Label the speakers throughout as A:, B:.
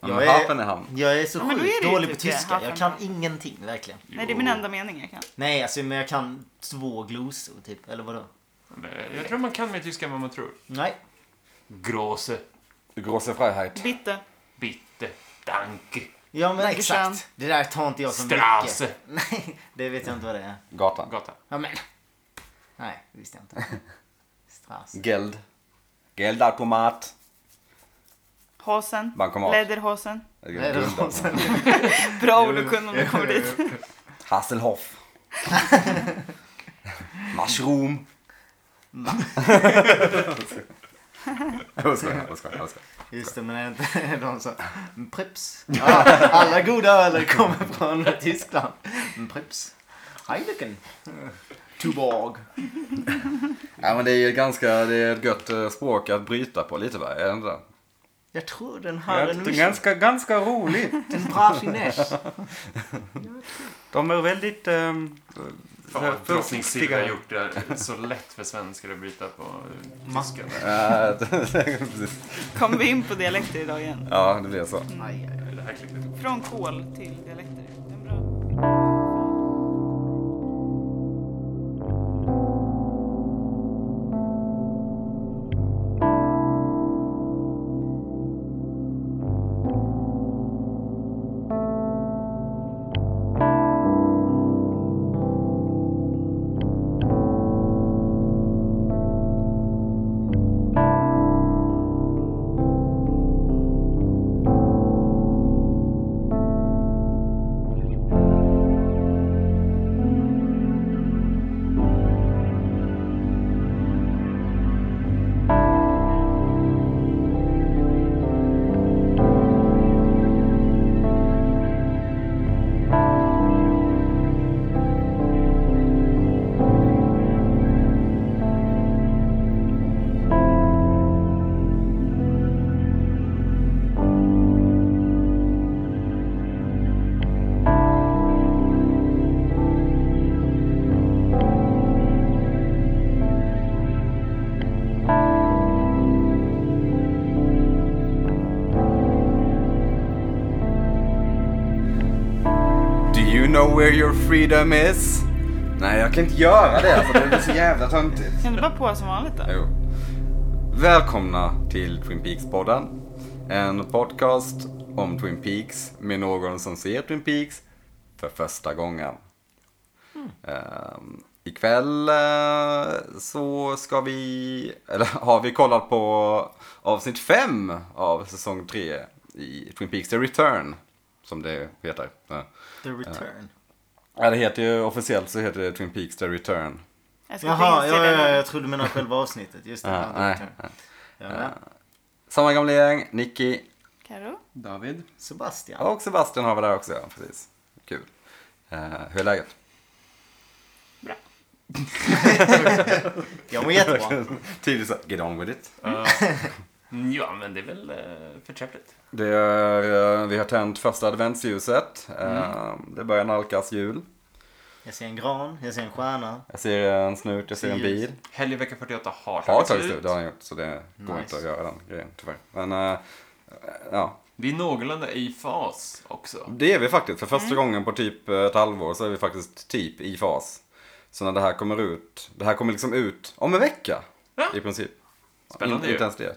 A: Jag är,
B: Hafenham.
A: jag är så
C: Ja, men då
A: sjukt
C: är det ju
A: dålig på
C: typ det,
A: tyska. Jag kan
C: Hafenham.
A: ingenting, verkligen.
C: Nej, det är min enda mening jag kan.
A: Nej, alltså, men jag kan två glosor, typ. Eller vadå?
D: Eh, Jag tror man kan mer tyska än vad man tror.
A: Nej.
D: Gråse,
B: Grosse Freiheit.
C: Bitte.
D: bitte, danke,
A: Ja, men
C: Dankeschön.
A: exakt. Det där tar inte jag så mycket.
D: strasse.
A: Nej, det vet jag inte vad det är.
B: Gatan.
D: Gata.
A: Ja, men. Nej, det visste jag inte. Strass.
B: Geld. Geldarpomat.
C: Hosen.
B: Bankomat.
C: Lederhosen.
A: Nej, det var sen.
C: Bra ord att kunna om du kommer dit.
B: Hasselhoff. Mushroom. Jag skojar, jag skojar, jag skojar.
A: Just det, men är inte de så... Mm, Prips. Ja, alla goda öler kommer från Tyskland. Mm, Prips. Heineken. Tuborg.
B: Ja, men det är ju ett ganska, det är ett gött eh, språk att bryta på lite va? Är det inte det?
A: Jag tror den
B: Ja,
A: har en
B: det är
A: mission.
B: ganska, ganska roligt.
A: En bra finess.
B: De är väldigt ehm,
D: Fan vad drottning Silvia
B: försiktiga.
D: har gjort det så lätt för svenskar att bryta på eh, tyska.
B: Ja, precis.
C: Kommer vi in på dialekter idag igen?
B: ja, det blir så.
A: Aj, aj.
D: Det här klippet.
C: Från kol till dialekter. Det är en bra.
B: Do you know where your freedom is? Nej, jag kan inte göra det. Alltså, det blir så jävla töntigt.
C: Kan du bara på som vanligt då?
B: Jo. Välkomna till Twin Peaks-podden. En podcast om Twin Peaks med någon som ser Twin Peaks för första gången. Ehm, ikväll eh, så ska vi, eller har vi kollat på avsnitt 5 av säsong 3 i Twin Peaks The Return. Som det heter. Ja.
A: The return.
B: Ja, det heter ju officiellt så heter det Twin Peaks The Return.
C: Jag ska
A: Jaha,
C: inte inse
A: ja,
C: det.
A: ja, jag trodde du menade själva avsnittet. Just det.
B: Ja,
A: ja, the
B: nej,
A: return.
B: nej.
A: Ja, men.
B: Samma gamla gäng, Nicky,
C: Karo?
E: David?
A: Sebastian.
B: Ja, och Sebastian har vi där också, ja, precis. Kul. Eh, hur är läget?
C: Bra.
A: Jag mår jättebra.
B: Tidigt så här, get on with it.
D: Mm, Ja, men det är väl eh, förträffligt.
B: Det är, eh, vi har tänt första adventsljuset. Eh, Det börjar nalkas jul.
A: Jag ser en gran, jag ser en stjärna.
B: Jag ser en snut, jag ser en bil.
D: Helg i vecka 48 har
B: Har
D: tagit
B: tagit
D: slut.
B: slut, det har han gjort. Så det går
A: Nice.
B: inte att göra den grejen, tyvärr. Men, eh, ja.
D: Vi är någorlunda i fas också.
B: Det är vi faktiskt. För första gången på typ ett halvår så är vi faktiskt typ i fas. Så när det här kommer ut, det här kommer liksom ut om en vecka.
D: Ja.
B: I princip.
D: Spännande
B: In,
D: ju.
B: inte ens det.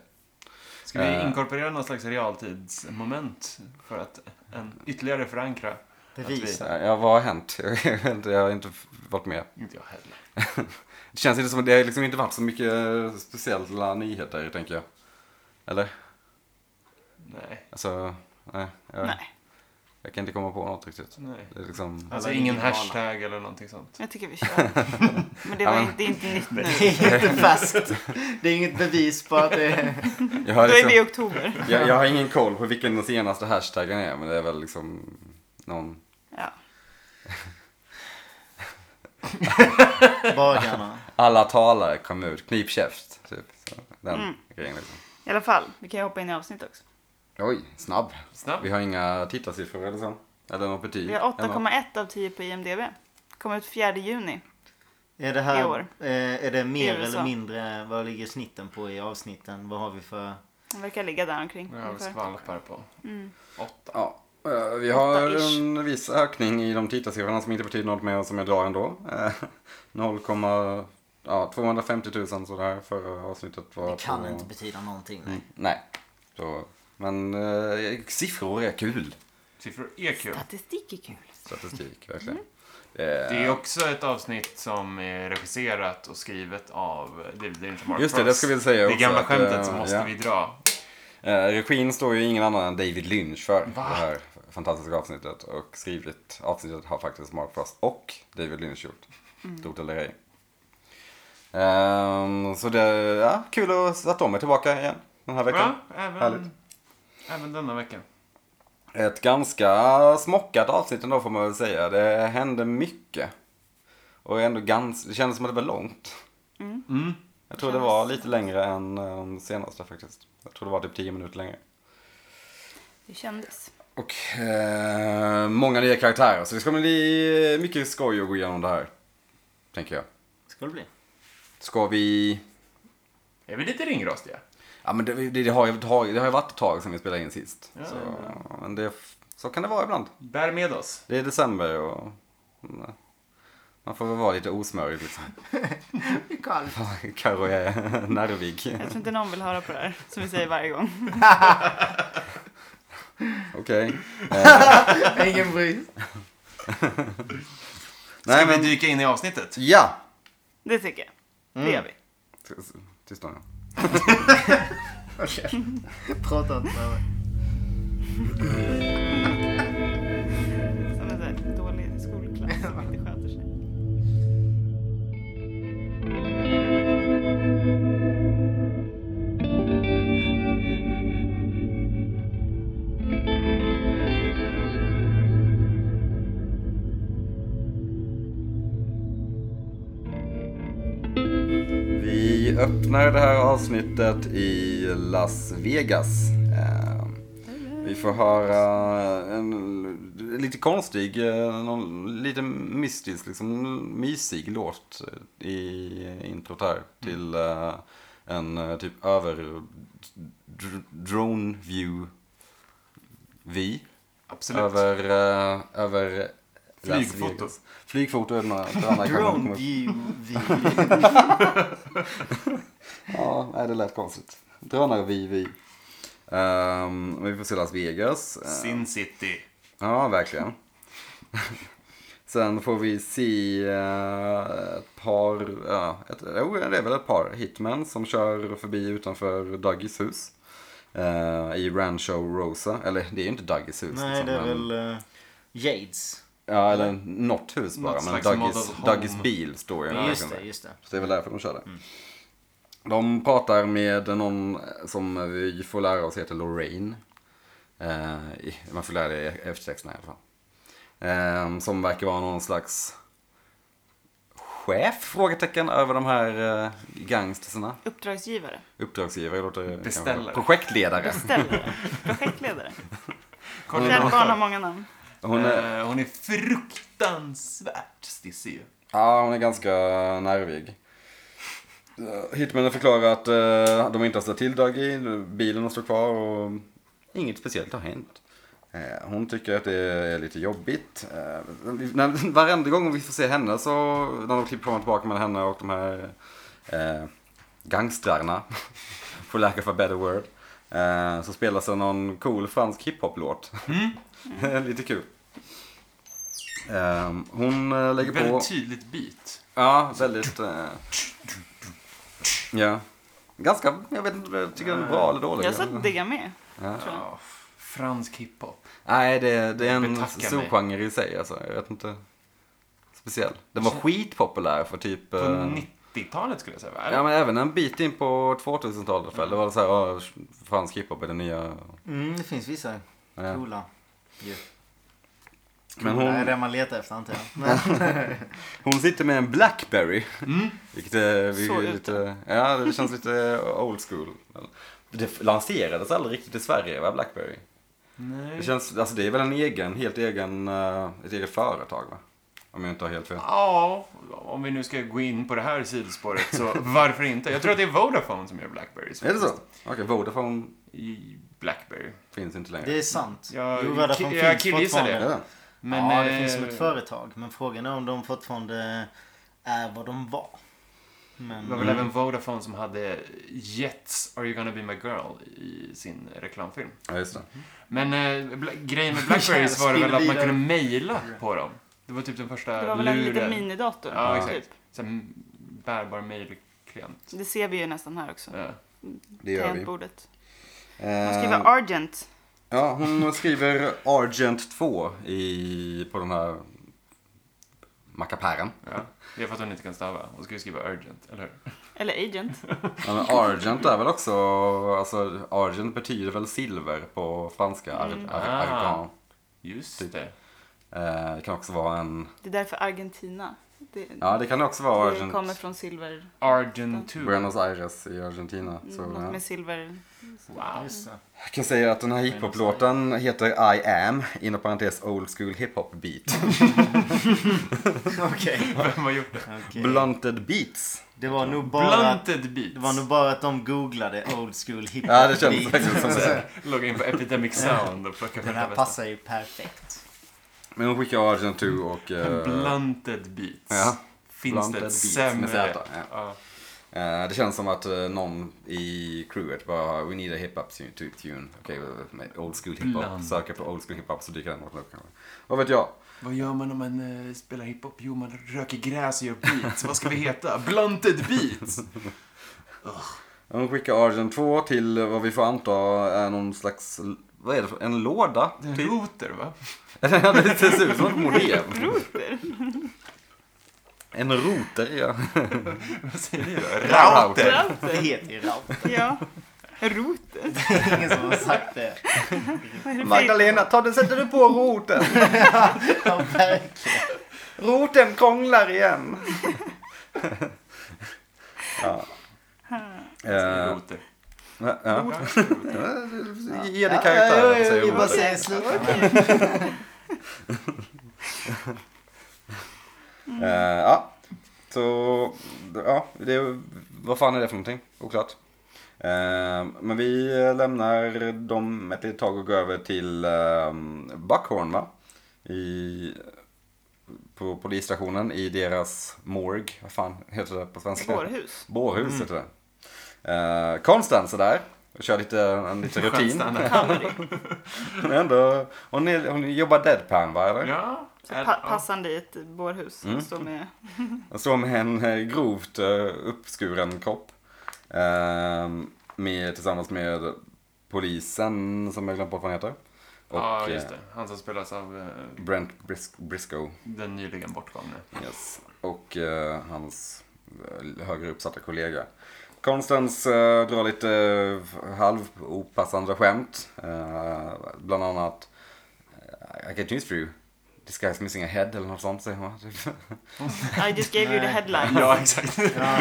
D: Ska vi
B: Eh.
D: inkorporera någon slags realtidsmoment för att en, ytterligare förankra?
A: Bevisa.
B: Ja, vad har hänt? Jag vet inte, jag har inte varit med.
D: Inte jag heller.
B: Det känns inte som att det har liksom inte varit så mycket eh, speciella nyheter, tänker jag. Eller?
D: Nej.
B: Alltså, nej. Jag,
C: Nej,
B: jag kan inte komma på något riktigt.
D: Nej.
B: Det är liksom...
D: Alltså
A: Alla
D: ingen
A: digitala.
D: hashtag eller någonting sånt.
C: jag tycker vi kör. Men det, var, inte- det är inte nytt nu.
A: Det är inte färskt. Det är inget bevis på att det är...
B: Jag har,
C: Då är vi i
B: liksom
C: oktober.
B: jag, jag har ingen koll på vilken den senaste hashtaggen är, men det är väl liksom någon...
C: Ja.
A: Bagarna.
B: Alla talare kom ut, knip käft, typ. Så, den
C: Mm.
B: grejen liksom.
C: I alla fall, vi kan ju hoppa in i avsnitt också.
B: Oj, snabb.
D: Snabbt.
B: Vi har inga tittarsiffror eller så. Eller något betyg.
C: Vi har
B: eller-
C: 8,1 av 10 på IMDB. Kom ut 4 juni.
A: Är det
C: I
A: här...
C: år.
A: eh, Är det mer
C: I USA.
A: eller mindre... Vad ligger snitten på i avsnitten? Vad har vi för...
C: Den verkar ligga där omkring.
D: Nu har vi
C: ungefär.
D: skvalpar på
C: Mm.
D: åtta.
B: Ja, eh, vi har
C: Åtta-ish.
B: en viss ökning i de tittarsiffrorna som inte betyder något mer och som jag drar ändå. Eh, 0, ja, 250 000 sådär förra avsnittet var
A: Det kan
B: på-
A: inte betyda någonting.
B: Mm, Nej. Så, men eh, siffror är kul.
D: Siffror E är kul.
C: Statistik är kul.
B: Statistik, verkligen.
C: Mm.
B: Eh,
D: Det är också ett avsnitt som är regisserat och skrivet av David Lynch och Mark
B: Just det, det ska vi säga
D: Det
B: också.
D: gamla
B: att, eh,
D: skämtet som måste
B: ja.
D: vi dra.
B: Eh, regin står ju ingen annan än David Lynch för det här fantastiska avsnittet. Och skrivit avsnittet har faktiskt Mark Frost och David Lynch gjort. Stort eller ej. Ehm, så det är ja, kul att, att de är tillbaka igen den här veckan.
D: Ja, även,
B: Härligt.
D: även denna vecka.
B: Ett ganska smockat avsnitt ändå får man väl säga. Det hände mycket. Och ändå ganska, det kändes som att det var långt.
D: Mm.
B: Jag tror det var lite längre än eh, de senaste faktiskt. Jag tror det var typ 10 minuter längre.
C: Det kändes.
B: Och eh, många nya karaktärer. Så det ska bli mycket skoj att gå igenom det här. Tänker jag.
A: Ska det bli?
B: Ska vi...
D: Är vi lite ringrostiga?
B: Ja men det, det, det, har, ju, tag- det har ju varit ett tag sedan vi spelade in sist.
D: Ja,
B: så,
D: det är bra.
B: ja, men det, så kan det vara ibland.
D: Bär med oss.
B: Det är december och... mm, Man får väl vara lite osmörig liksom.
F: Det är kallt.
B: Carro är nervig.
C: Jag tror inte någon vill höra på det här, som vi säger varje gång.
B: Okej. Eh.
F: Ingen
A: Mm.
F: bryr
D: Ska
B: Nej, men-
D: vi dyka in i avsnittet?
B: Ja!
C: Det tycker jag.
A: Mm.
C: Det gör vi.
B: Tyst nu.
F: Okej. Prata inte med mig.
C: Som en sån här dålig skolklass som inte sköter sig.
B: Vi öppnar det här avsnittet i Las Vegas. Eh, Vi får höra en lite konstig, eh, någon, lite mystisk, liksom mysig låt i introt här till eh, en eh, typ över dr- drone view vy
D: Absolut.
B: över, eh, över Las
D: Flygfoto.
B: Vegas. Flygfoto är den här- den andra kameran som
F: Drone
B: kommer upp.
F: view.
B: Ja, nej, det lät konstigt. Drönare vi, vi. Ehm, vi får se Las Vegas. Ehm,
D: Sin City.
B: Ja, verkligen. Sen får vi se eh, ett par, ja, ett, jo, det är väl ett par hitmen som kör förbi utanför Duggies hus. eh, I Rancho Rosa, eller det är ju inte Duggies hus. liksom,
F: Nej, det är
B: men-
F: väl... eh,
A: Jades.
B: Ja, eller något hus bara,
D: Något
B: men
D: slags
B: Duggies,
D: model home.
B: Duggies bil står ju
A: Just
B: liksom
A: det,
B: där.
A: just det.
B: Så det är väl därför de kör det. De pratar med någon som vi får lära oss heter Lorraine. Eh, i- man får lära det i eftertexterna i alla fall. Eh, som verkar vara någon slags chef? Frågetecken över de här eh, gangsterna.
C: Uppdragsgivare.
B: Uppdragsgivare låter det kanske.
D: Beställare.
B: Projektledare.
C: Beställare. Projektledare.
D: Kolla
C: Kärt
D: vad
C: barn har
D: hon
C: många namn.
B: Hon är,
D: är. Eh, hon är fruktansvärt stissig ju.
B: Ja, hon är ganska nervig. Eh, Hitmannen förklarar att eh, de inte har ställt till Dougie, bilen har stått kvar och inget speciellt har hänt. Eh, hon tycker att det är lite jobbigt. Eh, vi- när, varenda gång vi får se henne så, när de klipper fram och tillbaka mellan henne och de här eh, gangstrarna, for lack of a better word, eh, så spelas det någon cool fransk hiphop-låt. lite kul. Eh, hon eh, lägger på...
D: Väldigt tydligt beat.
B: Ja, väldigt... eh, Ja. Ganska, jag vet inte, jag tycker den är bra eller dålig.
C: Jag satt och diggade med. tror jag.
D: Ja, fransk hiphop.
B: Nej, det, det är en
D: Betacka mig.
B: subgenre i sig alltså. Jag vet inte. Speciell. Den var skitpopulär för typ...
D: På
B: eh,
D: 90-talet skulle jag säga. va?
B: Ja, men även en bit in på 2000-talet. väl. Det var så här, ja, fransk hiphop är den nya...
F: Mm, det finns vissa
B: Ja.
F: coola. ju.
B: Men
F: Det är
B: hon,
F: det man letar efter antar jag. Men,
B: hon sitter med en Blackberry.
D: Mm.
B: Vilket är,
C: Så
B: är lite... Ja, det känns lite old school. Det lanserades aldrig riktigt i Sverige, va, Blackberry? Det
C: Mm.
D: Nej.
B: känns, alltså det är väl en egen, helt egen, eh, ett eget företag va? Om jag inte har helt fel.
D: Ja, om vi nu ska gå in på det här sidospåret så varför inte? Jag tror att det är Vodafone som gör Blackberries.
B: Är det så? Okej, Vodafone
D: I Blackberry.
B: finns inte längre.
F: Det är sant.
D: Jag-
F: jo, Vodafone
D: ki- jag
F: finns
D: killgissar
F: fortfarande.
B: Är det?
D: Men,
F: ja, det
D: eh,
F: finns som ett företag. Men frågan är om de fortfarande är vad de var.
D: Det
F: Men
D: var väl även Vodafone som hade Jets Are You Gonna Be My Girl i sin reklamfilm.
B: Ja, just det.
D: Men eh, bla- grejen med Blackberries var det väl att man kunde mejla på dem. Det var typ den första
C: Det var väl en
D: luren.
C: liten minidator.
D: Ja,
C: typ.
D: exakt. Sen bärbar mejlklient.
C: Det ser vi ju nästan här också.
D: Ja.
B: Det gör vi.
C: Tangentbordet. Man skriver
B: Eh,
C: Argent.
B: ja, hon skriver Argent 2 i, på den här mackapären.
D: Ja. Det är för att hon inte kan stava. Hon skulle skriva urgent, eller hur?
B: Typ.
C: Eller Agent.
B: Ja, men Argent är väl också, alltså Argent betyder väl silver på franska, ar,
C: Mm.
B: ar,
D: Ah.
B: argan.
D: Just det.
B: Eh, det kan också vara en,
C: Det är därför Argentina. Det,
B: ja det kan också vara
C: det kommer
B: Argent.
C: från silver.
D: Argent 2.
B: Buenos Aires i Argentina. Så,
C: Mm, Något
B: Alltså, ja.
C: med silver.
D: Wow.
F: Just det.
B: Jag kan säga att den här hiphop-låten heter I am, inom parentes old school hiphop beat.
F: Okej.
D: Vem har gjort det?
F: Okej.
B: Blunted beats.
F: Det var nog bara...
D: Blunted Beats.
F: Det var nog bara att de googlade old school hiphop.
B: Ja, det kändes
F: beat.
B: faktiskt som det.
D: Logga in på Epidemic Sound och plocka fram
F: Den
D: det
F: här
D: bästa.
F: passar ju perfekt.
B: Men hon skickar Argent 2 och... eh,
D: Blunted Beats.
B: Ja.
D: Finns
B: Blunted
D: det ett
B: Beats
D: sämre?
B: med Z, ja.
D: Ja.
B: Eh, det känns som att eh, någon i crewet bara We need a hip-hop tu- tu- tune. Okej, okay, old school hiphop.
D: Bland.
B: Söker på old school hiphop så dyker den låten upp kanske. Vad vet jag?
D: Vad gör man om man eh, spelar hiphop? Jo, man röker gräs och gör beats. Vad ska vi heta? Blunted Beats!
B: Hon skickar Argent 2 till eh, vad vi får anta är någon slags... l- Vad är det för... En låda?
D: Det är en router, va?
B: Ja, det ser ut som ett modem. En router, ja.
D: Vad säger ni då?
B: Router.
F: Det
C: Router.
F: heter ju Raut.
C: Ja. Router.
F: Det är ingen som har sagt det.
C: Vad är det för-
B: Magdalena, ta den, sätter du på roten.
F: Ja, verkligen.
B: Roten krånglar igen. ja. Eh,
D: Router.
B: ja, ja.
D: Ja.
B: Ge dig karaktär.
F: Ja,
B: säger
F: jag vill bara
B: roten.
F: säga sluta.
B: Eh, Ja. Så, ja, det, vad fan är det för någonting? Oklart. Eh, Men vi lämnar dem ett litet tag och går över till eh, Buckhorn va? I, på polisstationen i deras morg. Vad fan heter det på svenska?
C: Spårhus.
B: Bårhus heter det. Eh, Konstans är där och kör lite, en liten rutin. Men ändå, hon, är, hon jobbar deadpan va? Eller?
D: Ja. Är-
C: Pa-
D: ja.
C: passande i ett bårhus.
B: Mm.
C: Står med
B: Han står med en eh, grovt eh, uppskuren kropp. ehm, Med, tillsammans med polisen som jag glömt bort vad han heter. Och
D: Ja, just
B: eh,
D: det. Han som spelas av eh,
B: Brent Bris- Briscoe.
D: den nyligen bortgångne.
B: Yes. Och eh, hans eh, högre uppsatta kollega. Konstans eh, drar lite eh, halvopassande skämt. Eh, bland annat eh, I get news for you. This guy's missing a head eller något sånt säger typ. hon.
C: I just gave you the
F: Nej.
C: headline.
D: Ja, exakt.
F: Ja.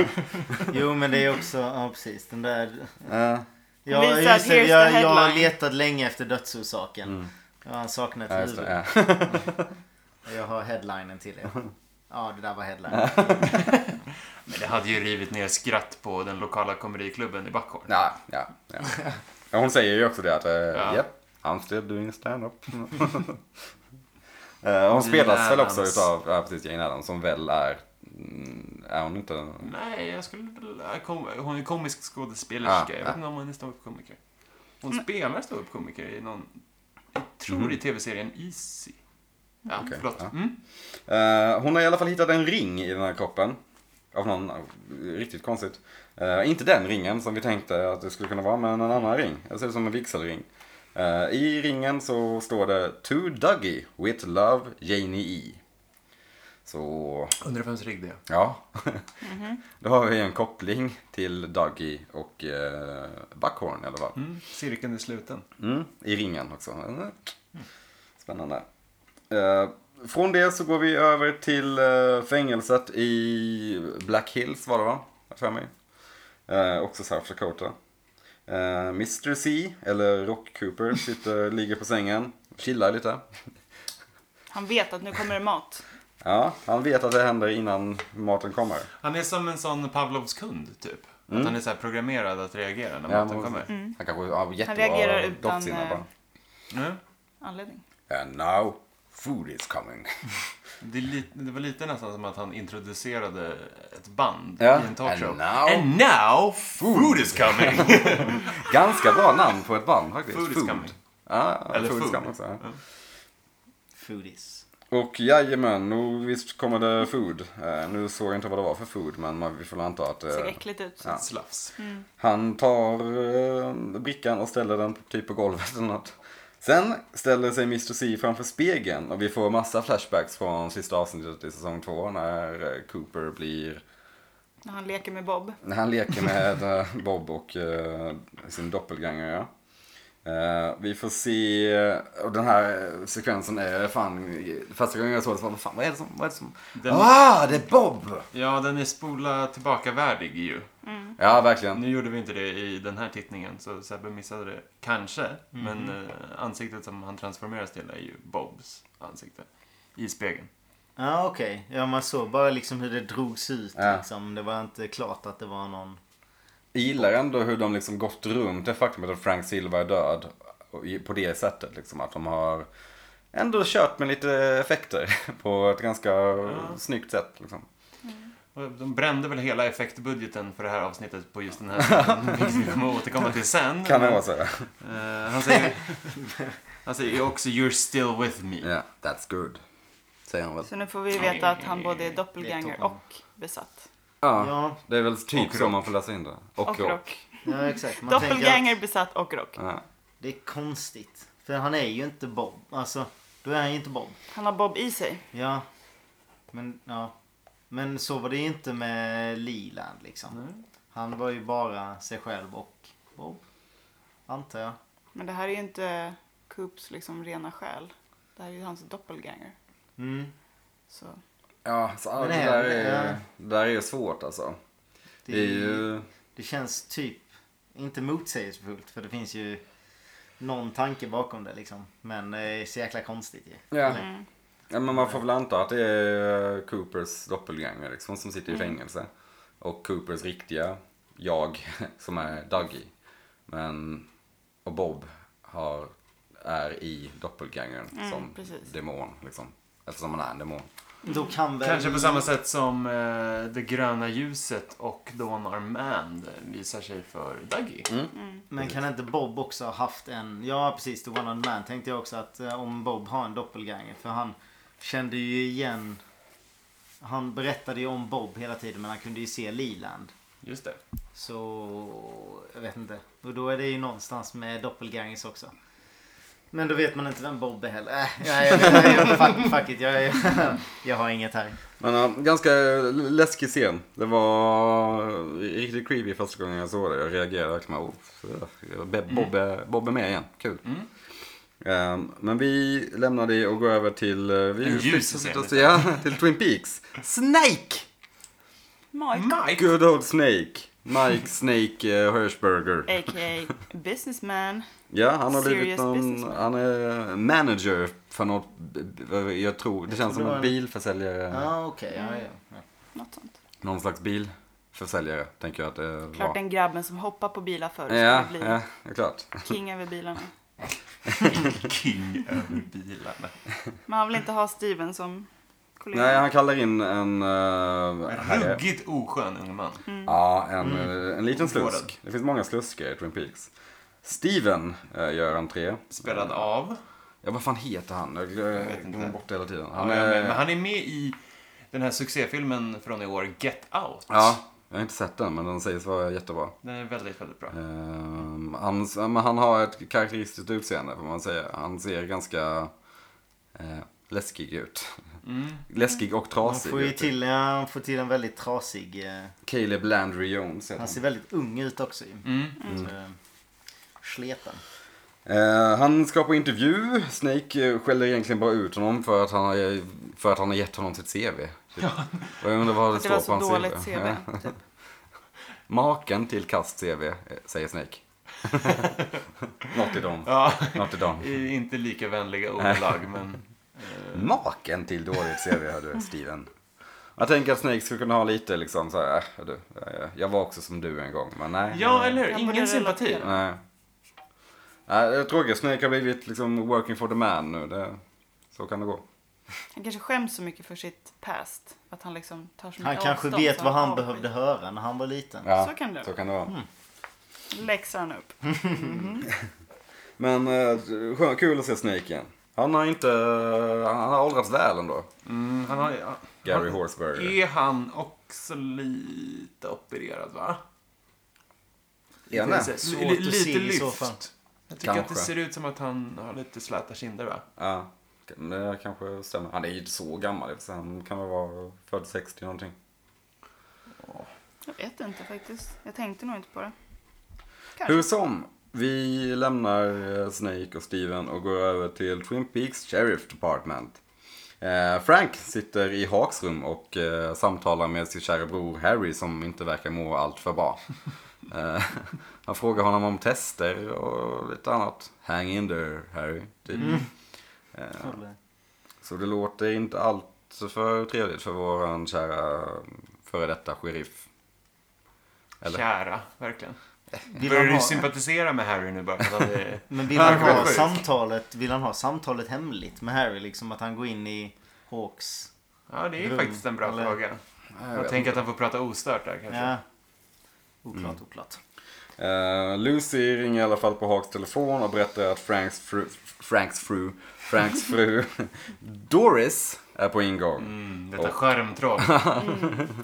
F: Jo, men det är också... Ja, precis. Den där...
B: Eh,
F: Ja,
C: Visar att
F: just det,
C: here's the
F: jag, jag har
C: headline.
F: letat länge efter dödsorsaken. Jag har saknat
B: Mm. ja, just det,
F: huvud.
B: ja.
F: Jag har headlinen till er. Ja, det där var headline.
D: Men det hade ju rivit ner skratt på den lokala komediklubben i Backholm.
B: Ja, ja, ja. Ja, Hon säger ju också det att eh,
D: Ja.
B: yep, I'm still doing stand-up. Eh, hon spelas väl också
D: Adams.
B: utav, ja precis, Jane Adams som väl är, mm, är hon inte?
D: Nej, jag skulle... Kom, hon är komisk skådespelerska.
B: Ja,
D: jag
B: ja.
D: vet inte om hon är ståuppkomiker. Hon spelar ståuppkomiker i någon... Jag tror i tv-serien Easy. Ja,
B: Mm. Okej,
D: förlåt.
B: ja.
D: Mm.
B: Eh, hon har i alla fall hittat en ring i den här kroppen. Av någon, av- riktigt konstigt. Eh, inte den ringen som vi tänkte att det skulle kunna vara, men en annan ring. Det ser ut som en vigselring. Eh, I ringen så står det To Dougie with love Janie E. Så
D: Undrar vems rygg det är.
B: Ja. Då har vi en koppling till Dougie och eh, Buckhorn i alla fall.
D: Mm. Cirkeln är sluten.
B: Mm, I ringen också. Mm. Spännande. Eh, från det så går vi över till eh, fängelset i Black Hills var det va? Har jag För mig. Eh, också South Dakota. Eh, Mr C, eller Rock Cooper, sitter, ligger på sängen. Chillar lite.
C: Han vet att nu kommer det mat.
B: Ja, han vet att det händer innan maten kommer.
D: Han är som en sån Pavlovs kund, typ. Att han är så här programmerad att reagera när
B: Mm. Ja,
D: maten
B: men-
D: kommer.
B: Han kanske har
C: reagerar
B: jättebra
C: utan,
B: doftsinne
C: eh,
B: bara.
D: Mm.
C: Anledning.
B: And now food is coming.
D: Det, är li- det var lite nästan som att han introducerade ett band
B: Ja.
D: i en talkshow.
B: And now-
D: And now food is coming!
B: Ganska bra namn på ett band faktiskt.
D: Food is coming.
B: Ja,
D: Eller
B: Eller food. is
D: food.
B: coming också. ja.
A: Foodies.
B: Och jajamän, nu visst kommer det food. Eh, nu såg jag inte vad det var för food, men man, vi får väl anta att... eh,
C: Ser äckligt ut.
B: Ja.
D: Slafs.
B: Han tar eh, brickan och ställer den typ på golvet eller något. Sen ställer sig Mr. C framför spegeln och vi får massa flashbacks från sista avsnittet i säsong två när eh, Cooper blir...
C: När han leker med Bob.
B: När han leker med eh, Bob och eh, sin doppelganger, ja. Eh, vi får se, eh, och den här eh, sekvensen är fan, första gången jag såg det så var fan vad är det som, vad är det som?
D: Den-
B: Ah, det är Bob!
D: Ja, den är spola tillbaka-värdig ju.
B: Ja, verkligen.
D: Nu gjorde vi inte det i den här tittningen, så Sebbe missade det kanske. Men
B: Mhm.
D: eh, ansiktet som han transformeras till är ju Bobs ansikte. I spegeln.
A: Ja okej, ja man såg bara liksom hur det drogs ut
B: Ja.
A: liksom. Det var inte klart att det var någon...
B: Jag gillar ändå hur de liksom gått runt det faktum att Frank Silva är död. och i- På det sättet liksom att de har ändå kört med lite effekter på ett ganska snyggt sätt. Liksom.
D: Och De brände väl hela effektbudgeten för det här avsnittet på just den här scenen, vilket vi kommer att återkomma till sen.
B: Kan det vara så?
D: Eh, han, säger, han säger ju också “You're still with me”.
B: Ja, that's good. Säger han väl.
C: Så nu får vi veta att han både är doppelganger
A: Det tog hon.
C: och besatt.
B: Ja,
A: Ja,
B: det är väl typ
D: Och
B: så
D: rock.
B: man får läsa in det. Och,
C: Och
B: rock.
C: rock.
A: ja exakt. Man tänker
C: Doppelganger,
A: att
C: besatt och rock.
B: Ja.
A: det är konstigt. För han är ju inte Bob. Alltså, då är han ju inte Bob.
C: Han har Bob i sig.
A: Ja. Men, ja. Men så var det ju inte med Liland liksom. Han var ju bara sig själv och Bob. Antar jag.
C: Men det här är ju inte Coops liksom rena själ. Det här är ju hans doppelganger.
A: Mm.
C: Så
B: ja, så allt det
A: Men
B: där
A: det-
B: är,
A: ja.
B: det där är ju svårt alltså.
A: Det,
B: Det är ju...
A: det känns typ inte motsägelsefullt för det finns ju någon tanke bakom det liksom. Men det är så jäkla konstigt ju.
B: Ja.
A: Eller?
B: Ja, men man får väl anta att det är eh, Coopers doppelganger liksom, som sitter i
A: Mm.
B: fängelse. Och Coopers riktiga jag som är Dougie. Men, och Bob har, är i doppelgangern
A: Mm,
B: som
C: precis.
B: demon. Liksom. Eftersom han är en demon.
A: Då kan väl...
D: Kanske på samma sätt som eh, det gröna ljuset och Dawn Armand visar sig för Dougie.
B: Mm.
A: Men kan inte Bob också ha haft en... Ja precis, The One On Man tänkte jag också att eh, om Bob har en doppelganger. För han kände ju igen... Han berättade ju om Bob hela tiden men han kunde ju se Liland.
D: Just det.
A: Så jag vet inte. Och då är det ju någonstans med doppelgangers också. Men då vet man inte vem Bob är heller. Äh, jag, jag, jag, jag, fuck, fuck it, jag, jag, jag har inget här.
B: Men ja, ganska läskig scen. Det var riktigt creepy första gången jag såg det. Jag reagerade verkligen. Oh, Be- Bob, är- Bob är med igen. Kul. Ehm, men vi lämnar det och går över till... eh, Vi
D: En ljus
B: flyttar-
D: scen.
B: Ja, till Twin Peaks. Snake!
C: Mike,
B: Mm.
D: Mike!
B: Good old Snake. Mike Snake eh, Hirschberger.
C: a.k.a. businessman.
B: Ja, han har blivit
C: Serious
B: någon...
C: businessman.
B: Han är manager för något... b- b- Jag tror... Det känns som
A: tror
B: en
A: han-
B: bilförsäljare.
A: Ja okej, ja, ja.
C: Något sånt.
B: Någon slags bilförsäljare, tänker jag att det var.
C: Klart den grabben som hoppar på bilar förut
B: Ja,
C: skulle bli
B: ja, ja, klart.
C: king över bilarna.
D: King över bilarna.
C: Men han vill inte ha Steven som kollega.
B: Nej, han kallar in en... eh, herre.
D: Ruggigt oskön ung man.
B: Ja, en,
A: Mm.
B: eh, en liten
D: Ovårdad.
B: slusk. Det finns många sluskar i Twin Peaks. Steven eh, gör entré.
D: Spelad av...
B: Ja, vad fan heter han? Jag
D: vet inte.
B: glömmer bort det hela tiden.
D: Ja,
B: Han
D: jag med.
B: är...
D: Men han är med i den här succéfilmen från i år, Get Out.
B: Ja, jag har inte sett den, men den sägs vara jättebra.
D: Den är väldigt, väldigt bra.
B: Ehm, han, men han har ett karaktäristiskt utseende får man säga. Han ser ganska eh, läskig ut.
D: Mm,
B: Läskig och
A: Man
B: trasig.
A: får ju
B: ut.
A: till, ja, man får till en väldigt trasig... eh,
B: Caleb Landry Jones heter
A: Han
B: han.
A: ser väldigt ung ut också ju.
D: Mm.
A: Så, eh, Sleten.
B: Eh, han ska på intervju. Snake eh, skäller egentligen bara ut honom för att han har, för att han har gett honom sitt CV. Typ. Och jag undrar vad det
C: det
B: står
C: var
B: på
C: så
B: hans
C: dåligt
B: CV.
C: CV.
B: Ja.
C: Typ.
B: Maken till kast CV, eh, säger Snake. Något i dem.
D: Ja,
B: Något i dem.
D: i- inte lika vänliga ordalag, men... Eh,
B: Maken till dåligt CV hörde Steven. Jag tänker att Snake skulle kunna ha lite liksom så här, äh, du, äh, jag var också som du en gång, men nej.
D: Ja,
B: nej.
D: eller hur?
C: Han borde
D: Ingen sympati.
C: relatera.
B: Nej. Nej, det är tråkigt. Snake har blivit liksom working for the man nu. Det, så kan det gå.
C: Han kanske skäms så mycket för sitt past. Att han liksom tar så mycket
A: Han kanske
C: avstånd
A: vet
C: så
A: vad han
C: avskyr.
A: behövde höra när han var liten.
B: Ja,
C: Så kan det
B: så kan det vara.
C: Läxan upp.
B: Men eh, skön, kul att se Snake igen. Han har inte, han har åldrats väl ändå.
D: Mm, han har, ja.
B: Gary
D: Han-
B: Horseberger.
D: Är han också lite opererad, va?
B: Är han
D: Lite
B: det?
D: så-
A: Svårt
D: li-
A: att
D: lite
A: se i så
D: lyft.
A: fall.
D: Jag tycker att
B: Kanske.
D: det ser ut som att han har lite släta kinder, va?
B: Ja, det kanske stämmer. Han är ju inte så gammal. så Han kan väl vara född 60 någonting.
C: Jag vet inte faktiskt. Jag tänkte nog inte på det. Kanske.
B: Hur som, vi lämnar eh, Snake och Steven och går över till Twin Peaks Sheriff Department. Eh, Frank sitter i Hawks rum och eh, samtalar med sin kära bror Harry som inte verkar må allt för bra. Eh, han frågar honom om tester och lite annat. Hang in there Harry, typ. Eh, så det låter inte allt för trevligt för våran kära före detta sheriff. Eller?
D: Kära, verkligen.
A: Vill
D: Börjar
A: han
D: du
A: ha,
D: sympatisera med Harry nu bara för att han är...
A: men vill
B: Han
A: han,
B: är
A: ha
B: sjuk.
A: samtalet, vill han ha samtalet hemligt med Harry? Liksom att han går in i Hawks...
D: Ja, det är
A: Rum,
D: faktiskt en bra
A: eller?
D: fråga.
B: Jag
D: Jag
B: vet
D: tänker att han får prata ostört där kanske.
A: Ja. Oklart, oklart.
B: Eh, Lucy ringer i alla fall på Hawks telefon och berättar att Franks fru, Franks fru, Franks fru Doris är på ingång.
D: Mm, detta
B: Och-
D: skärmtroll.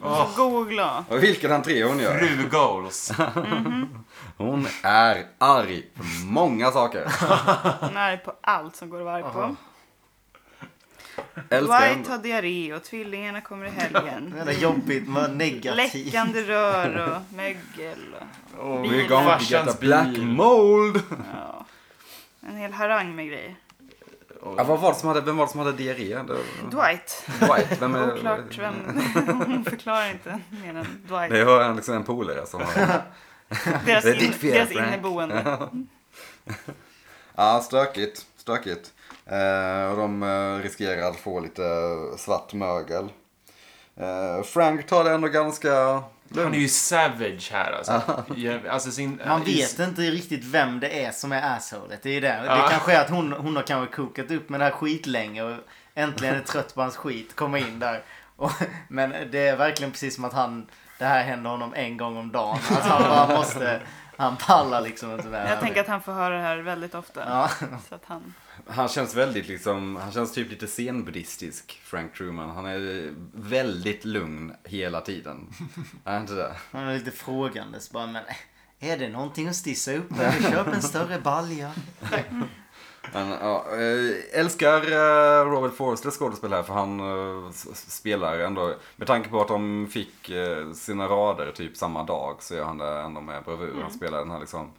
D: Åh,
C: Så god och glad.
B: Och vilken entré hon gör.
D: fru goals.
B: Hon är arg på många saker.
C: Han är arg på allt som går att vara arg på.
B: Älskar
C: Dwight
B: henne.
C: har diarré och tvillingarna kommer i helgen.
A: Det är jobbigt, man negativ.
C: Läckande rör och mögel. Och,
D: Oh,
B: We're going to get a black mold.
C: ja. En hel harang med grejer.
B: Ja, vad var det som hade, vem var det som hade diarré? Det-
A: Mm.
C: Dwight.
B: Dwight. Vem är,
C: Oklart vem.
B: eh.
C: Hon förklarar inte mer än
B: Det
C: Dwight.
B: var en, liksom en polare som har...
C: Deras,
B: det är ditt
C: in,
B: fel,
C: deras
B: Frank.
C: inneboende.
B: Ja, stökigt. Stökigt. Eh, och de eh, riskerar att få lite svart mögel. Eh, Frank tar det ändå ganska
D: Han är
B: lugnt.
D: ju savage här alltså. Ja, alltså sin,
A: Man
D: i-
A: vet inte riktigt vem det är som är assholet. Det är ju det.
D: Ja.
A: Det kanske är att hon, hon har kanske kokat upp med det här skitlänge och äntligen är trött på hans skit. Kommer in där. Och, men det är verkligen precis som att han, det här händer honom en gång om dagen. Alltså han bara måste, han pallar liksom inte med
C: Jag tänker att han får höra det här väldigt ofta.
A: Ja.
C: Så att han...
B: Han känns väldigt liksom, han känns typ lite zenbuddhistisk, Frank Truman. Han är eh, väldigt lugn hela tiden. är han inte det?
A: Han är lite frågandes bara men är det någonting att stissa upp med? Köp en större balja.
C: Mm.
B: Men, ja, eh, älskar eh, Robert Forslers skådespel här för han eh, s- s- spelar ändå, med tanke på att de fick eh, sina rader typ samma dag så gör han det ändå med bravur. Han spelar den här liksom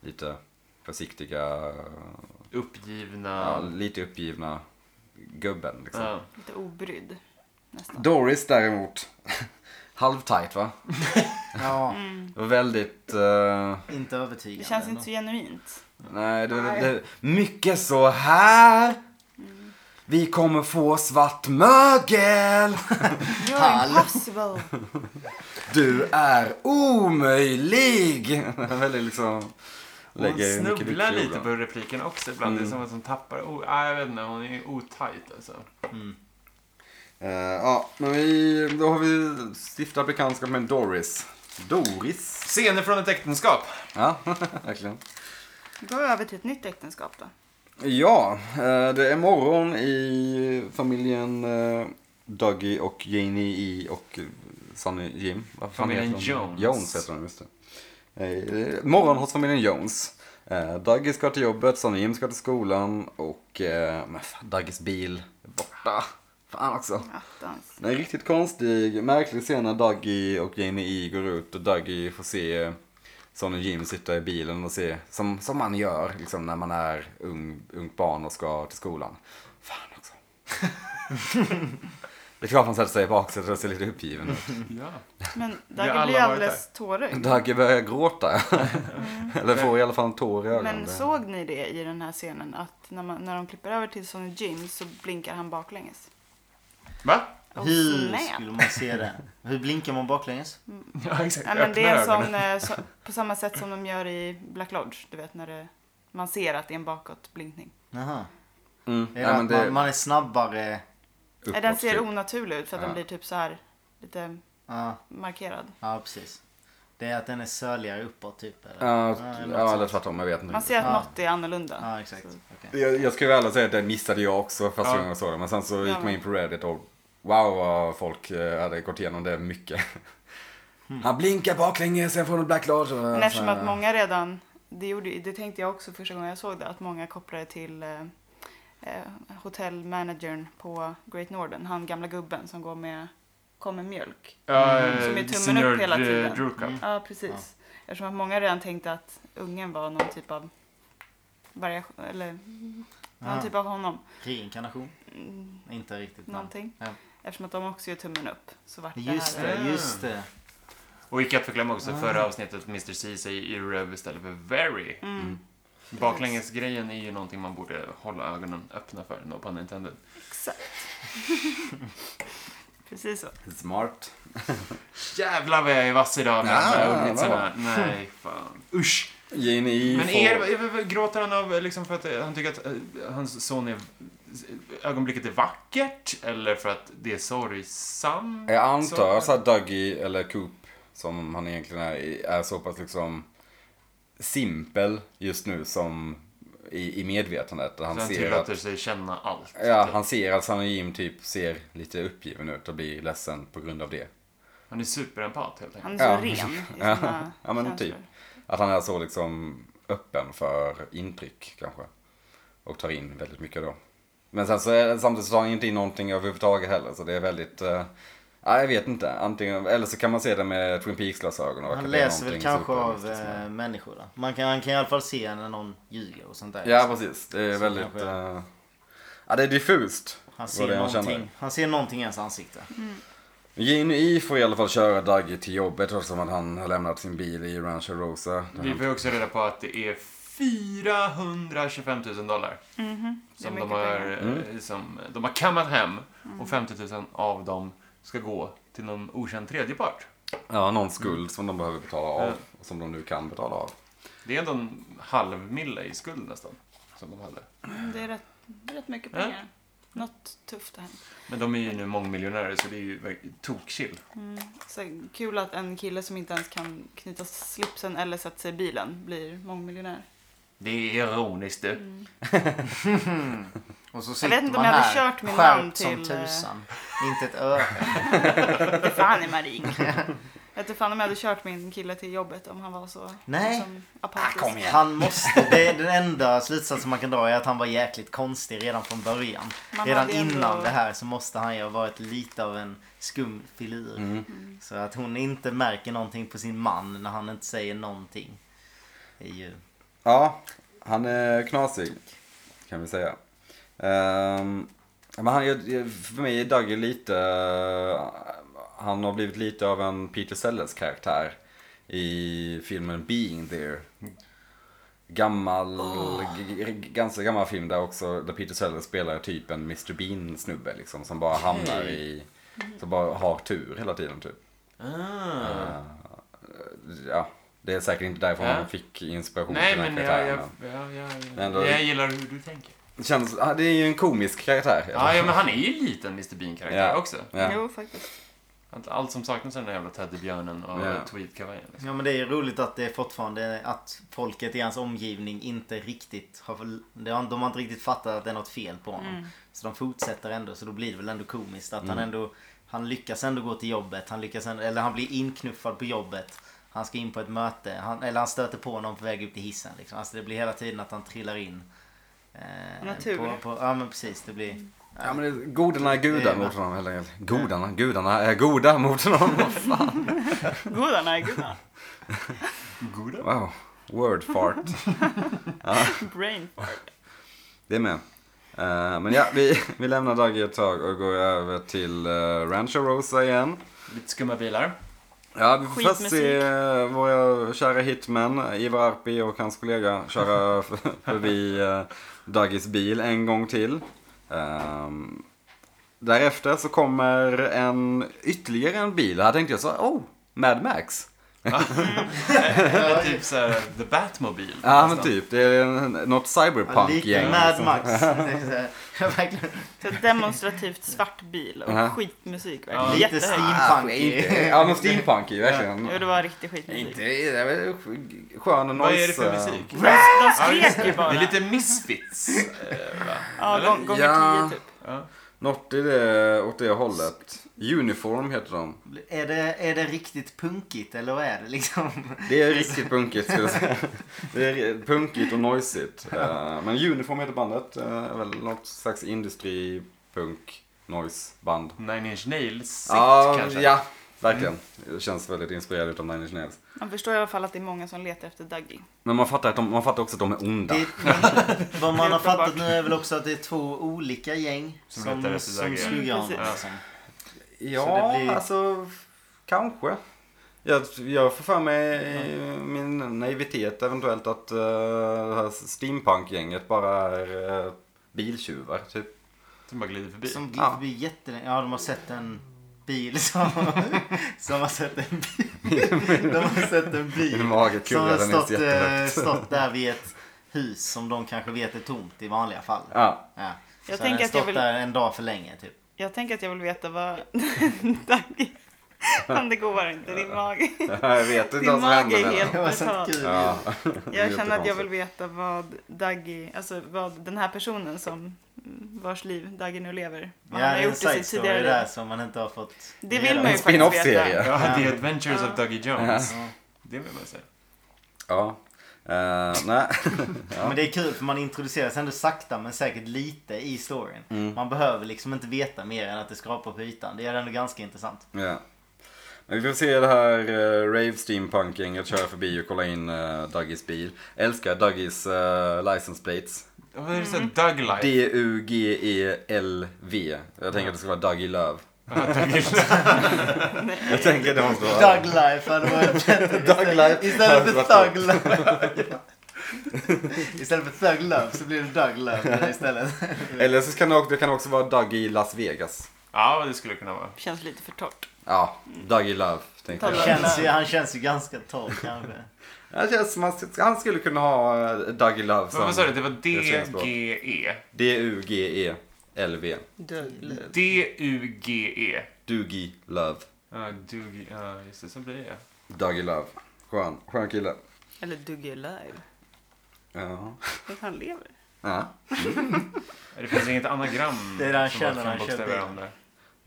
B: lite försiktiga, eh, ja,
D: Uppgivna.
B: lite uppgivna gubben liksom.
D: Ja.
C: Lite obrydd. Nästan.
B: Doris däremot, halvtajt va?
A: Ja,
B: Det var Väldigt, eh,
A: inte övertygande.
C: Det känns inte
A: ändå.
C: så genuint.
B: nej, det, Det, mycket så här. Vi kommer få svart mögel.
C: You're impossible.
B: Du är omöjlig. Väldigt liksom.
D: Hon
B: lägger mycket Mm.
D: snubblar
B: vikt i
D: lite
B: orden.
D: på repliken också ibland. Det är som att hon tappar. Oh, ah, jag vet inte, hon är otajt alltså.
B: Eh, ja, men vi, då har vi stiftat bekantskap med Doris. Doris?
D: Scener från ett äktenskap.
B: Ja, verkligen.
C: Gå över till ett nytt äktenskap då.
B: Ja, eh, det är morgon i familjen eh, Dougie och Janie E och eh, Sonny Jim. Vad fan
D: Familjen
B: heter de?
D: Jones.
B: Jones heter de, just det. Eh, Morgon hos familjen Jones. Eh, Dougie ska till jobbet, Sonny Jim ska till skolan och eh, men fan, Dougies bil är borta. Fan också.
C: Attans.
B: Det är en riktigt konstig, märklig scen när Dougie och Janie E går ut och Dougie får se eh, Sonny Jim sitta i bilen och se, som, som man gör liksom när man är ung, ungt barn och ska till skolan. Fan också. Det är klart han sätter sig i baksätet och ser lite uppgiven ut.
D: Ja.
C: Men
D: Vi har
C: Dagge
D: alla
C: blir
D: varit
C: alldeles
A: Mm.
C: tårögd.
B: Dagge börjar gråta. Eller får i alla fall en tår i ögonen.
C: Men såg ni det i den här scenen att när, man, när de klipper över till Sonny Jim så blinkar han baklänges? Oh,
D: Va?
C: Och
A: Hur
C: snäll.
A: skulle man se det? Hur blinkar man baklänges?
C: Mm.
D: Ja, exakt.
C: Ja, men det är en
D: Öppna
C: sån, eh, så, på samma sätt som de gör i Black Lodge. Du vet när det, man ser att det är en bakåtblinkning.
A: Jaha.
B: Mm.
A: Är
B: Nej,
A: det
B: men
A: att
B: det är
A: man, man är snabbare?
C: Nej,
B: uppåt,
C: Den ser
B: typ.
C: onaturlig ut för att
B: Ja.
C: den blir typ så här lite
A: Ja,
C: markerad.
A: ja, precis. Det är att den är söligare uppåt typ? Eller?
B: Ja,
A: Ja, något
B: ja eller
A: sånt.
B: tvärtom, jag vet inte.
C: Man ser att
A: Ja.
C: något är annorlunda.
A: Ja, exakt.
C: Så-
A: Okej.
B: Jag, jag skulle väl ärligt säga att den missade jag också första
D: Ja.
B: gången jag såg den. Men sen så gick
C: Ja.
B: man in på Reddit och wow vad folk eh, hade gått igenom det mycket. Han blinkar baklänges, sen får han Black Lodge. och-
C: Men eftersom
B: så-
C: att många redan, det, gjorde, ju- det tänkte jag också första gången jag såg det, att många kopplade till eh, eh, hotellmanagern på Great Northern, han gamla gubben som går med, kommer mjölk.
D: Ja,
C: Mm.
D: eh,
C: Som är tummen
D: Senior
C: upp hela
D: Dr-
C: tiden.
D: Drew Cup.
B: Mm.
C: Ja, precis. Eftersom att många redan tänkte att ungen var någon typ av variation, eller någon
A: Ah.
C: typ av honom.
A: Reinkarnation?
C: Mm,
A: Inte riktigt. men-
C: någonting.
A: Ja.
C: Eftersom att de också gör tummen upp så vart det
A: Just
C: här.
A: det, just det.
D: Och icke att förglömma också förra avsnittet, Mr. C säger Irrev istället för Very.
C: Mm,
D: Baklängesgrejen är ju någonting man borde hålla ögonen öppna för, no pun intended.
C: exakt. precis så.
B: Smart.
D: Jävlar vad jag är vass idag med
B: Ah, Ja,
D: de
B: vad
D: här ordvitsarna. Nej, fan. Usch!
B: Geni
D: Men
B: får-
D: är, är, gråter han av liksom för att eh, han tycker att eh, hans son är... Ögonblicket är vackert? Eller för att det är sorgsamt?
B: Jag antar så att Dougie, eller Coop, som han egentligen är, är så pass liksom simpel just nu som i, i medvetandet. Där
D: Så
B: han
D: han
B: ser att
D: tillåter sig känna allt.
B: Ja, han ser att Sanna Jim typ ser lite uppgiven ut och blir ledsen på grund av det.
D: Han är superempat helt enkelt.
C: Han är så
B: Ja.
C: ren i sina
B: Ja, men
C: känslor.
B: typ. Att han är så liksom öppen för intryck kanske. Och tar in väldigt mycket då. Men sen så är, samtidigt så tar han inte in någonting överhuvudtaget heller så det är väldigt... eh, ja, jag vet inte. Antingen, eller så kan man se det med Twin Peaks-glasögon. och att
A: Han
B: det är
A: läser väl
B: någonting
A: kanske av
B: supermystiskt med
A: eh, människor då. Man kan, han kan i alla fall se när någon ljuger och sånt där.
B: det. Ja, precis. Det är
A: Så
B: väldigt...
A: kanske-
B: eh, ja, det är diffust.
A: Alltså, han,
B: vad det är
A: ser
B: han känner.
A: någonting, han ser någonting i ens ansikte.
B: Gene E får i alla fall köra Dougie till jobbet eftersom att han har lämnat sin bil i Rancho Rosa. där han
D: Vi får ju också reda på att det är 425 000 dollar.
C: Mm-hmm. Det är
D: Som de
C: mycket
D: har, Mm.
C: pengar.
D: eh, som de har kammat hem. Och 50 000 av dem ska gå till någon okänd tredjepart.
B: Ja, någon skuld som de behöver betala av.
D: Ja.
B: och Som de nu kan betala av.
D: Det är ändå en halv mille i skuld nästan. Som de hade.
C: Mm, Det är rätt, det är rätt mycket
D: Ja.
C: pengar. Något tufft har hänt.
D: Men de är ju nu mångmiljonärer så det är ju verk- tokchill.
C: Mm. Så kul att en kille som inte ens kan knyta slipsen eller sätta sig i bilen blir mångmiljonär.
D: Det är ironiskt du.
A: Och så
C: Jag
A: sitter
C: vet inte om
A: man
C: jag hade
A: här,
C: kört min
A: skärpt
C: man till,
A: som
C: eh,
A: tusan. Inte ett öre.
C: Fy fan är man rik. Jag vet inte fan om jag hade kört min kille till jobbet om han var så
A: Nej.
C: liksom, apatisk.
B: Ah, kom igen.
A: Han måste, det är den enda slutsatsen man kan dra är att han var jäkligt konstig redan från början.
C: Man
A: redan
C: hade ändå-
A: innan det här så måste han ju ha varit lite av en skum filur. Så att hon inte märker någonting på sin man när han inte säger någonting. Är ju...
B: Ja, han är knasig. Kan vi säga. Ehm, men han, är- är- för mig är Dougie lite... eh, Han har blivit lite av en Peter Sellers karaktär. I filmen Being There. Gammal, g- g- ganska gammal film där också, där Peter Sellers spelar typ en Mr Bean snubbe liksom. Som bara hamnar i,
D: Mm-hmm.
B: som bara har tur hela tiden typ. Eh,
D: Ah.
B: Ja, det är säkert inte därifrån
D: Ja.
B: han fick inspiration
D: Nej
B: till den
D: men
B: här
D: jag,
B: karaktären.
D: jag,
B: men-
D: jag, jag,
B: Men
D: jag,
B: då-
D: jag gillar hur du tänker.
B: Det Känns, ah, det är ju en komisk karaktär.
D: Ja, ja men han är ju lite en Mr Bean-karaktär
B: Ja.
D: också.
B: Ja.
C: Jo, faktiskt.
D: Allt, allt som saknas är den där jävla teddybjörnen och
B: Ja.
D: tweedkavajen. Liksom.
A: Ja men det är ju roligt att det fortfarande att folket i hans omgivning inte riktigt har... De har de har inte riktigt fattat att det är något fel på honom. Så de fortsätter ändå så då blir det väl ändå komiskt att
D: Mm.
A: han ändå... Han lyckas ändå gå till jobbet. Han lyckas ändå, eller han blir inknuffad på jobbet. Han ska in på ett möte. Han, eller han stöter på någon på väg upp till hissen. Liksom. Alltså det blir hela tiden att han trillar in. Eh,
C: Natur.
A: På, på, ja men precis. Det blir...
B: Ja, men det är, godarna är
A: Det
B: goda
A: är-
B: mot honom. Eller, godarna, gudarna är goda mot honom.
C: Gudarna är gudar.
D: Goda.
B: Wow, word fart.
C: Brain.
B: Det är med. Eh, men ja, vi, vi lämnar Dagge ett tag och går över till eh, Rancho Rosa igen.
D: Lite skumma bilar.
B: Ja, vi får först
C: Skitmusik.
B: se eh, våra kära hitmän Ivar Arpi och hans kollega köra f- förbi eh, Dagges bil en gång till. Ehm, därefter så kommer en ytterligare en bil. Här tänkte jag så, oh, Mad Max.
D: Eller typ såhär The Batmobile.
B: Ja, men
D: nästan.
B: typ. Det är en- något
A: Ja, lite
B: cyberpunk-gäng.
A: Mad
D: liksom.
B: som-
A: Max. Det är så här, jag verkligen,
C: Så demonstrativt svart bil och
B: Aha.
C: skitmusik.
D: Ja,
C: Verkligen.
A: lite
C: Jättehögt.
B: Ah,
A: steampunk.
B: inte- Ja, men steampunk är ju verkligen.
C: Jo, det var riktig skitmusik.
B: Inte, det var skön eh, noise.
D: Vad är det för musik?
C: De, de skrek ju bara.
D: Det är lite Misfits. eh, va?
C: Ja,
D: Eller?
C: gång, gånger
B: Ja.
C: tio typ.
D: Ja.
B: Något i det, åt det hållet. Uniform heter de.
A: Är det, är det riktigt punkigt eller vad är det liksom?
B: Det är riktigt punkigt skulle jag säga. Det är punkigt och noisigt. Eh, Men Uniform heter bandet. eh, är väl något slags industri punk noise band.
D: Nine Inch Nails
B: Ja,
D: kanske.
B: ja,
A: Mm.
B: verkligen. Det känns väldigt inspirerad utav Nine Inch Nails.
C: Man förstår i alla fall att det är många som letar efter Dougie.
B: Men man fattar, att de, man fattar också att de är onda.
A: Det, vad man har fattat nu är väl också att det är två olika gäng
D: Som
A: som,
D: letar
A: som,
D: efter Dagge.
A: slog an.
C: Precis.
A: Liksom.
B: Ja,
A: det blir-
B: alltså kanske. Jag, jag får för mig i min naivitet eventuellt att eh, det här steampunk-gänget bara är eh, biltjuvar typ.
D: Som bara glider förbi.
A: Som glider
B: Ja.
A: förbi jättelänge. Ja, de har sett en bil som, som har sett en bil. De har sett en
B: I
A: bil
B: magen
A: som
B: kurrar
A: har
B: den inte
A: stått, eh,
B: jättehögt.
A: stått där vid ett hus som de kanske vet är tomt i vanliga fall.
B: Ja,
A: Ja.
C: Jag
A: Så den har
C: tänker att jag
A: stått
C: vill-
A: där en dag för länge typ.
C: Jag tänker att jag vill veta vad Dougie... Om det går inte, din mage.
B: jag vet inte
C: Din
B: vad som
C: mage
B: hände
C: är
B: där.
C: helt
A: Det var sånt
C: brutal.
A: kul.
B: Ja,
C: Jag känner att jag
B: jättekonstigt.
C: vill veta vad Daggy, alltså vad den här personen som vars liv Daggy nu lever, vad
A: Ja,
C: han har
A: det är en
C: gjort i
A: side
C: sitt
A: story
C: tidigare
A: där
C: liv.
A: som man inte har fått
C: Det
A: reda
C: vill
A: på.
C: man ju faktiskt veta.
B: Spin-off-serie.
D: Ja,
A: Ja.
D: The Adventures of Dougie Jones.
A: Ja.
D: Det vill man säga.
B: Ja. Eh, nej.
A: Men det är kul för man introduceras ändå sakta men säkert lite i storyn.
B: Mm.
A: Man behöver liksom inte veta mer än att det skrapar på ytan. Det är ändå ganska intressant.
B: Ja. Men vi får se det här eh, rave steampunk-gänget köra förbi och kolla in uh, Duggies bil. Älskar Duggies eh, license plates.
D: Ja, Vad är Mm. det såhär Doug Life?
B: D-U-G-E-L-V. E Jag tänker att det ska vara Dougie Love. Jag tänker att det måste vara...
A: Doug Life hade varit bättre.
B: Doug Life
A: Istället
B: hade
A: för
B: varit
A: Thug Love. Istället för Thug Love så blir det Doug Love istället.
B: Eller så kan det också, det kan också vara Dougie Las Vegas.
D: Ja, det skulle kunna vara.
C: Känns lite för torrt.
B: Ja, Dougie Love. Tänker
A: Han
B: jag.
A: känns ju, han känns ju ganska torr kanske.
B: Det känns som att han skulle kunna ha eh, Dougie Love
D: Men Vad sa du?
B: som
D: Det var
B: Det känns bra.
D: D-G-E.
B: E D-U-G-E-L-V.
D: D-U-G-E.
B: Dougie Love.
D: E. Ja, Dougie. Ja, just det. Så blir det.
B: Dougie Love. Skön, skön kille.
C: Eller Dougie Alive.
B: Ja.
C: Att han lever.
B: ja.
D: Det finns inget anagram
A: Det är där han
D: som
A: känner
D: har
A: när han
D: fem
A: kör
D: bokstäver
A: bil.
D: om det.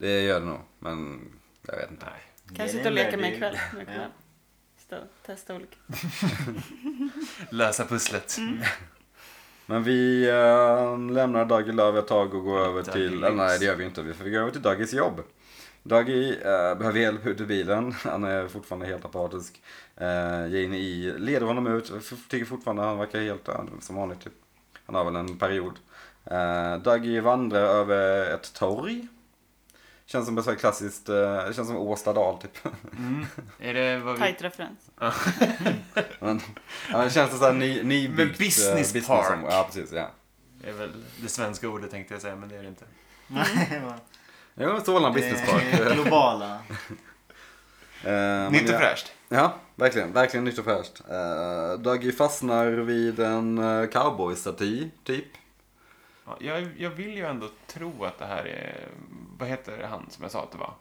B: Det gör det nog. Men jag vet inte.
D: Nej.
C: Kan jag
A: Get
C: sitta och
A: in
C: leka
A: there,
C: med
A: dude.
C: en kväll? Skulle jag kunna
A: Ja.
C: stå- Testa olika.
D: Lösa pusslet.
B: Men vi eh, lämnar Dougie Love ett tag och går över
D: Dougie
B: till...
D: Lives.
B: Eller nej, det gör vi inte. Vi får gå över till Dougies jobb. Dougie eh, behöver hjälp ut ur bilen. Han är fortfarande helt apatisk. Uh, Jane E leder honom ut. F- Tycker fortfarande han verkar helt eh, som vanligt. Typ. Han har väl en period. Uh, Dougie vandrar över ett torg. Känns som ett så här klassiskt... eh, det känns som Åstadal typ.
D: Mm. Är det vad vi...
C: Tight referens.
B: Men, ja, det känns så här ny, nybyggt.
D: Men
B: eh,
D: business park.
B: om- Ja, precis. Ja.
D: Det är väl det svenska ordet tänkte jag säga, men det är det inte.
B: Jo, Solna business park.
A: Det är globala.
B: Eh, men
D: Nytt
B: ja.
D: och fräscht.
B: Ja, verkligen. Verkligen nytt och fräscht. Uh, Dougie fastnar vid en eh, cowboystaty, typ.
D: Ja, jag, jag vill ju ändå tro att det här är... Vad heter han som jag sa att det var?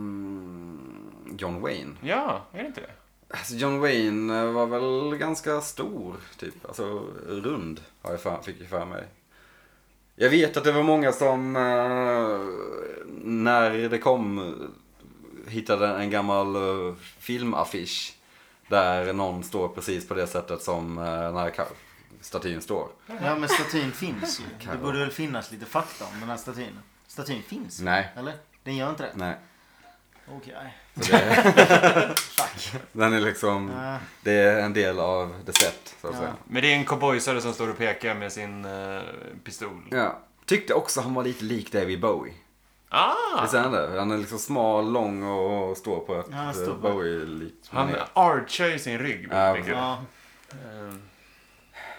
B: Ehm, John Wayne.
D: Ja, är det inte det?
B: Alltså, John Wayne eh, var väl ganska stor, typ. Alltså rund, har jag för, fick jag för mig. Jag vet att det var många som, eh, när det kom, eh, hittade en gammal eh, filmaffisch. Där någon står precis på det sättet som uh, den här ka- statyn står.
A: Ja men statyn finns ju. Det borde väl finnas lite fakta om den här statyn. Statyn finns?
B: Nej.
A: Eller? Den gör inte det?
B: Nej.
A: Okej.
B: Så det,
A: Fuck.
B: den är liksom,
A: Eh,
B: det är en del av the set, så att
A: Ja.
B: säga.
D: Men det är en cowboysare som står och pekar med sin eh, pistol.
B: Ja. Tyckte också han var lite lik David Bowie.
D: Ah!
B: Visst är han det? Han är liksom smal, lång och står på ett
A: Ja, han står
B: eh,
A: på-
B: Bowie-likt.
D: Han
B: manér.
D: archar ju sin rygg.
B: Ja,
D: mycket.
A: ja.
D: Eh,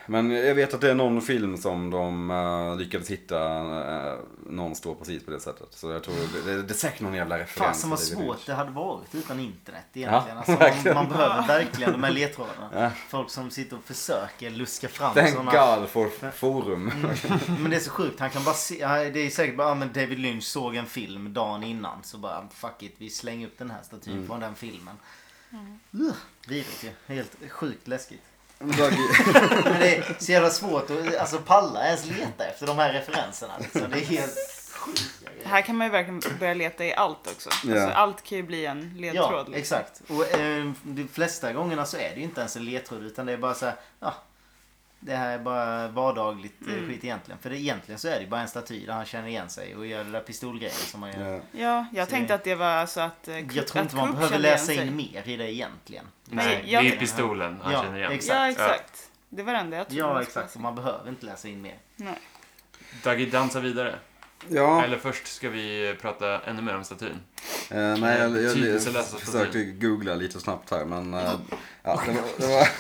B: Men jag vet att det är någon film som de eh, lyckades hitta eh, någon står precis på det sättet. Så jag tror det, det, det är säkert någon jävla referens.
A: Fasen vad
B: till David
A: svårt
B: Lynch.
A: det hade varit utan internet egentligen.
B: Ja,
A: alltså, man,
B: verkligen.
A: man behöver verkligen de här ledtrådarna.
B: Ja.
A: Folk som sitter och försöker luska fram
B: Thank
A: sådana.
B: God for forum.
A: Mm. Men det är så sjukt. Han kan bara se. ja, Det är säkert bara, ah, men David Lynch såg en film dagen innan. Så bara, fuck it. Vi slänger upp den här statyn
B: Mm.
A: från den filmen. Ugh, Vidrigt ju. Helt sjukt läskigt.
B: Doug-
A: Men det är så jävla svårt att alltså, palla ens leta efter de här referenserna. Liksom. Det är helt sjukt.
C: Här kan man ju verkligen börja leta i allt också.
B: Ja.
C: Alltså, allt kan ju bli en ledtråd.
A: Ja,
C: liksom.
A: exakt. Och eh, de flesta gångerna så är det ju inte ens en ledtråd utan det är bara så här, ja. Det här är bara vardagligt eh, skit egentligen. För det, egentligen så är det ju bara en staty där han känner igen sig och gör det där pistolgrejen som man gör.
B: Ja.
C: Ja, jag
A: Så
C: tänkte
A: det-
C: att det var alltså att... eh, Coop-
A: Jag tror
C: att
A: inte man
C: Coop
A: behöver
C: kände igen
A: läsa
C: sig.
A: in mer i det egentligen.
D: Nej,
C: jag-
D: det är pistolen han
A: Ja,
D: känner igen.
A: exakt.
C: Ja, exakt. Det var det enda jag trodde man
A: Ja,
C: skulle
A: exakt.
C: läsa.
A: Man behöver inte läsa in mer.
C: Nej.
D: Dagi dansar vidare.
B: ja,
D: Eller först ska vi prata ännu mer om statyn.
B: eh, nej, jag, jag, jag
D: Betydelselösa
B: försökte googla lite snabbt här men eh, ja, det var, det var,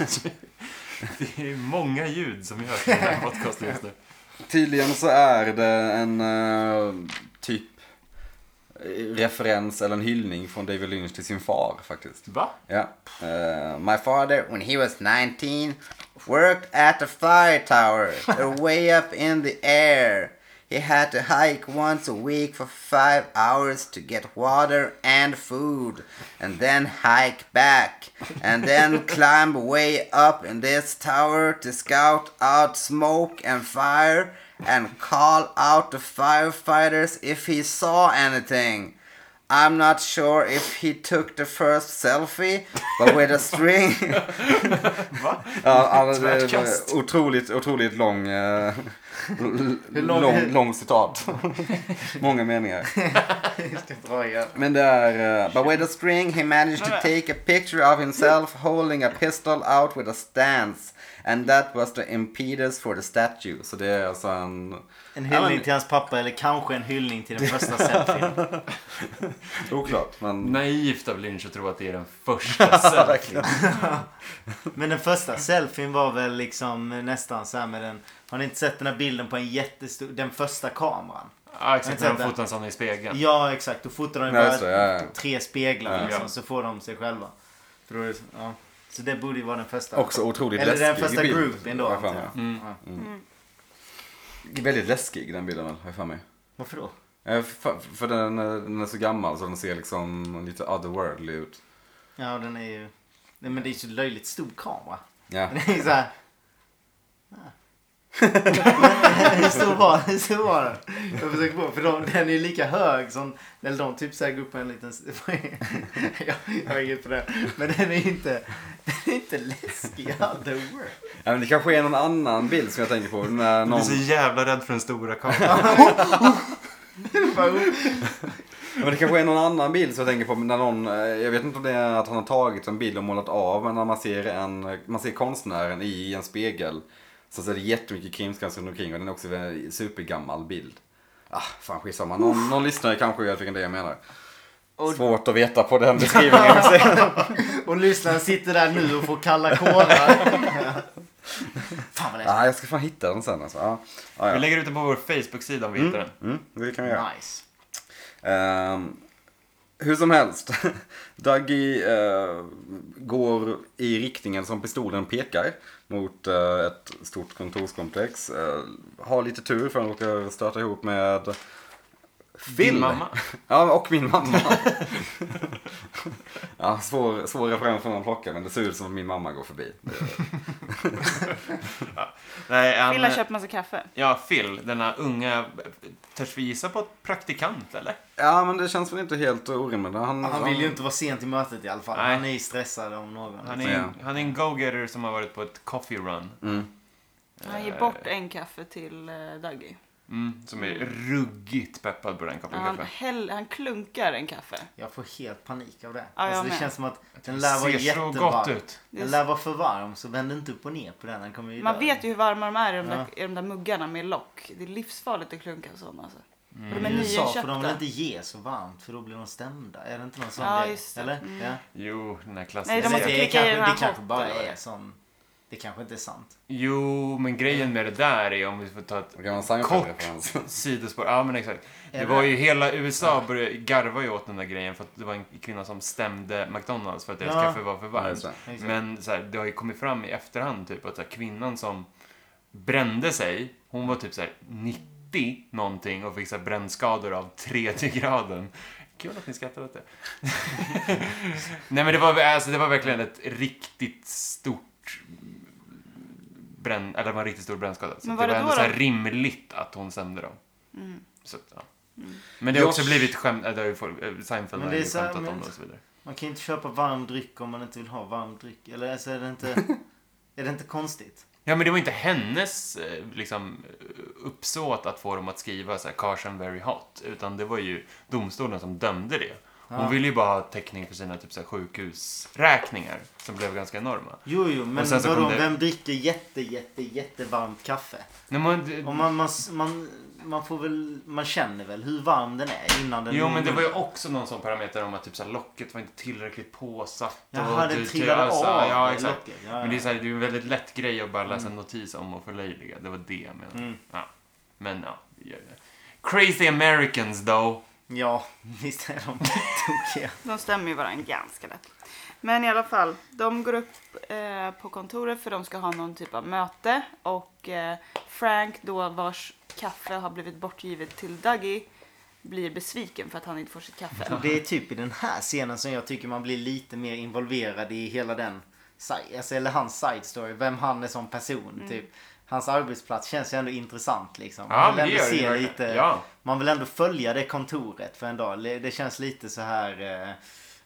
D: Det är många ljud som görs i den här podcasten just nu.
B: tydligen så är det en eh, typ eh, referens eller en hyllning från David Lynch till sin far faktiskt.
D: Va?
B: Yeah. Uh, my father, when he was 19, worked at the fire tower, uh, way up in the air. He had to hike once a week for five hours to get water and food, and then hike back, and then climb way up in this tower to scout out smoke and fire and call out the firefighters if he saw anything. I'm not sure if he took the first selfie, but with a string...
D: Va?
B: ja, alltså, det
D: Tvärtkast.
B: var otroligt, otroligt lång, eh, l-
A: Hur lång-
B: lång, lång citat. Många meningar.
A: Jag ska dra igen.
B: Men det är... eh, but with a string he managed to take a picture of himself holding a pistol out with a stance. And that was the impetus for the statue. Så det är alltså en...
A: En
B: Ja,
A: hyllning
B: men-
A: till hans pappa eller kanske en hyllning till den första selfien.
B: Oklart, men...
D: Naivt av Lynch att tro att det är den första selfien.
A: Men den första selfien var väl liksom nästan så här med den. Har ni inte sett den här bilden på en jättestor, den första kameran?
D: Ja, exakt. När de
A: Vänta.
D: fotar en sån i spegeln.
A: Ja, exakt. Då fotar de ju
B: Nej,
A: bara
B: just det, ja, ja.
A: tre speglar
D: Ja.
A: liksom, så får de sig själva. För då är det, så- ja. Så det borde ju vara den första.
B: Också otroligt
A: Eller den
B: läskig
A: första
B: bild,
A: groupien då, typ.
B: har jag för
A: antar jag.
D: Mm.
A: Ja.
B: mig. Väldigt läskig den bilden, har jag för mig.
A: Varför då?
B: Eh, För, för den, är- den är så gammal så den ser liksom lite otherworldly ut.
A: Ja, den är ju... Nej, men det är ju så löjligt stor kamera.
B: Ja.
A: Det är ju så här... Ja. hur stor var den? Hur stor var den? Jag försöker på, för de, den är ju lika hög som... Eller de typ så här går upp på en liten... jag, jag har inget på det. Men den är ju inte... Den är inte läskig. Ja, the world.
B: Ja, men det kanske är någon annan bild som jag tänker på. När
D: Du är
B: någon...
D: så jävla rädd för den stora kameran.
B: Ja, Men det kanske är någon annan bild som jag tänker på. När någon, eh, jag vet inte om det är att han har tagit en bild och målat av. Men när man ser, en, man ser konstnären i en spegel. Så ser det jättemycket krimskrams runt omkring. Och den är också en supergammal bild. Ah, fan skitsamma. Någon, någon lyssnare kanske vet vilken det är jag menar. Svårt att veta på den beskrivningen.
A: Och lyssnaren sitter där nu och får kalla kårar. Fan vad läskigt.
B: ah, jag ska fan hitta den sen alltså. Ah, ah,
D: Vi
B: ja.
D: lägger ut den på vår Facebook-sida om vi hittar den.
B: Mm, det kan vi göra.
A: Nice.
B: Ehm, hur som helst, Dougie eh, går i riktningen som pistolen pekar mot eh, ett stort kontorskomplex. Eh, har lite tur för han råkar stöta ihop med Phil.
D: Din mamma.
B: Ja, och min mamma. ja, svår, svår referens får man plocka, men det ser ut som att min mamma går förbi.
D: Nej, han,
A: eh,
C: Vill ha köpt massa kaffe.
D: Ja, Phil. Denna unga... Törs vi gissa på ett praktikant, eller?
B: Ja, men det känns väl inte helt orimligt. Han,
A: Han vill ju inte vara sen till mötet i alla fall.
D: Nej.
A: Han är ju stressad om någon.
D: Han är,
B: Ja.
D: han är en go-getter som har varit på ett coffee run.
B: Mm.
C: Han ger bort en kaffe till eh, Daggy.
D: Mm, som är ruggigt peppad på den
C: Ja,
D: koppen
C: Han,
D: kaffe.
C: häll, han klunkar en kaffe.
A: Jag får helt panik av det.
C: Ja, jag
A: alltså, det
C: med.
A: känns som att den lär vara
D: ser så gott
A: jättevarm.
D: ut.
C: Det är
A: Den lär vara för varm så vänd inte upp och ner på den. den kommer ju
C: Man
A: dö.
C: vet ju hur varma de är i de, där,
A: Ja.
C: i de där muggarna med lock. Det är livsfarligt att klunka sådana. Alltså. Och de är
A: I USA får Mm. de väl
C: nyinköpta.
A: inte ge så varmt för då blir de stämda. Är det inte någon sån
C: Ja,
A: grej?
C: just det.
A: Eller?
C: Mm.
A: Ja.
D: Jo, den här klassiska.
C: Nej, de
A: Eller
C: måste
A: det,
C: klicka i
A: kanske,
C: den här
A: det kanske bara
C: hotten.
A: är sån... Det kanske inte är sant.
D: Jo, men grejen med det där är om vi får ta ett
B: Det kan vara en Seinfeld-referens.
D: liksom sidospår. Ja, men exakt. Det
A: Eller-
D: var ju hela USA började garva ju åt den där grejen för att det var en kvinna som stämde McDonalds för att deras
A: Ja.
D: kaffe var för
B: Ja, just
D: varmt.
B: det.
A: Exakt.
D: Men så här, det har ju kommit fram i efterhand typ att så här, kvinnan som brände sig, hon var typ så här 90 någonting och fick så här, brännskador av tredje graden. Kul att ni skrattar åt det. Nej men det var, alltså, det var verkligen ett riktigt stort bränn, eller det var en riktigt stor brännskada. Så
C: Men
D: det
C: var
D: var
C: det
D: ändå
C: då
D: så här
C: då?
D: rimligt att hon stämde dem.
C: Mm.
D: Så, att, ja. Men det har också
B: Jag-
D: blivit skämt, äh, det har ju folk, äh, Seinfeld
A: Men
D: har
A: det är
D: ju
A: så här,
D: skämtat om
A: men-
D: det och så vidare.
A: Man kan ju inte köpa varm dryck om man inte vill ha varm dryck. Eller alltså, är det inte... är det inte konstigt?
D: Ja, men det var inte hennes eh, liksom, eh, uppsåt att få dem att skriva så här Carson very hot, utan det var ju domstolen som dömde det. Hon
A: Ja.
D: ville ju bara ha täckning för sina typ, så här, sjukhusräkningar som blev ganska enorma.
A: Jo, jo, men
D: Och sen så
A: vadå?
D: kom det-
A: Vem dricker jätte, jätte, jättevarmt kaffe?
D: Nej, men, det-
A: Och man, man, man, man får väl... Man känner väl hur varm den är innan den...
D: jo, men det var ju också någon sån parameter om att typ, så här, locket var inte tillräckligt påsatt.
A: Jaha, den
D: du-
A: trillade
D: alltså,
A: av.
D: Ja,
A: i
D: exakt.
A: locket. Ja, ja.
D: Men det är, så här, det är en väldigt lätt grej att bara läsa en notis om och förlöjliga. Det var det jag menade.
A: Mm.
D: Ja. Men ja, gör det. Crazy Americans though.
A: Ja, visst är de tokiga.
C: De stämmer ju varandra ganska lätt. Men i alla fall, de går upp eh, på kontoret för de ska ha någon typ av möte. Och eh, Frank då vars kaffe har blivit bortgivet till Dougie blir besviken för att han inte får sitt kaffe.
A: Och det är typ i den här scenen som jag tycker man blir lite mer involverad i hela den, si- alltså, eller hans side story, vem han är som person
C: Mm.
A: typ. Hans arbetsplats känns ju ändå intressant liksom.
D: Ja,
A: man
D: men
A: vill
D: det
A: ändå
D: gör det ju
A: se
D: verkligen.
A: lite,
D: Ja.
A: man vill ändå följa det kontoret för en dag. Le- Det känns lite så här eh,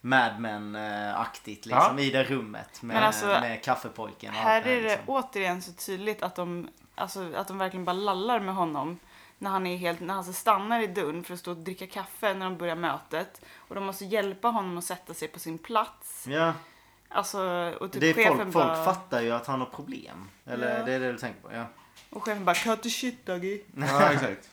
A: Mad Men-aktigt liksom
D: Ja.
A: i det rummet med,
C: Men alltså,
A: med kaffepojken. och
C: Här
A: allt det
C: är det
A: liksom.
C: återigen så tydligt att de, alltså, att de verkligen bara lallar med honom. När han, är helt, när han så stannar i dörren för att stå och dricka kaffe när de börjar mötet. Och de måste hjälpa honom att sätta sig på sin plats.
A: Ja,
C: Alltså, och typ
A: det är
C: chefen
A: folk, folk
C: bara...
A: fattar ju att han har problem. Eller
C: Ja.
A: det är det du tänker på? Ja.
C: Och chefen bara cut the shit doggy.
D: Ja, exakt.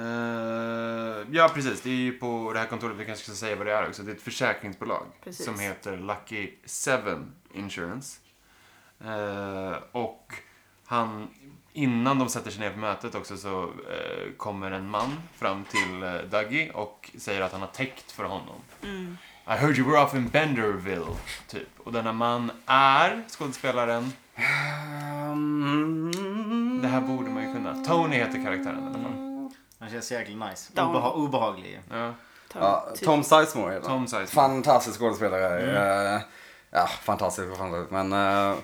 D: Eh, ja, precis. Det är ju på det här kontoret, vi kanske ska säga vad det är också. Det är ett försäkringsbolag
C: Precis.
D: som heter Lucky Seven Insurance. Eh, och han, innan de sätter sig ner på mötet också så eh, kommer en man fram till uh, Dougie och säger att han har täckt för honom. I heard you were off in Benderville, typ. Och denna man är skådespelaren,
A: Ehm, mm.
D: det här borde man ju kunna. Tony heter karaktären i alla fall.
A: Han känns jäkligt nice.
C: Dom.
A: Obeha- obehaglig ju.
D: Ja.
C: Tom,
B: Ja, Tom Sizemore heter han.
D: Tom Sizemore.
B: Fantastisk skådespelare.
A: Mm.
B: Eh, ja, fantastisk och fantastisk. Men eh,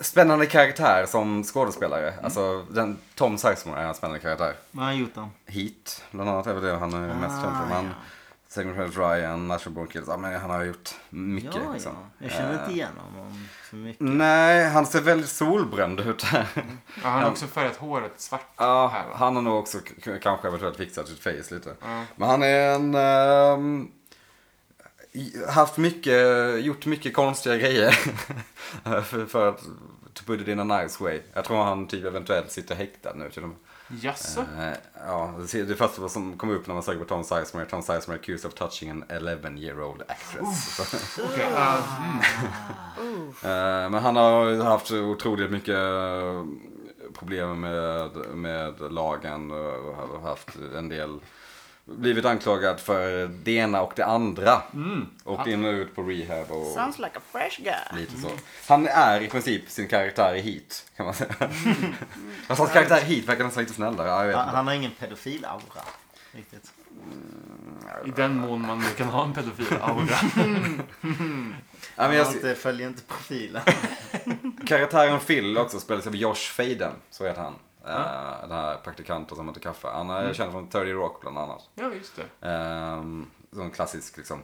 B: spännande karaktär som skådespelare.
A: Mm.
B: Alltså, den, Tom Sizemore är en spännande karaktär.
A: Vad har han gjort då?
B: Heat, bland annat, är väl det han är mest
A: Ah,
B: känd för. Men
A: ja.
B: Second Hand Ryan, National Born Kills. Ja, men han har gjort mycket.
A: ja,
B: liksom.
A: ja. Jag känner
B: Eh,
A: inte igen honom så mycket.
B: Nej, han ser väldigt solbränd ut här.
D: Ja, han har också färgat håret svart
B: Ja,
D: här va?
B: han har nog också k- k- kanske eventuellt fixat sitt face lite.
D: Ja.
B: Men han är en... ehm, i- haft mycket, gjort mycket konstiga grejer. för, för att, to put it in a nice way. Jag tror han typ eventuellt sitter häktad nu till och med.
D: Jaså?
B: Eh, ja, det ser- det första som kom upp när man söker på Tom Sizemore, Tom Sizemore accused of touching an 11 year old actress. Så,
D: Okej, ja, mm.
B: eh, men han har haft otroligt mycket eh, problem med, med lagen och har haft en del blivit anklagad för det ena och det andra. Och in och ut på rehab och
C: Sounds like a fresh guy.
B: lite så. Han är i princip sin karaktär i Heat, kan man säga. Fast hans karaktär i Heat verkar nästan lite snällare. Ja, jag vet
A: Han,
B: inte.
A: han har ingen pedofilaura. Riktigt.
D: I den mån man nu kan ha en pedofil aura.
B: Ja, men
A: Han
B: jag,
A: har inte, följer inte profilen.
B: Karaktären Phil också spelas av Josh Faden, så heter han. Eh, Den här praktikanten som heter Kaffe. Han är känd från 30 Rock bland annat.
D: Ja, just det.
B: Um, som klassisk liksom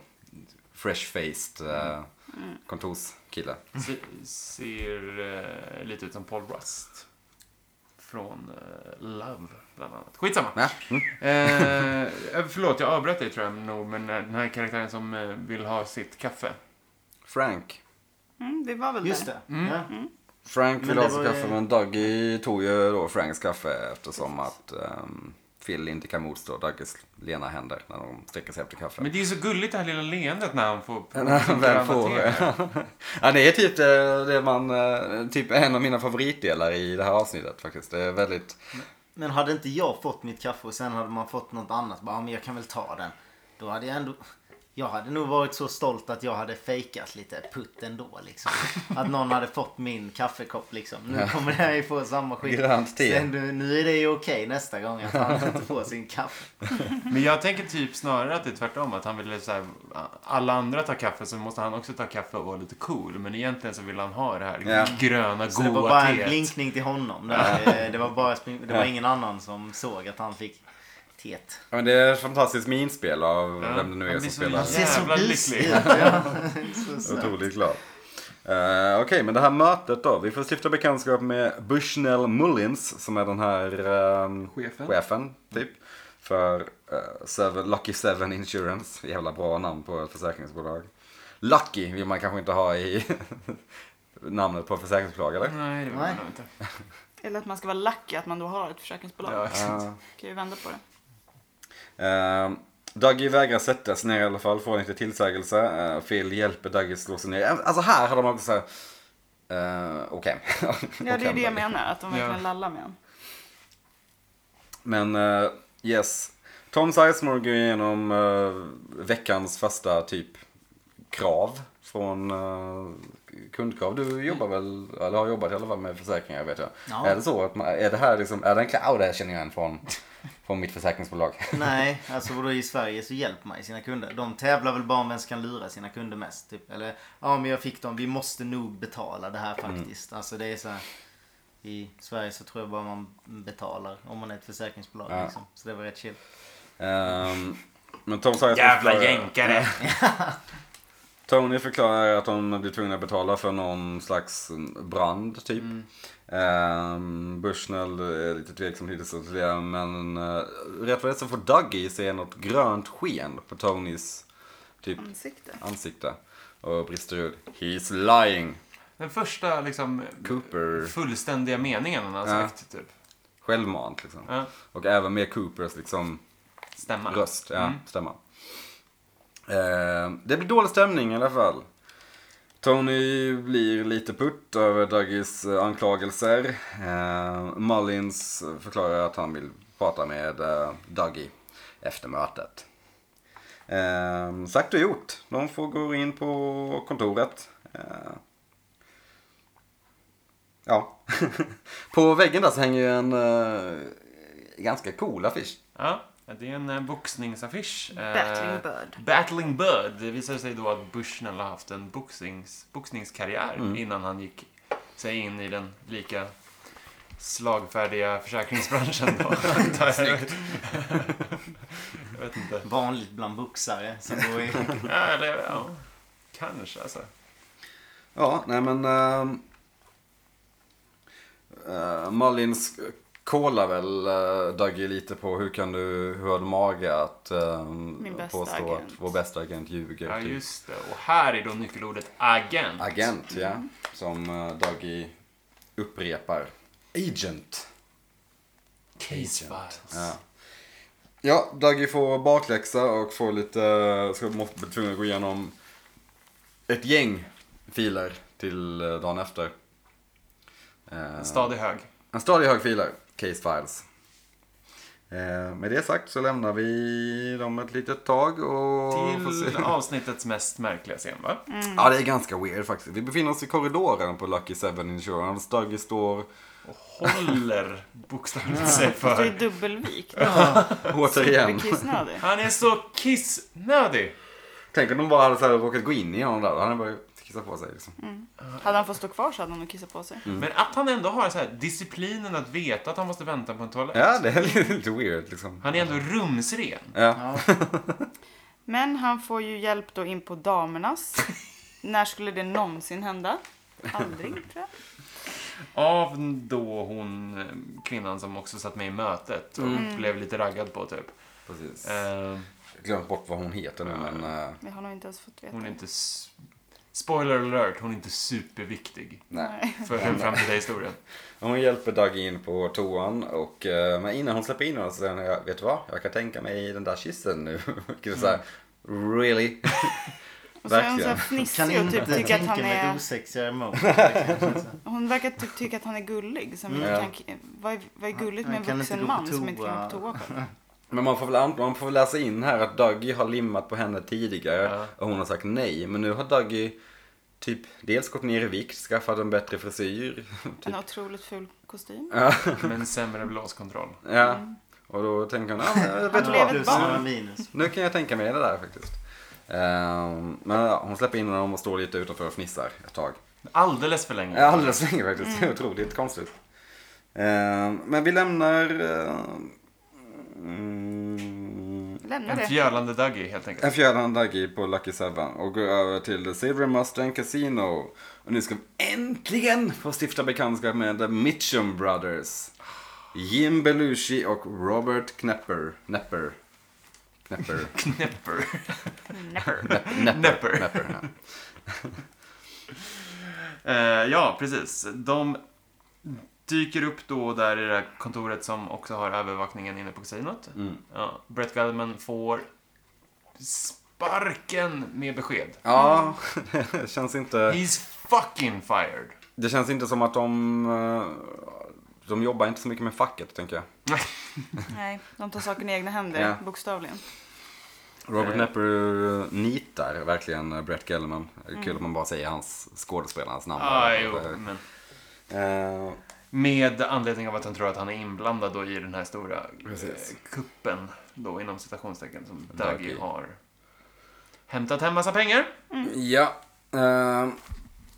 B: fresh-faced eh,
D: Mm.
B: kontorskille.
D: Se, ser eh, lite ut som Paul Rust. från eh, Love, bland annat. Skitsamma.
B: Ja. Mm.
D: Eh, eh, förlåt, jag avbröt dig tror jag nog, men eh, den här karaktären som eh, vill ha sitt kaffe.
B: Frank.
C: Mm, vi var väl
A: Just
C: där.
A: det.
D: Mm.
A: Ja.
B: Frank
A: Men
B: ville
A: det
B: ha sitt
A: var ju-
B: kaffe men Dougie tog ju då Franks kaffe eftersom att ehm, Phil inte kan motstå Dougies lena händer när de sträcker sig efter kaffe.
D: Men det är ju så gulligt det här lilla leendet när han får...
B: När han väl får.
D: Dramaterar.
B: ja, det är typ det, det man, eh, typ en av mina favoritdelar i det här avsnittet faktiskt. Det är väldigt,
A: Men hade inte jag fått mitt kaffe och sen hade man fått något annat. Bara, ja, men jag kan väl ta den. Då hade jag ändå... Jag hade nog varit så stolt att jag hade fejkat lite putt ändå liksom. Att någon hade fått min kaffekopp liksom. Nu kommer jag ju få samma skit.
B: Grönt te.
A: Sen, nu, nu är det ju okej nästa gång att han inte får sin kaffe.
D: Men jag tänker typ snarare att det är tvärtom. Att han ville så här, alla andra tar kaffe så måste han också ta kaffe och vara lite cool. Men egentligen så vill han ha det här
B: Ja.
D: gröna,
A: Så det var
D: goa
A: bara en
D: teet.
A: blinkning till honom. Där. Eh, Det var, bara, det var ingen annan som såg att han fick teet.
B: ja, men det är ett fantastiskt minspel av
D: Ja,
B: vem det nu
D: han
B: är
D: blir
B: som
D: så
B: spelar.
A: Han ser så
D: Jävla
A: busig
D: lycklig.
A: ut. Ja. Så söt.
B: Otroligt glad. Eh, Okej, men det här mötet då. Vi får stifta bekantskap med Bushnell Mullins som är den här ehm,
D: Chefen.
B: chefen typ. För eh, seven, Lucky Seven Insurance. Jävla bra namn på ett försäkringsbolag. Lucky vill man kanske inte ha i namnet på ett försäkringsbolag eller?
D: Nej, det vill
A: Nej.
D: man nog inte.
C: Eller att man ska vara lucky att man då har ett försäkringsbolag.
D: Ja, exakt.
B: Eh,
C: Kan ju vända på det.
B: Ehm, Dougie vägrar sätta sig ner i alla fall, får inte tillsägelse. Eh, Phil hjälper Dougie slå sig ner. Alltså här har de också såhär... Uh, Okej.
C: Ja, det är ju det jag
B: Dougie.
C: menar. Att de verkligen lallar med en.
B: Men eh, yes. Tom Sizemore går igenom eh, veckans första typ krav från eh, kundkrav. Du jobbar väl, eller har jobbat i alla fall med försäkringar vet jag.
A: Ja.
B: Är det så att man, är det här liksom, är det en kla- Åh, det här känner jag igen från, från mitt försäkringsbolag.
A: Nej, alltså vadå i Sverige så hjälper man ju sina kunder. De tävlar väl bara om vem som kan lura sina kunder mest. Typ. Eller ja men jag fick dem, vi måste nog betala det här
D: Mm.
A: faktiskt. Alltså det är så här, I Sverige så tror jag bara man betalar om man är ett försäkringsbolag
B: Ja.
A: liksom. Så det var rätt chill.
B: Ehm, men Tom Sizemore
D: Jävla
B: förklarar-
D: jänkare!
B: Tony förklarar att de blir tvungna att betala för någon slags brand typ.
D: Mm.
B: Ehm, Bushnell är lite tveksam hittills till det men uh, rätt vad det är så får Dougie se något grönt sken på Tonys typ
C: Ansikte.
B: ansikte. Och brister ut. He's lying.
D: Den första liksom
B: Cooper.
D: fullständiga meningen han har
B: Ja.
D: sagt, typ.
B: Självmant liksom.
D: Ja,
B: Och även med Coopers liksom
D: stämma.
B: röst. Ja,
D: Mm.
B: stämma. Ehm, det blir dålig stämning i alla fall. Tony blir lite putt över Dougies eh, anklagelser. Ehm, Mullins förklarar att han vill prata med eh, Dougie efter mötet. Ehm, sagt och gjort. De får gå in på kontoret. Ehm, ja. på väggen där så hänger ju en eh, ganska cool affisch.
D: Ja, det är en eh, boxningsaffisch. Eh,
C: Battling Bird.
D: Battling Bird. Det visar sig då att Bushnell har haft en boxnings, boxningskarriär innan han gick sig in i den lika slagfärdiga försäkringsbranschen. Då. Snyggt. Jag vet inte.
A: Vanligt bland boxare. Som då är...
D: Ja, eller, ja. Kanske alltså.
B: Ja, nej men... ehm, eh, Mullins kollar väl uh, Dougie lite på hur kan du, hur har du mage att ehm,
C: Min bästa
B: påstå
C: agent.
B: att vår bästa agent ljuger?
D: Ja,
B: typ.
D: just det. Och här är då nyckelordet agent.
B: Agent, ja.
D: Mm.
B: Som uh, Dougie upprepar. Agent.
D: Case files.
B: Ja. Ja, Dougie får bakläxa och får lite, eh, ska måste bli tvungen att gå igenom ett gäng filer till eh, dagen efter. Eh,
D: En stadig hög.
B: En stadig hög filer, case files. Eh, med det sagt så lämnar vi dem ett litet tag och får se.
D: Till avsnittets mest märkliga scen, va?
C: Mm.
B: Ja, det är ganska weird faktiskt. Vi befinner oss i korridoren på Lucky Seven Insurance. Dougie står
D: Håller bokstavligt sig
C: Fast det
D: för.
C: är dubbelvikt.
B: återigen.
C: Superkissnödig.
D: Han är så kissnödig.
B: Tänk om de bara hade så här råkat gå in i honom där. Då hade han bara kissat på sig liksom.
C: Hade han fått stå kvar så hade han nog kissat på sig.
A: Mm.
D: Men att han ändå har så här disciplinen att veta att han måste vänta på en toalett.
B: Ja, det är lite- lite weird liksom.
D: Han är ändå rumsren.
B: Ja.
A: ja.
C: Men han får ju hjälp då in på damernas. När skulle det någonsin hända? Aldrig tror jag.
D: av då hon, eh, kvinnan som också satt med i mötet och
C: Mm.
D: blev lite raggad på typ.
B: Precis.
D: Eh,
B: Jag glömde bort vad hon heter nu, men... eh,
C: Vi har nog inte ens fått veta.
D: hon är
C: det.
D: inte... s- Spoiler alert, hon är inte superviktig
B: nej.
D: för den framtida historien.
B: Hon hjälper Doug in på toan och eh, men innan hon släpper in honom så säger hon, "Jag- vet du vad? Jag kan tänka mig i den där kyssen nu. Vilket är såhär, really?
C: Och så är hon så här
B: Verkligen.
A: Kan
C: fnissig och
A: inte
C: typ tycker att
A: tänka
C: han
A: mig ett
C: är...
A: osexigare mode. liksom.
C: Hon verkar typ tycka att han är gullig. Som
B: Mm.
C: kan, vad, är, vad är gulligt med
A: Han kan
C: en
A: inte
C: vuxen
A: gå på
C: man som inte kan gå på
A: toa.
C: toa själv?
B: Men man får, väl, an- man får väl läsa in här att Dougie har limmat på henne tidigare
D: Ja.
B: och hon har sagt nej. Men nu har Dougie typ dels gått ner i vikt, skaffat en bättre frisyr.
C: En
B: Typ.
C: otroligt ful kostym.
B: Ja,
D: Men sämre blåskontroll.
B: ja. Och då tänker hon, ja men vet
C: Han
B: du vad?
C: lever ett
A: Plus
C: barn.
A: några minus.
B: Nu kan jag tänka mig det där faktiskt. Ehm, men ja, hon släpper in honom och står lite utanför och fnissar ett tag.
D: Alldeles för länge.
B: Ja, alldeles för länge faktiskt. Det är otroligt konstigt. Ehm, men vi lämnar... ehm, mm,
C: Lämna
D: En
C: det.
D: fjölande Dougie helt enkelt.
B: en fjärde Dagi på Lucky Seven och går över till The Silver Mustang Casino. Och nu ska vi äntligen få stifta bekantskap med The Mitchum Brothers. Jim Belushi och Robert Knepper. Knepper. Knepper.
D: Knäpper.
C: Näpper.
D: Knäpper.
B: Knepper. ja.
D: Eh, ja, precis. De dyker upp då och där i det här kontoret som också har övervakningen inne på kasinot.
B: Mm.
D: Ja, Brett Feldman får sparken med besked.
B: Ja, det känns inte...
D: He's fucking fired.
B: Det känns inte som att de... eh, De jobbar inte så mycket med facket, tänker jag.
C: Nej, de tar saken i egna händer,
B: Ja.
C: bokstavligen.
B: Robert
D: Eh.
B: Nepper eh, nitar verkligen eh, Brett Gelman. Kul att man bara säger hans skådespelarens namn.
D: Mm. Ah, jo,
B: Eh,
D: men
B: eh,
D: med anledning av att han tror att han är inblandad då i den här stora
B: Precis.
D: eh, kuppen då inom citationstecken som
B: Dougie.
D: Dougie har hämtat hem massa pengar.
B: Ja. eh,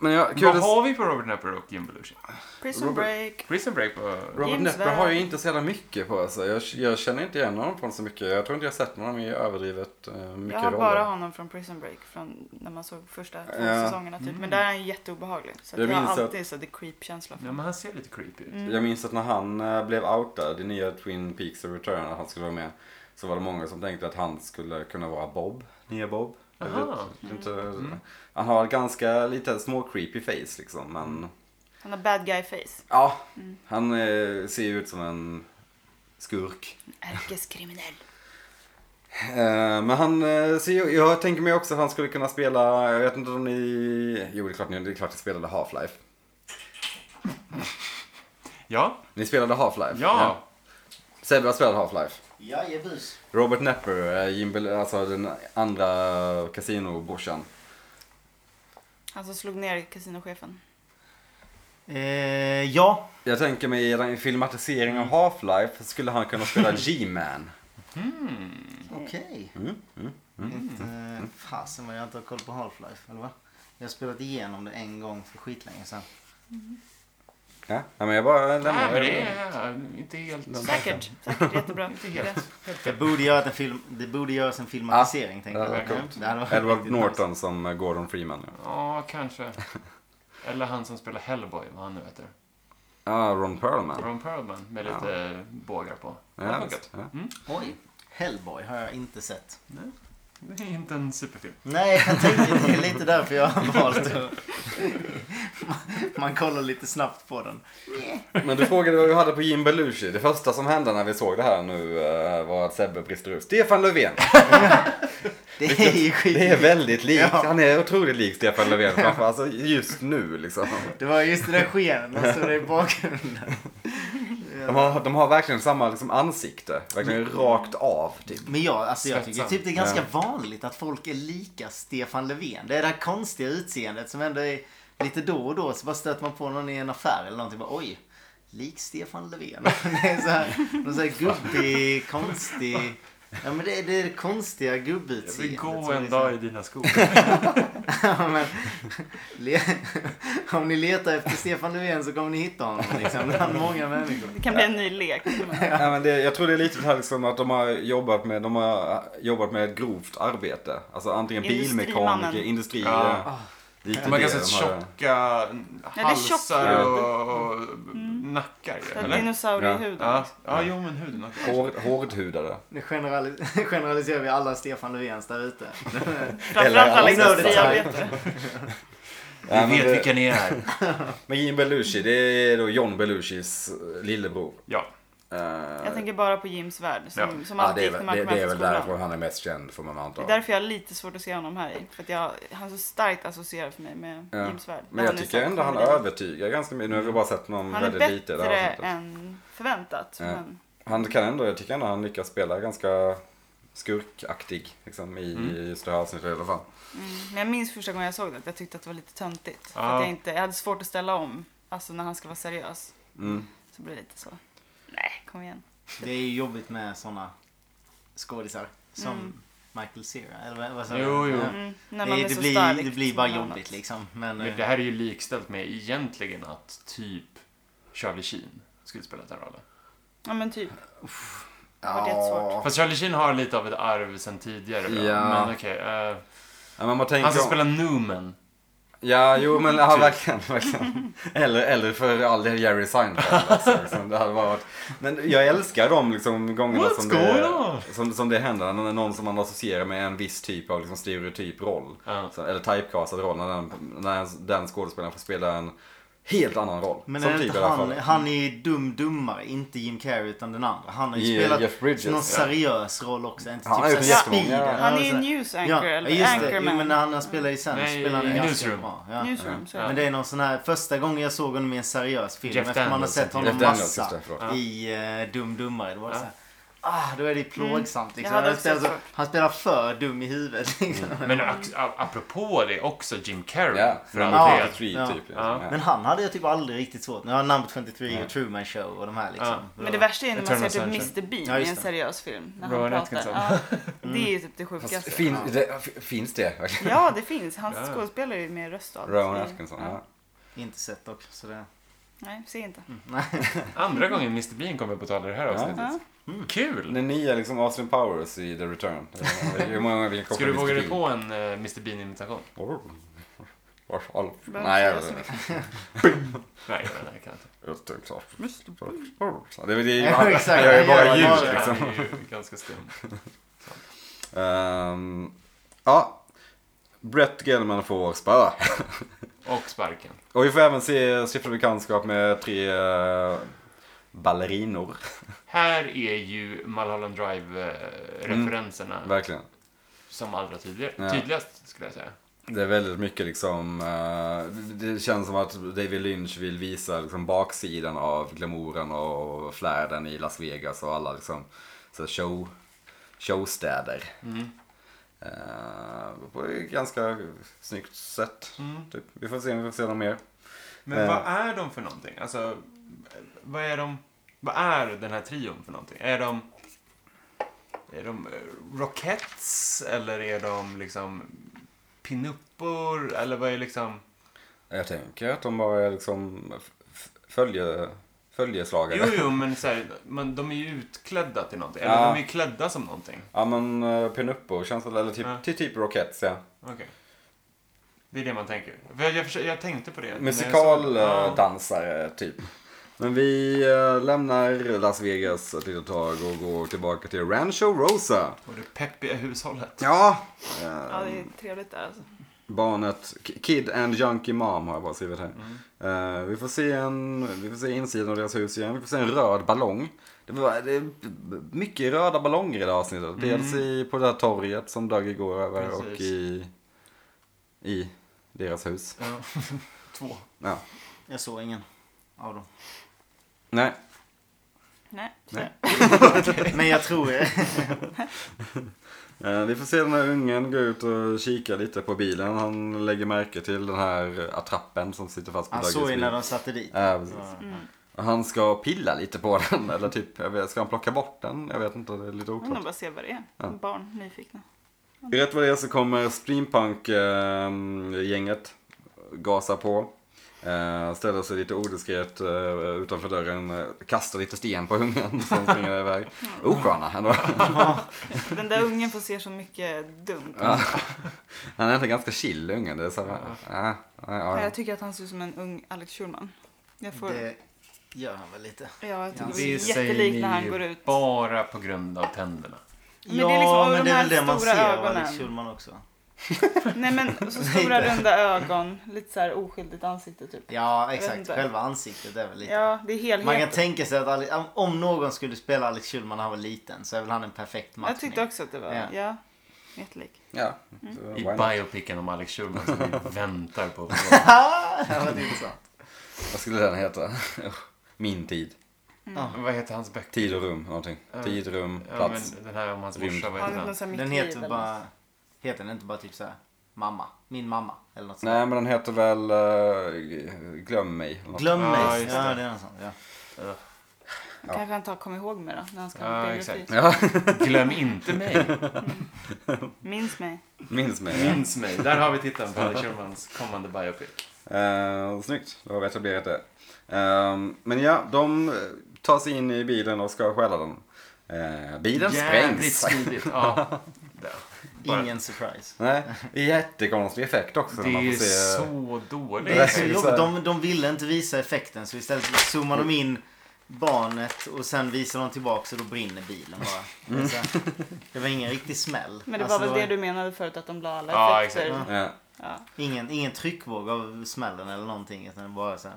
B: men ja, kul
D: Vad
B: att...
D: har vi på Robert Nepper och Jim Belushi?
C: Prison
B: Robert-
C: break.
D: Prison Break på...
B: Robert
C: James
B: Nepper har ju
C: Bond.
B: inte så jävla mycket på sig. Jag, jag känner inte igen honom från så mycket. Jag tror inte jag har sett honom i överdrivet eh, mycket
C: Jag har
B: roller.
C: bara honom från Prison Break, från när man såg första två
B: Ja.
C: säsongerna typ. Men där är han jätteobehaglig. Så att
B: Jag
C: jag,
B: minns
C: har
B: att-
C: alltid så the creep-känsla för
D: Ja,
C: honom.
D: men han ser lite creepy ut.
C: Mm.
B: Jag minns att när han eh, blev outad i nya Twin Peaks och Return, att han skulle vara med, så var det många som tänkte att han skulle kunna vara Bob, nya Bob. Jag vet
D: Aha.
B: inte,
C: Mm.
B: Han har ett ganska lite små creepy face liksom, men
C: Han har bad guy-face.
B: ja, han eh, ser ju ut som en skurk.
C: Ärkeskriminell.
B: Eh, Men han, eh, så jag, jag tänker mig också att han skulle kunna spela, jag vet inte om ni, jo det är klart ni, det är klart ni spelade Half-Life.
D: Ja,
B: Ni spelade Half-Life?
D: ja.
B: Sebbe har spelat Half-Life.
A: Jajebus.
B: Robert Nepper, eh, Jim Bel- alltså den andra kasinobrorsan.
C: Han som slog ner kasinochefen.
A: Eh, ja.
B: Jag tänker mig i en filmatisering av Half-Life skulle han kunna spela G-Man.
A: Okej.
B: Mm, mm.
A: Inte- Fasen vad jag inte har koll på Half-Life, eller va? Jag har spelat igenom det en gång för skitlänge sedan.
B: Ja, nej, men jag bara
D: Nej,
B: lämnar
D: men det är inte helt...
C: Säkert. Säkert jättebra.
D: helt-
A: Det borde göras en, film, det borde göras en filmatisering, tänkte
B: Ah, det
A: jag.
B: var
A: Ja,
B: coolt.
A: det hade varit
B: Edward
A: riktigt
B: Norton som eh, Gordon Freeman. Ja,
D: Ja, kanske. Eller han som spelar Hellboy, vad han nu heter.
B: ah, Ron Perlman.
D: Ron Perlman med lite bågar på.
B: Ja,
D: Det har
B: visst,
D: funkat.
B: ja.
D: Mm.
A: nice. Oj. Hellboy har jag inte sett.
D: Det är inte en superfilm.
A: Nej, jag tänkte det är lite därför jag har valt att... Man kollar lite snabbt på den.
B: Men du frågade vad vi hade på Jim Belushi. Det första som hände när vi såg det här nu eh, var att Sebbe brister ut. Stefan Löfven!
A: Det är ju skit.
B: Det är väldigt likt.
A: Ja.
B: Han är otroligt lik Stefan Löfven. Framför, alltså just nu liksom.
A: Det var just det där skenen som stod där i bakgrunden.
B: De har, de har verkligen samma liksom, ansikte. Verkligen rakt av. Typ.
A: Men jag, alltså jag tycker
D: Svetsad.
A: typ det är ganska vanligt att folk är lika Stefan Löfven. Det är det här konstiga utseendet som ändå är lite då och då så bara stöter man på någon i en affär eller någonting bara oj. Lik Stefan Löfven. Det är så här, någon så här gubbig, konstig. Ja men det är det, är det konstiga
D: Jag vill
A: gubbutseendet.
D: gå
A: som
D: en
A: är så-
D: dag i dina skor.
A: Ja, men, le, om ni letar efter Stefan Löfven så kommer ni hitta honom liksom. Bland många människor.
C: Det kan bli en ny lek.
B: Ja, men det, jag tror det är lite det här liksom att de har jobbat med, de eh, har jobbat med ett grovt arbete. Alltså antingen
C: Industrimannen.
B: bilmekaniker, industri.
D: Ja.
B: eh, ITD,
D: De har ganska
B: de har-
D: tjocka
C: det är Mm. tjockt.
D: halsar och, och nackar. ju,
C: Så att
D: Eller?
C: Dinosaurier i
B: Ja.
C: huden.
D: Ja, ja, jo men huden också.
B: Hård, hårdhudade.
A: Nu generali- generaliserar vi alla Stefan Löfvens där ute.
C: Framförallt alla
A: Eller-
C: industriarbetare.
B: Ja,
D: Vi
B: men
D: vet
B: det-
D: vilka ni är.
B: Men Jim Belushi, det är då John Belushis lillebror.
D: Ja,
B: Eh,
C: Jag tänker bara på Jims värld som,
D: Ja.
C: som
B: ja,
C: alltid
B: det, är,
C: gick när
B: väl-
C: man
B: det,
C: kom hem
B: det är
C: från
B: väl
C: skolan.
B: därför han är mest känd, får man
C: Det
B: anta.
C: är därför jag har lite svårt att se honom här i. För att jag, han är så starkt associerad för mig med
B: Ja.
C: Jims värld.
B: Men
C: Där
B: jag
C: är
B: tycker
C: så
B: ändå han
C: komedi.
B: övertygar ganska mycket. Nu har vi bara sett någon
C: Han är
B: väldigt lite. i det här
C: bättre
B: avsnittet.
C: än förväntat.
B: Ja.
C: Men
B: Han kan ändå, jag tycker ändå han lyckas spela ganska skurkaktig liksom, i just det här avsnittet i alla fall.
C: mm. Men jag minns första gången jag såg det att jag tyckte att det var lite töntigt. För
D: Ja.
C: att jag, inte, jag hade svårt att ställa om. Alltså när han ska vara seriös.
B: Mm.
C: Så blir det lite så. Nej, kom igen.
A: Det är ju jobbigt med sådana skådisar som Michael Cera. Eller vad- vad sa du?
D: Jo, jo.
A: Ja.
C: Mm, när man
A: Det,
C: är
A: det,
C: så
A: blir,
C: stark
A: det blir
C: som
A: bara
C: någon annan.
A: jobbigt liksom. Men,
D: men det här är ju likställt med egentligen att typ Charlie Sheen skulle spela den rollen.
C: Ja men typ. Var det svårt?
D: Fast Charlie Sheen har lite av ett arv sen tidigare. då.
B: Ja.
D: Men okej. eh,
B: Ja, men man tänker
D: han ska
B: om-
D: spela Newman.
B: Ja, jo men ja, verkligen. verkligen. Eller, eller för all del Jerry Seinfeld. Alltså, liksom, det hade bara varit. Men jag älskar de liksom, gångerna som
D: What's
B: det,
D: going on?
B: som, som det händer. När någon som man associerar med en viss typ av liksom, stereotyp roll.
D: Ja.
B: Så, eller typecastad roll. När den, när den skådespelaren får spela en helt annan roll.
A: men
B: som
A: är det
B: typ i
A: inte
B: alla
A: han,
B: fall.
A: han är ju dum dummare, inte Jim Carrey utan den andra. Han har ju
B: Je-
A: spelat
B: Jeff Bridges,
A: någon
B: ja.
A: seriös roll också. Inte
B: Han har
A: typ
B: gjort
A: så här
B: jättemånga,
A: Speed.
B: ja.
A: eller
C: Han är ju
A: sådär.
C: news
A: Ja,
C: anchor eller
A: just det. Jo,
C: anchorman.
A: men när han spelar i sen så
D: Nej,
A: spelar han ju
D: i
A: ganska
D: Newsroom.
A: bra. Ja.
C: Newsroom. Så.
A: Men det är någon sån här, första gången jag såg honom i en seriös film
D: Jeff
A: efter man har
D: Daniels,
A: sett honom
B: Jeff Daniels,
A: massa
B: just det, förlåt.
A: i eh, Dum Dummare. Det var
D: Ja.
A: så här, ah, då är det ju plågsamt liksom.
C: hade
A: Han
C: också
A: spelar, så,
C: svårt.
A: han spelar för dum i huvudet liksom.
D: Men ac- a- apropå det också Jim Carrey.
B: Ja,
D: för
B: från
D: all
A: Ja.
D: del.
B: 53
A: Ja.
B: typ. Liksom.
D: Ja.
B: Ja.
A: Men han hade jag typ aldrig riktigt svårt med. Ja, Number 23 och Truman Show och de här liksom.
D: Ja.
C: Men det värsta är när man
D: Eternal
C: ser typ Mr
D: Sunshine.
C: Bean
A: Ja,
C: i
A: just
C: en
A: det.
C: seriös film. När
D: Rowan
C: han pratar.
D: Atkinson.
C: Ja,
D: Mm.
C: det är ju typ det
B: Fast,
C: sjukaste.
B: fin, det, f- finns det verkligen?
C: Ja, det finns. Han
D: Ja.
C: skådespelar ju med röst och allt.
B: Rowan
C: Så-
B: Atkinson. Ja.
A: Inte sett dock. Så det...
C: Nej, se inte.
D: Mm. Andra gången Mr Bean kommer på tal i det här avsnittet. Mm.
C: Ja.
D: Kul!
B: Den nya liksom Austin Powers i The Return. Hur många vill koppla
D: Ska du
B: Mr.
D: våga dig
B: Bean?
D: på en eh, Mr Bean-imitation?
B: Oh. Vars all...
C: Behöver
B: Nej, jag
C: inte
B: vet
C: säga så
B: inte.
C: mycket.
D: Nej, jag vet inte, jag
B: Jag tänkte klart.
C: Mr.
B: Det är, det
A: Ja,
B: är,
A: exakt.
B: jag är bara
A: Ja,
B: ljud
A: ja,
B: liksom.
D: kan inte. Han är ju ganska stum.
B: Ehm, ja. Brett Gelman får spöa.
D: Och sparken.
B: Och vi får även se stifta bekantskap med tre eh, ballerinor.
D: Här är ju Mulholland Drive-referenserna
B: Verkligen.
D: som allra tydlig-
B: Mm. Ja.
D: tydligast, skulle jag säga.
B: Det är väldigt mycket liksom, eh, det känns som att David Lynch vill visa liksom baksidan av glamouren och flärden i Las Vegas och alla liksom så här show, showstäder. Eh, på ett ganska snyggt sätt. Typ. Vi får se om vi får se något mer.
D: Men
B: Eh.
D: vad är de för någonting? Alltså, vad är de... Vad är den här trion för någonting? Är de... Är de eh, Rockettes? Eller är de liksom pinuppor? Eller vad är liksom...
B: Jag tänker att de bara är liksom f- f- följe, följeslagare.
D: Jo, jo, men så här, man, de är ju utklädda till någonting. Eller
B: Ja.
D: de är ju klädda som någonting.
B: Ja men uh, pinuppo känns väl, eller typ,
D: Ja.
B: typ, typ Rockettes ja.
D: Okej. Det är det man tänker. För jag, jag, försö- jag tänkte på det. när jag såg-
B: eh,
D: Ja.
B: Musikaldansare, typ. Men vi eh, lämnar Las Vegas ett litet tag och går tillbaka till Rancho Rosa.
D: Och det peppiga hushållet.
B: Ja.
C: Ja, det är trevligt där alltså.
B: Barnet, K- Kid and Junkie Mom har jag bara skrivit här.
D: Mm.
B: Eh, vi, får se en, vi får se insidan av deras hus igen. Vi får se en röd ballong. Det, var, det är mycket röda ballonger i det här avsnittet. Dels i, på det här torget som Dagge går över och
D: Mm. Precis.
B: i, i deras hus.
D: Ja. Två.
B: Ja.
A: Jag såg ingen av dem.
B: Nej,
C: Nej.
B: Nej.
A: Men jag tror...
B: Eh, Vi får se den här ungen gå ut och kika lite på bilen. Han lägger märke till den här attrappen som sitter fast på
A: Han
B: Dagges
A: såg ju
B: bil.
A: när de satte dit.
B: Ja, precis. Och Han ska pilla lite på den, eller typ, jag vet, ska han plocka bort den? Jag vet inte, det är lite
C: Jag vill nog
B: oklart.
C: bara se vad det är. Barn, nyfikna.
B: Rätt vad det är så kommer streampunk-gänget ehm, gasa på. Eh, ställer sig lite odiskret eh, utanför dörren, eh, kastar lite sten på ungen som springer iväg. Osköna ändå.
C: Den där ungen får se så mycket dumt.
B: Ja. Han är egentligen ganska chill ungen. Det är så här, ja. Ja,
C: Nej,
B: ja.
C: Jag tycker att han ser ut som en ung Alex Schulman. Jag får...
A: Det gör han väl lite.
C: Ja, jag tycker
A: Ja.
C: det är jättelik när han går ut.
D: bara på grund av tänderna.
C: Men det är liksom av de här stora
A: av Alex
C: ögonen.
A: Schulman också.
C: Nej men så stora runda ögon, lite så här oskyldigt ansikte typ.
A: Ja,
C: vet
A: exakt.
C: inte.
A: Själva ansiktet är väl lite...
C: Ja, det är
A: Man kan
C: helheten.
A: tänka sig att Ale- om- om någon skulle spela Alex Schulman när han var liten så är väl han en perfekt matchning.
C: Jag tyckte också att det var,
A: Ja.
C: ja, jättelik.
B: ja.
D: I
B: Så, why not?
D: biopicken om Alex Schulman som vi väntar på.
A: det var intressant.
B: Vad skulle den heta? Min tid.
D: Vad heter hans böcker?
B: Tid och rum, någonting.
D: Ja.
B: Tid, rum,
D: Ja,
B: plats.
D: men den här om hans
B: Rymd.
D: morsa, vad
C: Han
D: heter
C: är någon
D: den?
C: sån här
A: Den
C: mitt liv
A: heter
C: eller
A: bara... Heter den inte bara typ så här Mamma? Min mamma? Eller något sånt.
B: Nej, men den heter väl eh, Glöm mig. eller något.
A: Glöm mig.
D: Ja,
A: Ja,
D: just
A: det.
D: det.
A: är något sånt. Ja.
C: något. Kanske han tar Kom ihåg mig då, när han ska ha
D: Ja,
C: biografi.
D: exakt.
B: Ja,
D: Glöm inte mig.
C: Minns mig.
B: minns mig. Ja.
D: Minns mig. Där har vi titeln på Alex Schulmans kommande biopic.
B: Eh, snyggt, då har vi etablerat det. Ehm, men ja, de tar sig in i bilen och ska stjäla den. Eh, bilen
D: Jävligt
B: sprängs.
D: smidigt. Ja. Där. Bara-
A: Ingen surprise.
B: Nej, det är jättekonstig effekt också. när man
D: Det
B: får
D: är
B: se...
D: så
A: Det är
D: dåligt.
A: så
B: Nej,
A: jobbigt.
B: så här.
A: De, de ville inte visa effekten så istället zoomar de in barnet och sen visar de tillbaka och då brinner bilen bara. Det, är så här, det var ingen riktig smäll.
C: Men det
A: Alltså,
C: var väl det du menade förut, att de la alla
D: Ja,
C: effekter.
A: exakt.
B: Ja.
C: Ja.
A: ingen, ingen tryckvåg av smällen eller någonting utan det bara så här.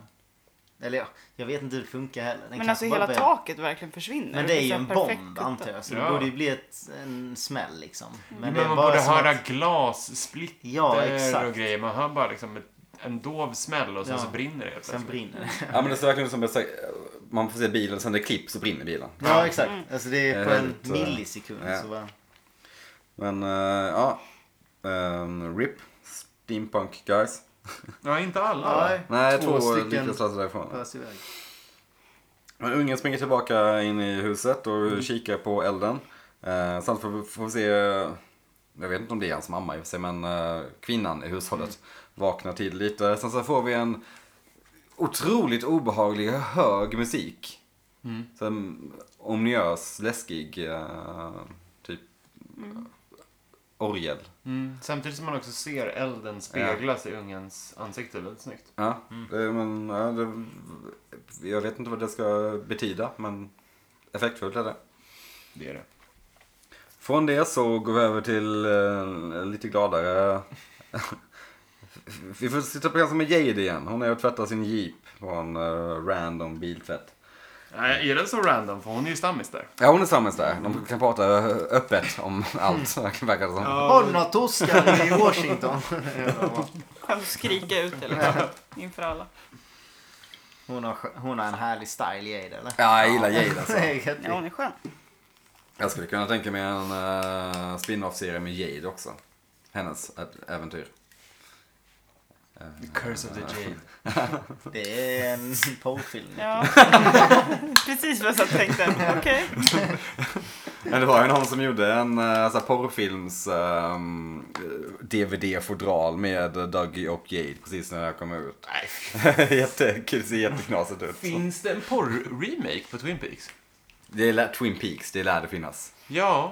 A: Eller ja, jag vet inte hur det funkar heller. Den
C: Men
A: kanske
C: alltså
A: bara
C: hela
A: börjar-
C: taket verkligen försvinner.
A: Men det är ju
C: så
A: en
C: här perfekt
A: bomb
C: kutta.
A: antar jag så det
D: Ja.
A: borde ju bli ett, en smäll liksom.
C: Mm.
A: Men,
D: Men
A: det är
D: man
A: bara
D: borde
A: som
D: höra
A: att-
D: glassplitter
A: Ja,
D: och
A: exakt.
D: grejer. Man hör bara liksom ett, en dov smäll och sen
A: Ja.
D: så brinner det helt
A: Sen
D: plötsligt.
A: brinner det.
B: ja, men det ser verkligen ut som att man får se bilen, sen det klipps så brinner bilen.
A: Ja
C: Mm.
A: exakt. Alltså det är på
B: Det är
A: en
B: väldigt, eh,
A: millisekund
B: ja.
A: så bara...
B: Men eh, ja, Ehm, RIP, Steampunk guys.
D: Ja, inte alla. va?
A: Nej,
B: Nej, två,
A: två
B: två
A: stycken
B: lyckas ta sig därifrån.
A: Pös iväg.
B: Men ungen springer tillbaka in i huset och kikar på elden. Eh, sen får vi, får vi se, jag vet inte om det är hans mamma i och för sig, men eh, kvinnan i hushållet vaknar till lite. Sen så får vi en otroligt obehaglig hög musik.
D: Mm.
B: Sen omniös, läskig, eh, typ orgel.
D: Mm. Samtidigt som man också ser elden speglas i ungens ansikte väldigt snyggt.
B: Ja, det, men, ja, det, jag vet inte vad det ska betyda, men effektfullt är det.
D: Det är det.
B: Från det så går vi över till eh, lite gladare. vi får sitta på ganska med Jade igen. Hon är och tvättar sin jeep på en eh, random biltvätt.
D: Nej, är den så random? För hon är ju stammis där.
B: Ja, hon är tillsammans där. De kan prata eh, öppet om allt, verkar det som.
A: Har du några torskar i Washington?
C: Han får skrika ut det liksom, inför alla.
A: hon, har, skö- hon har en härlig style Jade eller?
B: Ja, jag gillar Jade alltså.
C: Ja, hon är skön.
B: Jag skulle kunna tänka mig en uh, spin-off-serie med Jade också. Hennes ä- äventyr.
D: The Curse of the Jade.
A: Det är en porrfilm.
C: Ja. Precis vad jag satt och tänkte. Okej.
B: Men det var ju någon som gjorde en uh, ehm, porrfilms-DVD-fodral med Dougie och Jade precis när det här kom ut.
D: Nej,
B: Jättekul, ser jätteknasigt ut.
D: finns det en porr-remake på Twin Peaks?
B: Det lär, Twin Peaks, det lär det finnas.
D: Ja,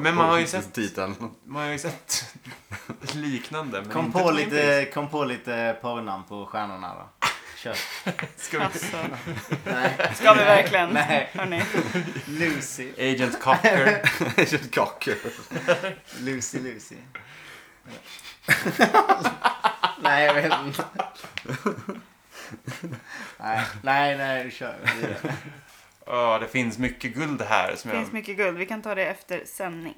D: Men man har ju sett-
B: Titeln.
D: man har ju sett liknande. Men
A: Kom
D: inte
A: på,
D: Twin Peaks.
A: lite, kom på lite porrnamn på stjärnorna då. Kör.
D: Ska vi...
C: Alltså. Ska vi verkligen?
A: Nej.
C: Hörni.
A: Lucy,
D: Agent Cocker.
B: Kakor.
A: Lucy, Lucy. nej, jag vet inte. nej, nej, nej, kör.
D: Ja, det finns mycket guld här. Som
C: Det finns
D: jag...
C: mycket guld. Vi kan ta det efter sändning.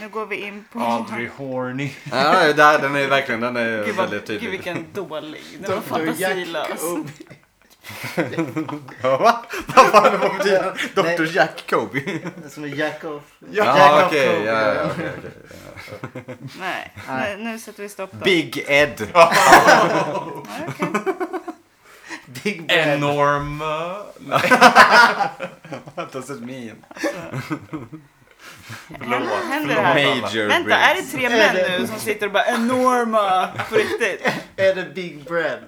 C: Nu går vi in på...
D: Audrey Horny.
B: ja, där, den är verkligen den är
C: Gud, vad,
B: väldigt
C: gud
B: tydlig.
C: vilken dålig. Den var fantasilös.
B: Ja, va? Vad var det på betydelsen?
A: Nej.
B: Dr Jack Kobe.
A: Som är Jack off.
B: Ja, okej. Ja, ja, okej, okej.
C: Nej,
A: Nej.
C: nu, nu sätter vi stopp då.
B: Big Ed.
C: Nej, okej.
A: Big Brother.
D: Enorma.
B: Doesn't mean.
C: Händer, händer det här?
B: Major
C: Vänta, är det tre
A: Är
C: män
A: det-
C: nu som sitter och bara enorma på riktigt?
A: Är det Big Bread?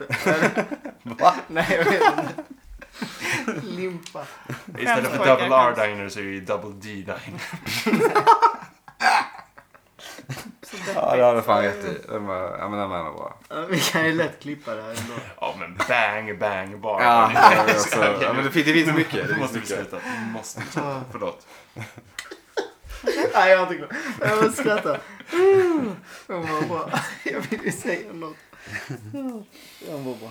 B: Va?
F: Nej, jag vet inte. Limpa.
D: Istället för
C: pojkar,
D: double
C: skäms.
D: R-diner så är det ju double D-diner.
C: Så
B: Ja,
C: deppigt.
B: det hade fan rätt i. Den var, ja, men den var bra.
A: Ja, Vi kan ju lätt klippa det här ändå.
D: Ja, men bang, bang, bar.
B: Ja,
D: Det är-
B: det var också, ja men det finns, det finns mycket. Det
D: Nu
B: finns
D: måste vi
B: mycket.
D: sluta. Nu måste vi sluta. Förlåt.
A: Nej, jag är inte klar. Jag måste skratta. Den var bra. Jag vill ju säga något. Den var bra.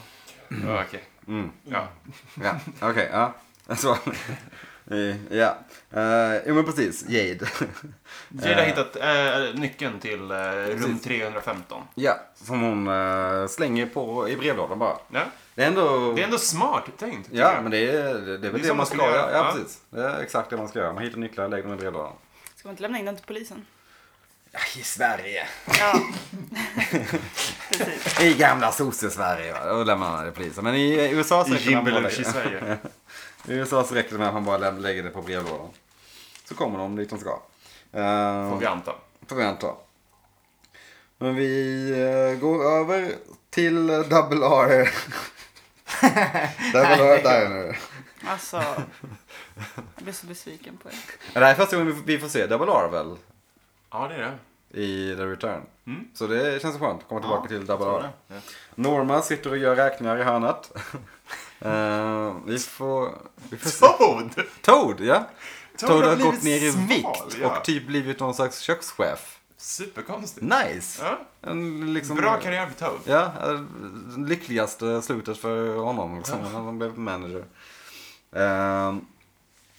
D: Ja, Okej.
B: Mm.
D: Ja.
B: Ja, okej. ja. Så. Eh, Ja. Eh, Jo men precis, Jade.
D: Jade har hittat eh, nyckeln till eh, rum 315.
B: Ja, som hon eh, slänger på i brevlådan bara.
D: Ja.
B: Det är ändå...
D: Det är ändå smart tänkt. tycker
B: Ja,
D: jag.
B: men det är, det, det är väl
D: som
B: det, man
D: man
B: ska
D: skulle
B: göra.
D: göra.
B: Ja,
D: Ja.
B: precis. Det är exakt det man ska göra. Man hittar nycklar, lägger dem i brevlådan.
C: Ska man inte lämna in den till polisen?
B: I Sverige.
C: Ja. Precis.
B: I gamla sosse-Sverige. va? Då lämnar man det till polisen. Men i USA så
D: I
B: räcker det
D: Jim
B: med att man
D: Belushi
B: lägger-
D: Sverige.
B: I USA så räcker det med att man bara läm- lägger det på brevlådan. Så kommer de dit de ska. Ehm,
D: Får vi anta.
B: Får vi anta. Men vi eh, går över till eh, Double R. double R Diner.
C: Alltså. Jag blir så besviken på er.
B: Det här är första gången vi vi får se Double R väl?
D: Ja, det är det.
B: I The Return.
D: Mm.
B: Så det känns skönt att komma tillbaka till Double
A: tror
B: R. Norma sitter och gör räkningar i hörnet. Eh, vi får... Vi får se.
D: Toad!
B: Toad, ja. Toad, har
D: blivit
B: gått ner i
D: smal,
B: vikt
D: ja.
B: och typ blivit någon slags kökschef.
D: Superkonstigt.
B: Nice!
D: Ja.
B: En, liksom,
D: Bra karriär för Toad.
B: Ja, eh, lyckligaste slutet för honom liksom, när han blev manager. Ehm,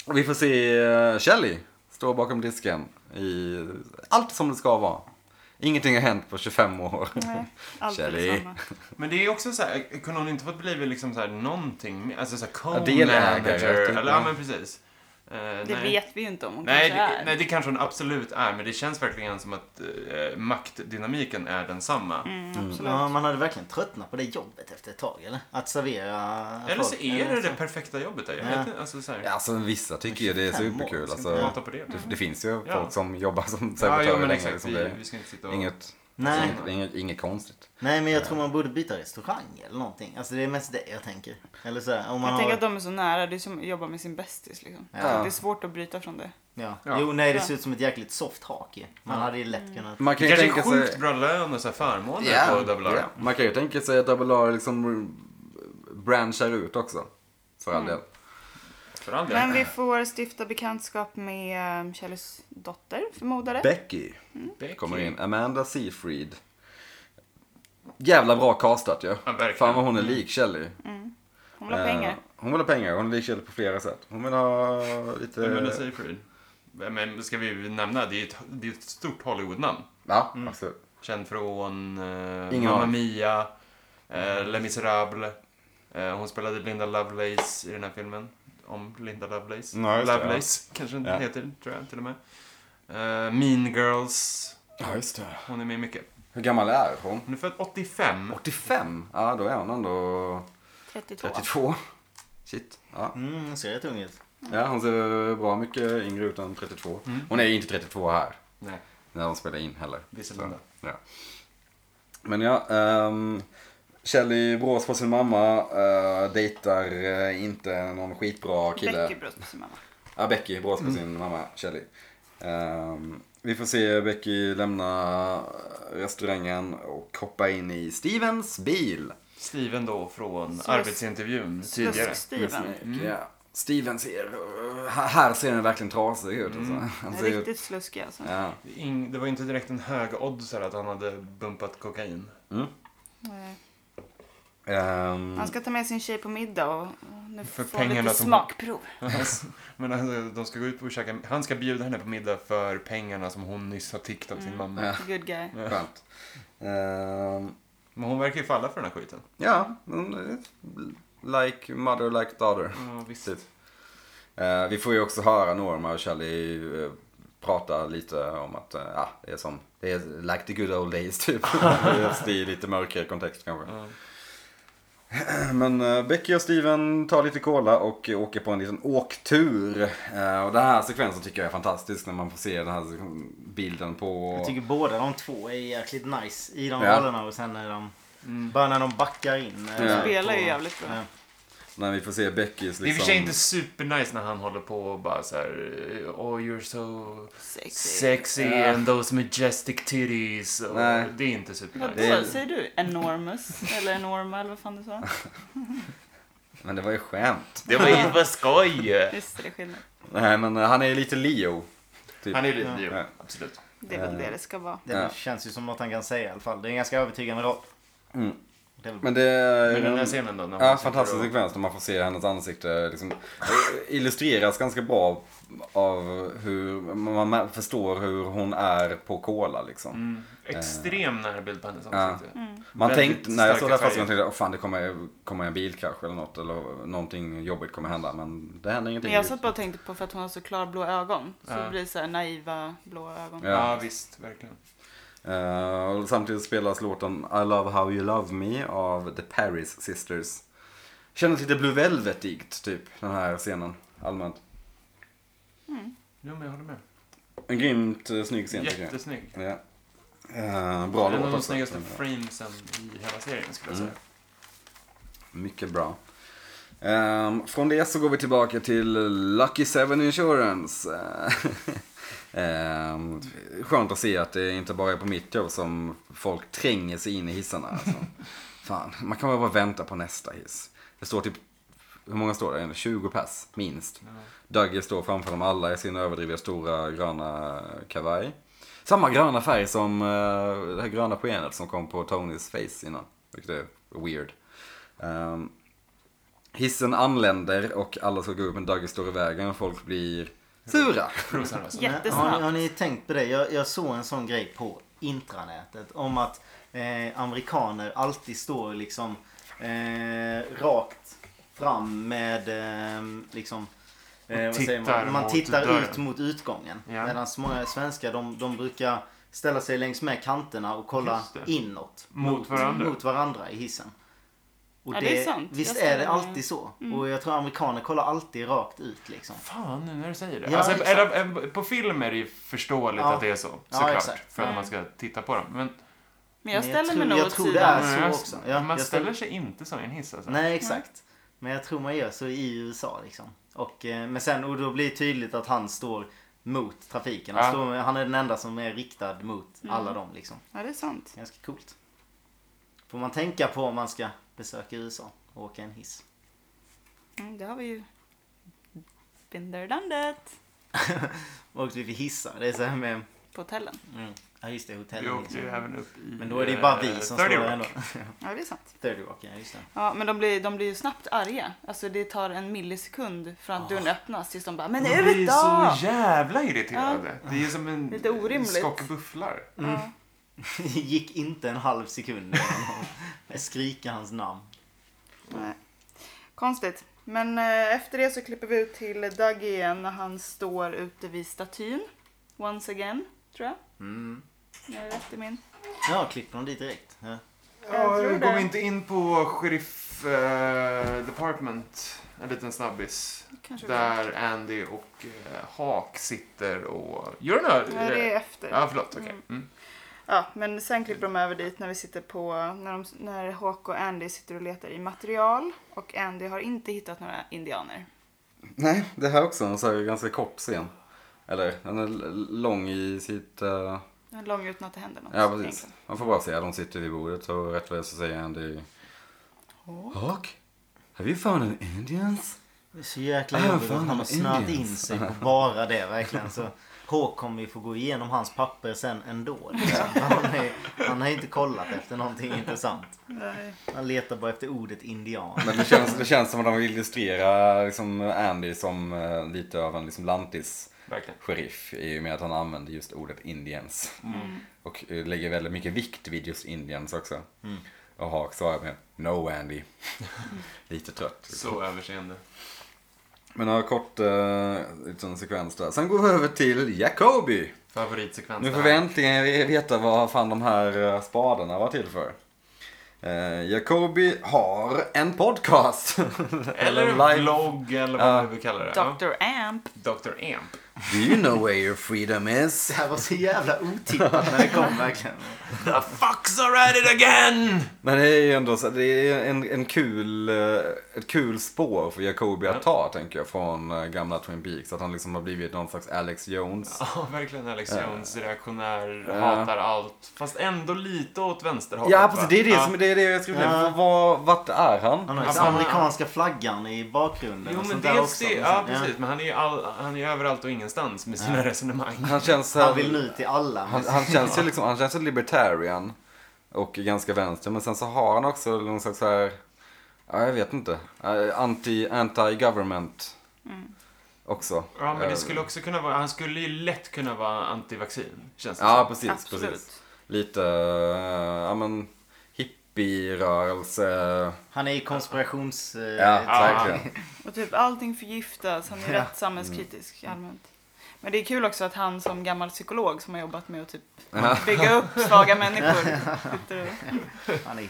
B: och vi får se eh, Shelly stå bakom disken i allt som det ska vara. Ingenting har hänt på 25 år.
C: Nej, allt är
B: Shelly.
C: detsamma.
D: Men det är ju också så här, kunde hon inte fått blivit liksom så här någonting mer? Alltså så här
B: delägare,
D: co-manager?
B: typ,
D: eller ja,
B: ja.
D: men precis. Eh,
C: Det
D: nej.
C: vet vi ju inte om hon
D: Nej
C: kanske
D: det,
C: är.
D: nej, det kanske hon absolut är, men det känns verkligen som att eh, maktdynamiken är densamma.
C: Mm.
A: Ja, man hade verkligen tröttnat på det jobbet efter ett tag, eller? Att servera
D: Eller så
A: folk,
D: är det
A: så.
D: det perfekta jobbet där. Jag
A: Ja.
D: vet inte, alltså så här,
B: Ja, Alltså vissa tycker ju det är
A: 25 år,
B: superkul.
A: ska
B: Alltså,
A: inte
D: prata på det.
B: det, det finns ju
D: Ja.
B: folk som jobbar som
D: Ja,
B: servitörer
D: jo, men
B: länge,
D: exakt.
B: liksom,
D: Vi,
B: det
D: vi
B: är
D: ska inte sitta och...
B: inget,
A: Nej.
B: inget, inget, inget konstigt.
A: Nej, men jag tror man borde byta restaurang eller någonting. Alltså det är mest det jag tänker. Eller så här, om man
C: Jag
A: har...
C: tänker att de är så nära. Det är som att jobba med sin bästis liksom.
A: Ja.
C: Så Det är svårt att bryta från det.
A: ja.
D: Ja.
A: Jo, nej, det
C: Ja. Mm.
A: ser ut som ett jäkligt soft hake. Man hade ju lätt kunnat...
B: Man
D: Det
B: kan ju
D: kanske
B: tänka
D: är
B: sig...
D: sjukt bra lön och så här förmåner
B: Ja,
D: på Double R.
B: ja. Man kan ju tänka sig att Double R liksom branchar ut också. För
D: Mm.
B: all del.
D: För all del.
C: Men vi får stifta bekantskap med eh, Kellys dotter, förmodade.
B: Becky
D: Becky.
B: kommer in. Amanda Seyfried. Jävla bra castat ju.
D: Ja, verkligen. Mm.
B: Fan vad hon är lik Shelley.
C: Hon vill ha
B: Eh,
C: pengar.
B: Hon vill ha pengar. Hon är lik Shelley på flera sätt. Hon vill ha lite...
D: Men det säger Creed. Men ska vi nämna, det är ju ett, det är ett stort Hollywood-namn.
B: Ja,
D: Mm.
B: absolut.
D: Känd från eh,
B: Ingen
D: Mamma
B: aning.
D: Mia, eh, Les Misérables. Eh, hon spelade Linda Lovelace i den här filmen. Om Linda Lovelace.
B: Ja, just det,
D: Lovelace kanske den
B: Ja.
D: heter, tror jag till och med. Eh, mean Girls.
B: Ja, just det.
D: Hon är med mycket.
B: Hur gammal är hon?
D: Hon är född 85.
B: 85? Ja, då är hon ändå
C: 32.
B: 32. Shit. Ja.
A: Mm, hon ser rätt ung ut.
B: ja, hon ser bra mycket yngre ut än 32.
D: Mm.
B: Hon är ju inte 32 här.
D: Nej,
B: När de spelar in heller.
D: Visserligen.
B: Så, Ja. Men ja, um, Shelly brås på sin mamma, uh, dejtar eh, inte någon skitbra kille.
C: Becky bröst på sin mamma.
B: Ja, Becky brås på sin mamma, Shelly. Ehm, vi får se Becky lämna eh, restaurangen och hoppa in i Stevens bil.
D: Steven då från
C: Slusk-
D: arbetsintervjun tidigare.
C: Slusk-Steven.
B: Ja. Steven ser, eh, här- här ser den verkligen trasig ut. Alltså. Han ser ut,
C: Mm. Riktigt sluskig alltså.
B: ja.
D: Ing- Det var ju inte direkt en hög oddsare att han hade bumpat kokain.
C: Nej.
B: Ehm,
C: Eh, Han ska ta med sin tjej på middag och och nu
D: För
C: får hon lite
D: pengarna som-
C: smakprov.
D: Alltså, Men alltså, de ska gå ut och käka. Han ska bjuda henne på middag för pengarna som hon nyss har tickt av sin mamma.
B: Ja.
C: Good guy.
B: Skönt. Ehm,
D: Men hon verkar ju falla för den här skiten.
B: Ja, mm, like mother, like daughter.
D: Ja, Mm, visst.
B: Precis. Eh, vi får ju också höra Norma och Shelly eh, prata lite om att eh, ja, det är som, det är like the good old days typ. Fast I lite mörkare kontext kanske.
D: Ja.
B: Men eh, Becky och Steven tar lite cola och eh, åker på en liten åktur. Eh, och den här sekvensen tycker jag är fantastisk när man får se den här bilden på...
A: Jag tycker båda de två är jäkligt nice i de
B: Ja.
A: rollerna och sen när de
D: Mm.
A: Bara när de backar in. eh,
B: Ja.
C: Spelar ju
A: på-
C: jävligt bra.
A: Ja.
B: När vi får se Beckys
D: Det är i och
B: liksom...
D: för sig inte supernice när han håller på och bara så här... Oh, you're so
C: Sexy.
D: sexy
B: Ja.
D: and those majestic titties. Och
B: Nej.
D: Det är inte
C: Vadå,
D: supernice.
B: Det är-
C: säger du enormous? Eller enorma eller vad fan du sa?
B: Men det var ju skämt.
D: Det var ju för skoj!
C: Just det, det är skillnad.
B: Nej, men eh, han är ju lite Leo. Typ.
D: Han är lite
B: Ja.
D: ja. absolut.
C: Det är väl det det ska vara.
A: Det
B: Ja.
A: känns ju som något han kan säga i alla fall. Det är en ganska övertygande roll.
B: Mm.
A: Det är väl
B: Men det är...
D: Men den här scenen då? När hon
B: Ja,
D: sitter
B: fantastisk
D: och-
B: sekvens när man får se hennes ansikte liksom, illustreras ganska bra av hur man man förstår hur hon är på Cola liksom.
D: Mm. Extrem närbild på hennes
B: Ja.
D: ansikte.
A: Mm.
B: Man
D: Väldigt
B: tänkte, när jag såg det här
D: starka
B: första gången tänkte jag, "Åh, fan det kommer, kommer en bilkrasch eller något eller någonting jobbigt kommer hända men det händer
C: Men
B: ingenting.
C: jag satt bara och tänkte på för att hon har så klarblå ögon. Så
D: Ja.
C: det blir så här naiva blå ögon.
B: Ja.
D: Ja, visst. Verkligen.
B: Eh, och samtidigt spelas låten I Love How You Love Me av The Paris Sisters. Kändes lite Blue Velvetigt typ den här scenen allmänt.
D: Jo, men jag håller med.
B: En grymt eh, snygg scen tycker jag.
D: Jättesnygg.
B: Ja. Eh, bra
D: en
B: låt
D: av de
B: också.
D: snyggaste framesen i hela serien skulle jag
B: Mm.
D: säga.
B: Mycket bra. Ehm, från det så går vi tillbaka till Lucky Seven Insurance. Ehm, skönt att se att det inte bara är på mitt jobb som folk tränger sig in i hissarna. Alltså. Fan, man kan väl bara vänta på nästa hiss. Det står typ, hur många står det? 20 pass, minst. Dagge står framför dem alla i sin överdrivet stora gröna kavaj. Samma gröna färg som eh, det här gröna skenet som kom på Tonys face innan. Vilket är weird. Ehm, hissen anländer och alla ska gå upp men Dagge står i vägen. Folk blir sura.
D: Rosan Rosan.
A: Men
C: Jättesnabbt.
A: Har, ni- har ni tänkt på det? Jag, jag såg en sån grej på intranätet om att eh, amerikaner alltid står liksom eh, rakt fram med eh, liksom eh, vad säger
D: Tittar
A: man? man
D: mot
A: tittar
D: dörren.
A: ut mot utgången.
D: Ja.
A: Medan många svenskar de, de brukar ställa sig längs med kanterna och kolla
D: Just det.
A: inåt.
D: Mot varandra.
A: mot varandra i hissen. Och
C: Ja, det Mm. är sant.
A: Visst
C: Jag
A: är det
C: ställer mig-
A: alltid så? Och jag tror amerikaner kollar alltid rakt ut liksom.
D: Fan, nu när du säger det.
A: Ja,
D: alltså,
A: exakt.
D: är det, är, på film är det ju förståeligt
A: Ja.
D: att det är så.
A: Ja,
D: Såklart.
A: exakt. Mm.
D: för att man ska titta på dem. Men
C: Men jag
A: Men jag
C: ställer mig
A: tror-
C: nog
A: jag
C: åt
A: tror det
C: sidan.
A: är- så
D: jag-
A: också. Ja,
D: man
A: jag
D: ställer
A: ställer-
D: sig inte så i en hiss alltså.
A: Nej, exakt. Men jag tror man gör så i USA liksom. Och, eh, men sen, och då blir det tydligt att han står mot trafiken. Han,
D: Ja.
A: står, han är den enda som är riktad mot
C: Mm.
A: alla dem liksom.
C: Ja, det är sant.
A: Ganska coolt. Får man tänka på om man ska besöka USA och åka en hiss.
C: Mm, det har vi ju. Been there, done that.
A: Och vi fick hissar. Det är så här med...
C: På hotellen.
A: Mm, ja just det, hotell.
D: Vi åkte ju även upp i...
A: Men då är det ju bara vi
D: eh,
A: som
D: 30
A: står där
D: Rock.
A: ändå.
C: Ja, det är sant.
A: 30 Rock, ja just det.
C: Ja, men de blir, de blir ju snabbt arga. Alltså det tar en millisekund från att dörren öppnas tills de bara Men
D: Ah. De
C: är
D: blir
C: det
D: så
C: då?
D: jävla irriterade. Det är ju som en
C: Lite orimligt.
D: skock bufflar.
C: Ja.
A: Det gick inte en halv sekund. Jag skriker hans namn.
C: Nej. Konstigt. Men eh, efter det så klipper vi ut till Doug igen när han står ute vid statyn. Once again, tror jag.
D: Mm.
C: Om Jag är rätt i min.
A: Ja, klipper de dit direkt. Ja.
C: Jag tror
D: går
C: det.
D: vi inte in på Sheriff eh, Department, en liten snabbis.
C: Kanske var.
D: Där Andy och eh, Hawk sitter och... Gör den här? eh,
C: Nej, det är efter.
D: Ja, förlåt. Okej. Mm.
C: Ja, men sen klipper de över dit när vi sitter på, när, de, när Hawk och Andy sitter och letar i material och Andy har inte hittat några indianer.
B: Nej, det här också en så här ganska kort scen. Eller, den är l- lång i sitt... eh,
C: Det är långt utan att det händer något.
B: Ja, precis.
C: egentligen.
B: Man får bara säga de sitter vid bordet och rätt vad det är så säger Andy... Hawk? Have you found an Indians?
A: Det är så jäkla
B: Ah,
A: jobbigt
B: fan,
A: att han har
B: vad
A: snöat in
B: Indians.
A: sig på bara det verkligen. Så Håk kommer ju få gå igenom hans papper sen ändå. Liksom. Han, är, han har inte kollat efter någonting intressant.
C: Nej.
A: Han letar bara efter ordet indian.
B: Men det känns, det känns som att de vill illustrera liksom Andy som eh, lite av en liksom lantis
D: Verkligen.
B: sheriff i och med att han använder just ordet indians.
D: Mm.
B: Och eh, lägger väldigt mycket vikt vid just indians också.
D: Mm.
B: Och Hawk svarar med No Andy. lite trött.
D: Så överseende.
B: Men några kort eh, liten sekvens där. Sen går vi över till Jacobi.
D: Favoritsekvens.
B: Nu
D: det
B: får
D: här.
B: vi äntligen veta vad fan de här eh, spadarna var till för. Eh, Jacobi har en podcast.
D: Eller
B: live-
D: vlogg eller vad
B: Ja.
D: vi vill kalla det. Ja.
C: Dr. Amp.
D: Dr. Amp.
B: Do you know where your freedom is?
F: Det här var så jävla otippat när det kom verkligen.
D: The fucks are at it again!
B: Men det är ju ändå så, det är en, en kul, eh, ett kul spår för Jacobi att ta, tänker jag, från eh, gamla Twin Peaks. Att han liksom har blivit någon slags Alex Jones.
D: Ja, verkligen Alex Jones, reaktionär,
B: Ja.
D: hatar allt. Fast ändå lite åt vänsterhållet.
B: Ja,
D: va?
B: precis. Det är det,
D: Ja.
B: som, det, är det jag skulle
A: Ja.
B: vilja. Var, vart är han?
A: Han har ju
D: Ja,
A: så
D: fan.
A: amerikanska flaggan i bakgrunden.
D: Jo,
A: och
D: men
A: sånt där
D: dels
A: också. liksom.
D: det.
A: Men
D: Ja,
A: sen-
D: precis. Men han är ju all, han är ju överallt och ingenstans med sina resonemang.
B: Han känns...
A: Han
B: eh,
A: vill nu till alla. men-
B: Han, han känns ju liksom, han känns ju libertarian. Och ganska vänster. Men sen så har han också någon slags så här, ja jag vet inte. eh, Anti, anti-government. Också.
D: Ja, men
B: Eh,
D: det skulle också kunna vara... Han skulle ju lätt kunna vara antivaccin, känns det
B: Ja,
D: som.
B: precis.
C: Absolut.
B: precis. Lite, eh, ja men hippierörelse.
A: Han är i konspirations... eh,
B: Ja,
D: ja.
B: verkligen.
C: Och typ allting förgiftas. Han är
A: Ja.
C: rätt samhällskritisk
B: Mm.
C: allmänt. Men det är kul också att han som gammal psykolog som har jobbat med att typ bygga upp svaga människor. sitter och-
A: Han är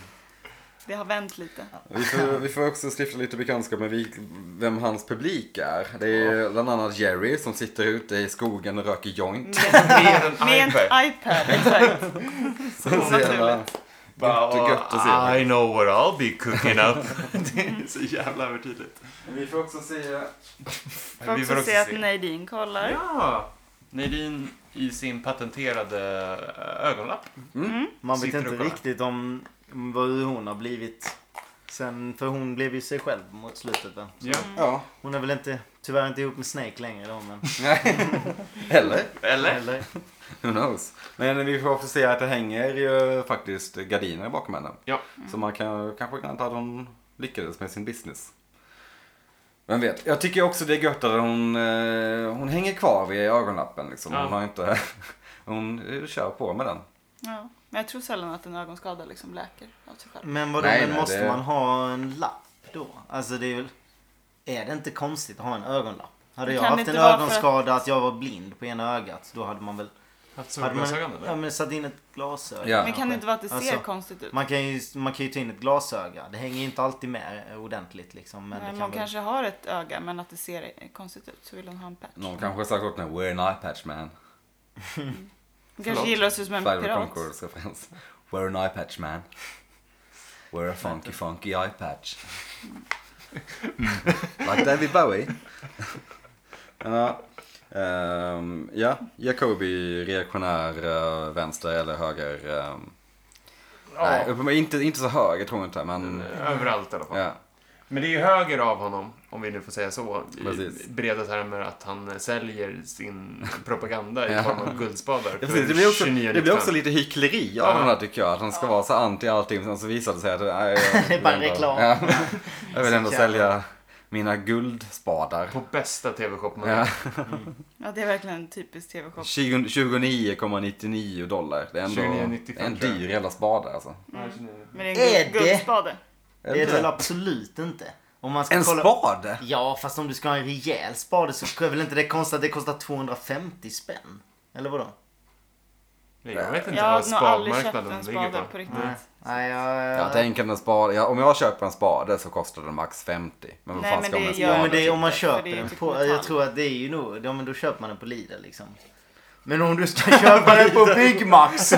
C: Det har vänt lite.
B: Vi får, vi får också stifta lite bekantskap med vi- vem hans publik är. Det är bland annat Jerry som sitter ute i skogen och röker joint.
D: Med en
C: Med en
D: iPad.
C: iPad, exakt.
B: Så jävla-
C: Onaturligt.
D: Bara, "Ah,
B: gött att se.
D: I know what I'll be cooking up. det är så jävla övertydligt.
B: Vi får också se
C: Får
D: Vi
C: också,
D: får också
C: se att
D: se.
C: Nadine kollar.
D: Ja! Nadine i sin patenterade eh, ögonlapp.
A: Man vet
D: Sitter
A: inte
D: och kollar.
A: riktigt om vad hon har blivit. Sen, för hon blev ju sig själv mot slutet va?
D: Ja.
B: Ja.
A: Hon är väl inte, tyvärr inte ihop med Snake längre då men.
B: Nej. Eller?
D: Eller?
A: Eller?
B: Who knows? Men vi får också se att det hänger ju faktiskt gardiner bakom henne.
D: Ja.
B: Så man kan kanske kan anta att hon lyckades med sin business. Vem vet? Jag tycker också det är gött att hon, eh, hon hänger kvar vid ögonlappen liksom.
D: Ja.
B: Hon har inte... Hon eh, kör på med den.
C: Ja. Men jag tror sällan att en ögonskada liksom läker av sig själv.
A: Men vadå,
B: Nej,
A: men
B: nej,
A: måste
B: det-
A: man ha en lapp då? Alltså det är väl... Är det inte konstigt att ha en ögonlapp? Hade
C: Det
A: jag
C: kan
A: haft
C: inte
A: en
C: vara för att-
A: ögonskada att jag var blind på ena ögat då hade man väl...
D: Haft
A: Hade man,
D: solglasögon eller?
A: ja men satt in ett glasöga.
B: Ja.
C: Men kan det inte vara att det ser
A: Alltså,
C: konstigt ut?
A: Man kan, ju, man kan ju ta in ett glasöga. Det hänger ju inte alltid med ordentligt liksom. Men
C: Nej,
A: det kan
C: Eh, man
A: väl...
C: kanske har ett öga men att det ser eh, konstigt ut så vill hon ha en patch.
B: Någon kanske har sagt åt henne, we're an eye patch man.
C: Hon kanske gillar att se ut som en
B: Flight of the
C: pirat.
B: Conchords referens. We're an eye patch man. We're a funky funky eye patch. Mm. like David Bowie. Ja, ehm, ja, Jacobi reaktionär eh, vänster eller höger. ehm, Nej,
D: Ja. Mm.
B: men inte, inte så höger tror jag inte, men
D: Överallt i alla fall.
B: ja.
D: Men det är ju höger av honom, om vi nu får säga så,
B: Precis.
D: i breda termer att han säljer sin propaganda i
B: Ja.
D: form av guldspadar.
B: Ja, precis. Det blir, också, det blir också lite hyckleri av den här tycker jag. Att han ska vara så anti allting. men Sen så visar det sig att... nej, jag
A: Det är
B: vill
A: bara
B: ändå-
A: reklam.
B: Ja. Jag vill ändå
A: Så jävla-
B: sälja mina guldspadar.
D: På bästa TV-shop man
B: Ja.
C: Ja, det är verkligen en typisk tv-shop.
B: 20 29,99 dollar. Det är ändå
D: 29,95
B: en
D: tror jag.
B: dyr jävla spade alltså.
C: Men det är en
A: Är
C: guld-
A: det?
C: guldspade.
B: Är
A: Det är
B: det
A: det väl
B: det?
A: absolut inte. Om man ska
B: En
A: kolla...
B: spade?
A: Ja, fast om du ska ha en rejäl spade så är väl inte det konstigt att det kostar 250 spänn? Eller vadå?
D: Nej, jag vet inte
C: Jag
D: vad
C: har nog aldrig köpt
D: spadmarknaden
C: en spade
D: ligger
C: på
D: på.
C: riktigt.
A: Nej, Nej jag...
B: Jag tänker en spade, ja, om jag köper en spade så kostar den max 50. Men vad
C: Nej,
B: fan
C: men
B: ska man
C: det
B: en
C: gör-
A: Ja,
B: spade?
A: men det är om man
C: För
A: köper
C: det är ju
A: den
C: typ
A: på...
C: metall.
A: Jag tror att det är ju nog... Ja, men då köper man den på Lidl liksom. Men om du ska köpa den på Byggmax?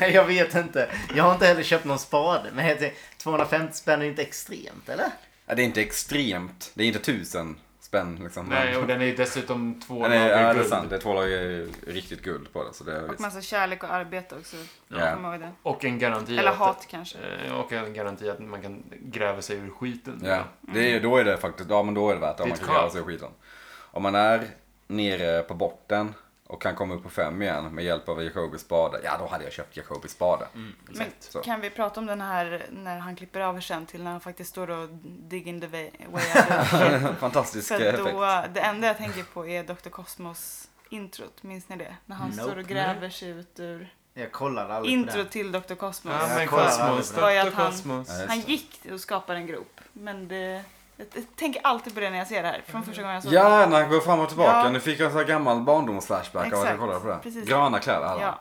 A: jag vet inte. Jag har inte heller köpt någon spade. Men jag tänker, 250 spänn är inte extremt, eller?
B: Ja, det är inte extremt. Det är inte tusen spänn liksom.
D: Nej,
B: men,
D: och den är ju dessutom två
B: men det, är, ja,
D: lager
B: det är
D: guld.
B: sant. Det är två lager riktigt guld på det. Så det är
C: Och
B: visst.
C: massa kärlek och arbete också.
B: Ja.
C: Kom ihåg det.
D: Och en garanti
C: Eller
D: att-
C: hat kanske.
D: eh, Och en garanti att man kan gräva sig ur skiten.
B: Ja, det är, då är det faktiskt, ja men då är det värt det om
D: Mm. Det är
B: man
D: ett
B: kan göra
D: krav.
B: sig skiten. Om man är nere på botten och kan komma upp på fem igen med hjälp av Jacobis spade, ja då hade jag köpt Jacobis spade.
C: Men
B: Så.
C: kan vi prata om den här när han klipper över sen till när han faktiskt står och dig in the way way out?
D: Mm.
B: Fantastisk
C: För
B: effekt.
C: då, alltså- det enda jag tänker på är Dr. Cosmos introt, minns ni det? När han står och gräver sig ut ur
A: Jag kollade aldrig på
C: intro
A: den.
C: till Dr. Cosmos.
D: Ja, men
A: Jag kollar
D: Cosmos.
A: aldrig
C: på det.
D: Dr. Cosmos.
B: Ja, just
C: han
B: det.
C: gick och skapade en grop. Men det, jag, jag tänker alltid på det när jag ser det här, från första gången jag såg det.
B: Ja, när han går fram och tillbaka.
C: Ja.
B: Nu fick jag en sån här gammal barndomsflashback av att jag
C: Exakt,
B: kollade på det.
C: precis.
B: Gröna kläder hade han.
C: Ja.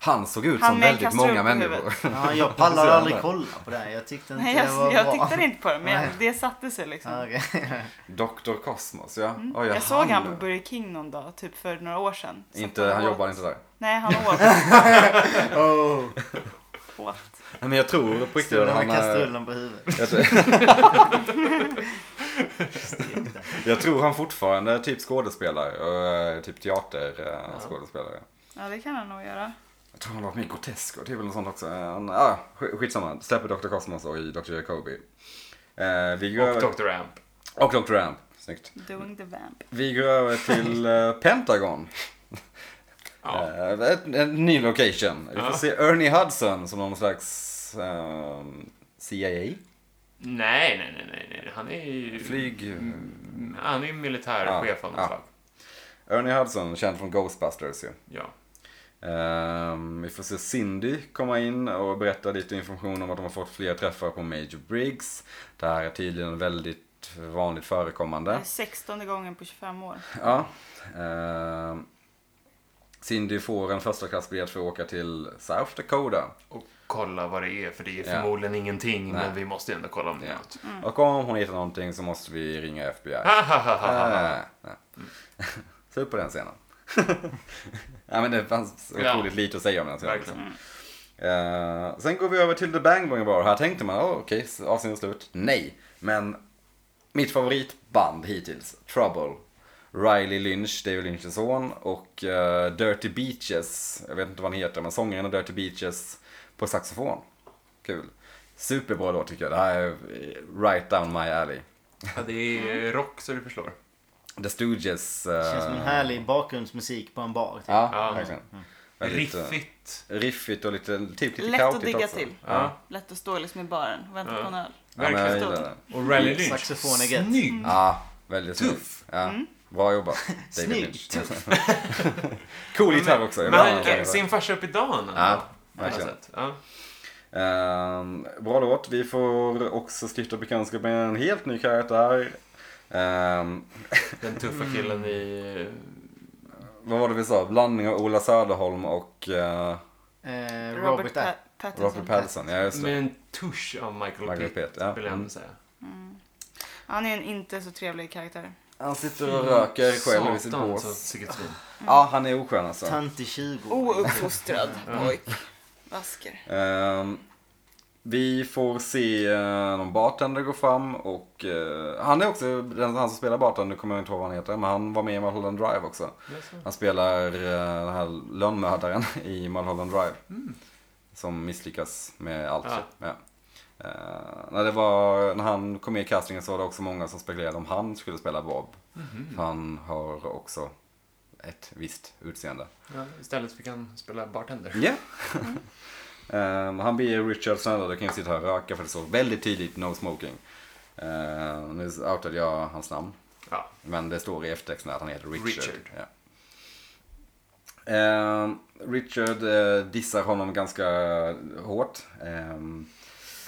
B: Han såg ut
C: Han
B: som
C: med en
B: väldigt
C: kastrull
B: många
C: på
B: människor.
A: Ja, jag pallade aldrig kolla på det. här. Jag tyckte inte
C: Nej,
A: det var
C: jag, jag
A: bra.
C: tittade inte på det, men jag,
A: Nej.
C: det satte sig liksom.
A: Ja, okej.
B: Dr. Cosmos, ja. Oj, ja,
C: Mm. Jag såg han på Burger King någon dag, typ för några år sedan. Så
B: Inte,
C: att
B: han
C: åt-
B: jobbar inte där.
C: Nej, han åt.
A: Oh,
C: åt.
B: Nej, men jag tror på riktigt att
A: Stod
B: han...
A: med
B: eh,
A: kastrullen på huvudet.
B: Jag tror, jag tror han fortfarande är typ skådespelare och eh, typ teaterskådespelare.
C: Ja, det kan han nog göra.
B: Jag tror han har varit med i Grotesco, det är väl något sånt också. Eh, Han, ah, sk- skitsamma, släpper Dr. Cosmos och i Dr. Jacobi. Eh, vi går över-
D: Och Dr. Amp.
B: och Dr. Amp, snyggt.
C: Doing the vamp.
B: Vi går över till eh, Pentagon.
D: Ja.
B: Eh, ett- en ny location. Vi får
D: Ja.
B: se Ernie Hudson som någon slags ehm, CIA.
D: Nej, nej, nej, nej, nej. Han är ju...
B: Flyg...
D: Mm, Han är ju militärchef av något
B: Ja, ja.
D: slag.
B: Ernie Hudson, känd från Ghostbusters ju.
D: Ja.
B: Ehm, vi får se Cindy komma in och berätta lite information om att de har fått fler träffar på Major Briggs. Det här är tydligen väldigt vanligt
C: Det
B: förekommande.
C: är 16 gången på 25 år.
B: Ja. Ehm, Cindy får en första klassbiljett för att åka till South Dakota.
D: Och kolla vad det är, för det är
B: Ja.
D: förmodligen ingenting,
B: Nej.
D: men vi måste ändå kolla om det är
B: Ja.
D: något.
B: Och om hon hittar någonting så måste vi ringa FBI.
D: Hahaha.
B: Äh, nej. Se upp på den scenen. ja, men det fanns
D: Ja.
B: otroligt lite att säga om den scenen. liksom.
D: Verkligen.
B: Eh, sen går vi över till The Bang Bang Bar. Här tänkte man, oh, okej, okay, avsnittet är slut. Nej, men mitt favoritband hittills, Trouble. Riley Lynch, David Lynchs son och eh, Dirty Beaches, jag vet inte vad han heter, men sångaren och Dirty Beaches på saxofon. Kul. Superbra låt tycker jag. Det här är eh, right down my alley.
D: Ja, det är rock så du förstår.
B: The Stooges. eh,
A: Känns som en härlig bakgrundsmusik på en bar. typ.
B: Ja,
D: Ja.
B: verkligen. Väldigt, eh,
D: Riffigt.
B: riffigt och lite, typ lite
C: Lätt att
B: kaotigt
C: digga
B: också.
C: till.
D: Ja.
C: Lätt att stå liksom i baren och vänta
D: Ja.
C: på en öl.
B: Ja, men jag
C: Verkligen.
B: gillar det.
D: Och Rally Lynch.
A: Saxofon är gött.
D: Snygg!
B: Ja, väldigt tuff. Ja.
D: Mm.
B: Bra jobbat. David
A: Snygg,
B: Lynch. cool gitarr också. jag
D: Men
B: vill
D: han
B: ha den.
D: är sin farsa upp i dagen.
B: Ja,
D: På något
B: verkligen.
D: sätt. Ja.
B: Ehm, bra låt. Vi får också stifta bekantskap med en helt ny karaktär. Ehm,
D: Den tuffa killen i...
B: vad var det vi sa? Blandning av Ola Söderholm och eh,
A: Eh,
C: Robert
A: Robert
C: pa-
A: A.
C: Pattinson.
B: Robert Pattinson. Ja, just det.
D: Med en tusch av Michael,
B: Michael
D: Michael
B: Pitt, ja.
D: vill jag ändå säga.
C: Han är en inte så trevlig karaktär.
B: Han sitter och röker själv i sitt
D: Satan,
B: bås.
D: så sicket svin.
B: Ja, han är oskön alltså.
A: Tant i 20.
C: Ouppfostrad pojk. Vasker.
B: Ehm, vi får se eh, någon bartender gå fram och eh, han är också den han som spelar bartender, nu kommer jag inte ihåg vad han heter, men han var med i Mulholland Drive också. Han spelar eh, den här lönnmördaren i Mulholland Drive. Som misslyckas med allt.
D: Ja.
B: Ja. Eh, när, det var, när han kom med i castingen så var det också många som spekulerade om han skulle spela Bob. För han har också ett visst utseende.
D: Ja, istället fick han spela bartender.
B: Ja. Ehm, han ber Richard snälla du kan ju sitta här och röka för det står väldigt tydligt no smoking. Ehm, nu outade jag hans namn.
D: Ja.
B: Men det står i eftertexten att han heter Richard.
D: Richard.
B: Ja. Ehm, Richard eh, dissar honom ganska hårt. Ehm,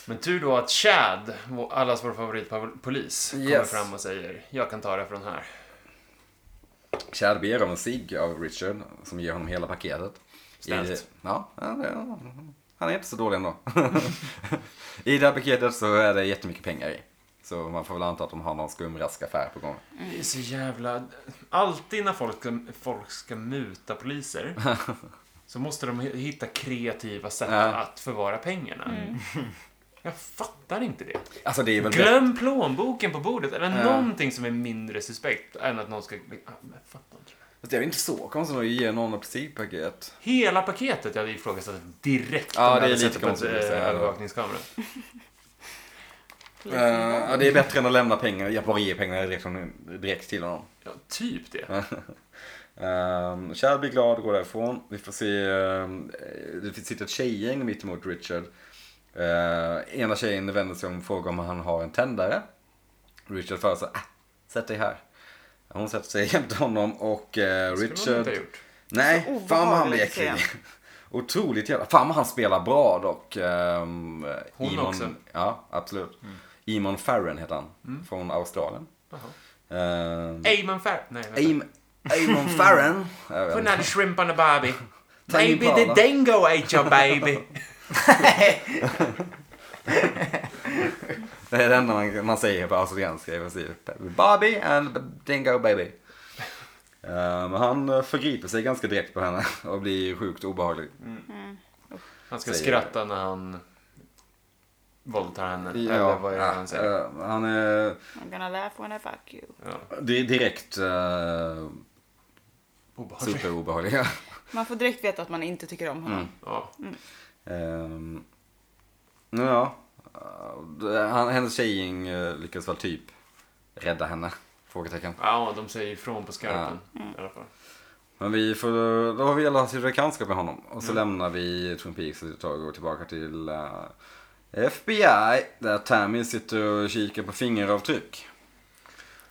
D: Men tur då att Chad, vår- allas vår favoritpolis, kommer
B: Yes.
D: fram och säger jag kan ta det från här.
B: Chad ber om en cigg av Richard som ger honom hela paketet.
D: Snällt.
B: I, ja, ja, det- han är inte så dålig ändå. I det här paketet så är det jättemycket pengar i. Så man får väl anta att de har någon skumraskaffär på gång.
D: Det är så jävla... Alltid när folk ska, folk ska muta poliser så måste de hitta kreativa sätt
B: Ja.
D: att förvara pengarna. Jag fattar inte det.
B: Alltså det är väl bättre.
D: Glöm plånboken på bordet eller
B: Ja.
D: någonting som är mindre suspekt än att någon ska... Ah, men jag fattar inte.
B: Det är inte så konstigt att ge någon ett ciggpaket.
D: Hela paketet jag hade ifrågasatt direkt
B: Ja,
D: jag
B: det är
D: hade
B: lite
D: sett på en,
B: konstigt att
D: eh,
B: säga.
D: övervakningskamera.
B: Eh, ja, det är bättre än att lämna pengar. Jag bara ger pengarna direkt, från- direkt till honom.
D: Ja, typ det.
B: Um, Chad blir glad och går därifrån. Vi får se, ehm, det sitter ett tjejgäng mitt emot Richard. Eh, ena tjejen vänder sig om och frågar om han har en tändare. Richard föreslår, ah, sätt dig här. Hon sätter sig jämte honom och eh,
D: Skulle man
B: Richard...
D: inte ha gjort.
B: Nej,
C: Så
B: fan vad han blir
C: obehagligt
B: äcklig. Otroligt jävla... Fan vad han spelar bra dock. Um,
D: Hon också. Mm.
B: Ja, absolut. Eamon Farren heter han. Från Australien.
D: Jaha.
B: Ehm,
D: Amen fair. Nej, vänta.
B: Eam- Eamon Farren. Jag vet inte.
D: Put another shrimp on the barbie.
B: Tame
D: Maybe the
B: Impala.
D: dingo ate your baby.
B: Det är det enda man, man säger på australienska i princip. Bobby and Dingo baby. Eh, Men han förgriper sig ganska direkt på henne och blir sjukt obehaglig.
D: Han ska
B: Säger-
D: skratta när han våldtar henne.
B: Ja,
D: Eller vad är det
B: ja,
D: han säger?
B: eh, han är
C: I'm gonna laugh when I fuck you.
D: Ja.
B: di- direkt uh,
D: Obehagligt.
B: superobehaglig. ja.
C: Man får direkt veta att man inte tycker om honom.
B: Mm.
D: Ja.
B: Ehm, ja, eh, han, hennes tjejgäng eh, lyckas väl typ rädda henne? Frågetecken.
D: ja, de säger ifrån på skarpen. I alla fall.
B: Men vi får, då har vi alla haft bekantskap med honom. Och
C: Mm.
B: så lämnar vi Twin Peaks ett tag och går tillbaka till eh, FBI. Där Tammy sitter och kikar på fingeravtryck.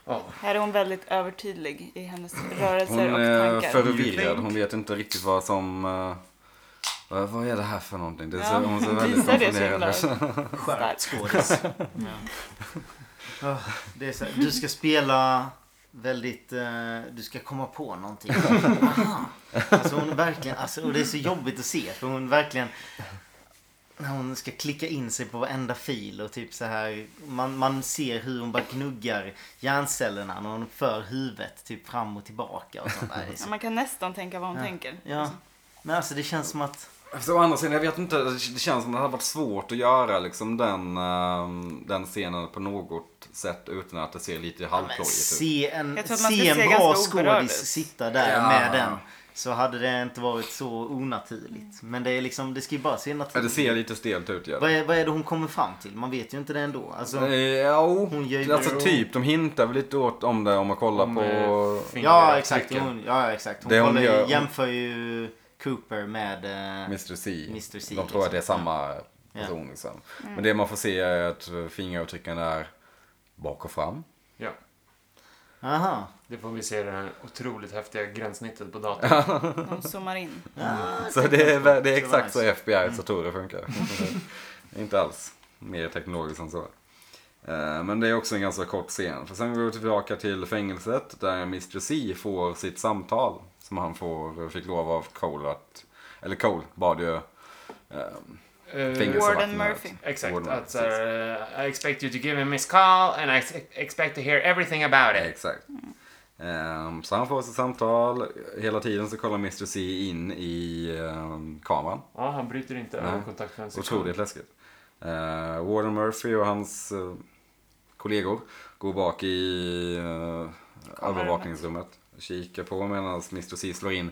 D: Ja.
C: Här är hon väldigt övertydlig i hennes
B: Hon eh,
C: rörelser och
B: är
C: tankar.
B: förvirrad. Hon vet inte riktigt vad som... eh, vad, vad är det här för någonting? Det ser,
C: Ja,
B: hon ser
C: hon
B: väldigt
C: visar det så himla.
B: konfunderad ut.
A: Skärpt skådis. Ja. Ah, det är så här, du ska spela väldigt... eh, du ska komma på någonting. Aha. Alltså hon är verkligen... Alltså, och det är så jobbigt att se. För hon verkligen... När hon ska klicka in sig på varenda fil och typ så här. Man, man ser hur hon bara gnuggar hjärncellerna när hon för huvudet typ fram och tillbaka och sånt där. Det är
C: Ja,
A: så-
C: man kan nästan tänka vad hon tänker.
A: Ja. Men alltså det känns som att...
B: Så å andra sidan, jag vet inte, det känns som det hade varit svårt att göra liksom den, ehm, den scenen på något sätt utan att det ser lite
A: Men
B: halvplojigt ut.
A: se en,
C: Jag tror att man ska
A: se en
C: se
A: bra
C: ganska oberörd ut.
A: skådis sitta där
B: Ja.
A: med den. Så hade det inte varit så onaturligt. Men det är liksom, det ska ju bara se
B: Ja, Det
A: naturligt
B: ser lite stelt ut gör
A: Vad
B: det.
A: är, vad är det hon kommer fram till? Man vet ju inte det ändå. Alltså,
B: Jo,
A: Hon gör ju-
B: eh, alltså typ, de hintar väl lite åt om det om man kollar
D: Om,
B: på...
D: eh,
A: ja, exakt.
D: fingeravtrycken.
A: Hon, ja, exakt. Hon,
B: Det hon
A: kollar ju-
B: gör- hon-
A: jämför ju Cooper med... eh,
B: Mr. C.
A: Mr. C,
B: De tror att det är
A: liksom.
B: samma
A: Ja.
B: person liksom. Men det man får se är att fingeravtrycken är bak och fram.
D: ja.
A: Aha.
D: Det får vi se det här otroligt häftiga gränssnittet på datorn.
C: De zoomar in.
B: Så det är, vä- det är
A: Så
B: exakt så
A: nice.
B: FBI Satoru funkar. inte alls mer teknologiskt än så. Eh, Men det är också en ganska kort scen. För sen går vi tillbaka till fängelset där Mr. C får sitt samtal. Som han får, fick lov av Cole att, eller Cole bad ju
D: Eh,
B: fängelsevakten.
C: Warden
B: att-
C: Murphy.
D: Exakt.
B: Warden
D: att,
B: Murphy, precis.
D: eh, I expect you to give him his call and I ex- expect to hear everything about
B: Ja,
D: it.
B: Exakt. Ehm, så han får sitt samtal. Hela tiden så kollar Mr. C in i ehm, kameran.
D: Ja, han bryter inte
B: Nej.
D: ögonkontakt för en sekund.
B: Otroligt läskigt. Eh, Warden Murphy och hans eh, kollegor går bak i eh, övervakningsrummet. Kikar på medan Mr. C slår in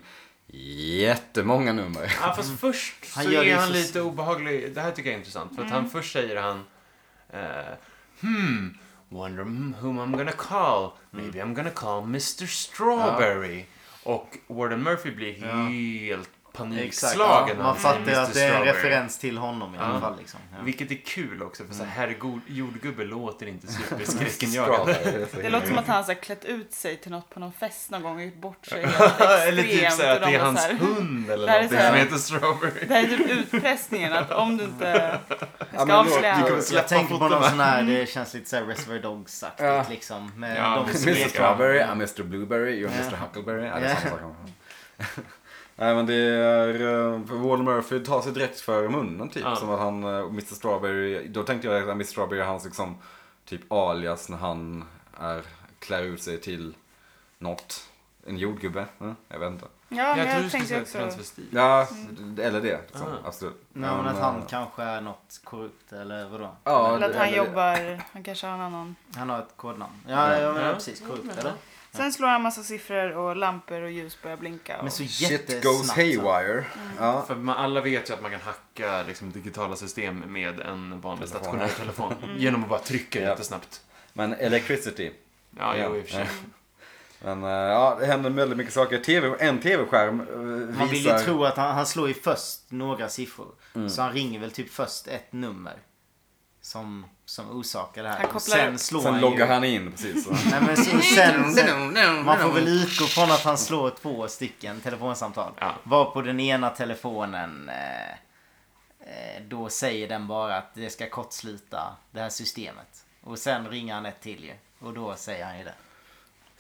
B: jättemånga nummer.
D: Ja, fast först
A: Mm. Han
D: så
A: gör det
D: är han
A: så-
D: lite obehaglig. Det här tycker jag är intressant. För att
C: Mm.
D: han först säger han... eh, hmm, wonder whom I'm gonna call.
A: Mm.
D: Maybe I'm gonna call Mr Strawberry. Och Warden Murphy blir helt
A: Exakt.
D: panikslagen.
A: Ja,
D: när han
A: man
D: säger
A: fattar ju att
D: Mr.
A: det är en
D: Strawberry.
A: referens Mm. till honom i alla
D: Ja.
A: fall. Liksom. Ja.
D: Vilket är kul också, för så här herrgod- jordgubbe låter inte
B: Strava,
D: superskräckenjagande.
B: är så
C: Det
B: himla-
C: låter som att han har klätt ut sig till något på någon fest någon gång och gjort bort sig helt
D: Eller typ
C: extremt,
D: så här
C: och
D: att
C: de
D: det är
C: var
D: hans
C: så här-
D: hund eller
C: Det här är
D: någonting
C: så här-
D: som heter Strawberry.
C: Det här är typ utpressningen att om du inte
B: Ja, men
C: ska
B: då-
C: avslöja
B: vi
C: allt.
B: kommer släppa
A: Jag tänker på någon
B: fotona.
A: sån här, det känns lite såhär Reservoir Dogs-aktigt
B: Ja.
A: liksom. Med
D: Ja,
A: de som
B: Mr.
A: leker.
B: Strawberry, I'm Mr. Blueberry, you're Mr. Huckleberry. Ja, det är samma sak. Nej men det är, eh, för Warren Murphy tar sig direkt för munnen typ.
D: Ja.
B: Som att han, eh, och Mr. Strawberry, då tänkte jag att Mr. Strawberry är hans liksom typ alias när han är, klär ut sig till något. En jordgubbe, eh, jag vet inte.
C: Ja, men
D: jag tror du
C: jag
D: skulle
C: tänkte
D: säga
C: också...
D: transvestit.
B: Ja, eller det. Liksom,
D: Ah.
B: absolut.
A: Nej, men att han
B: eh,
A: kanske är något korrupt eller vadå?
B: Ja,
C: Eller att han
B: eller-
C: jobbar, han kanske har en annan.
A: Han har ett kodnamn. Ja,
B: Ja.
A: ja, men
D: Ja.
A: precis. Korrupt eller?
C: Sen slår han massa siffror och lampor och ljus börjar blinka. Och...
A: Men så
B: Shit
A: jättesnabbt.
B: goes
A: så. Mm.
B: haywire. Ja.
D: För man, alla vet ju att man kan hacka liksom, digitala system med en
B: Telefon.
D: vanlig stationär telefon. Genom att bara trycka
B: Ja.
D: jättesnabbt.
B: Men electricity.
D: Ja,
B: Ja.
D: jo, i och för sig.
B: Men eh, ja, det händer väldigt mycket saker. TV, en tv-skärm eh, visar... Mm.
A: Man vill ju tro att han, han slår ju först några siffror. Så han ringer väl typ först ett nummer. Som, som orsakar det här.
C: Han
A: Och
C: kopplar
A: sen
C: upp.
A: slår
B: Sen
A: han
B: loggar
A: ju...
B: han in precis. Så.
A: Nej, men så, sen, sen, man får väl utgå från att han slår två stycken telefonsamtal.
D: Ja.
A: Var på den ena telefonen eh, eh, då säger den bara att det ska kortsluta det här systemet. Och sen ringer han ett till ju. Och då säger han ju det.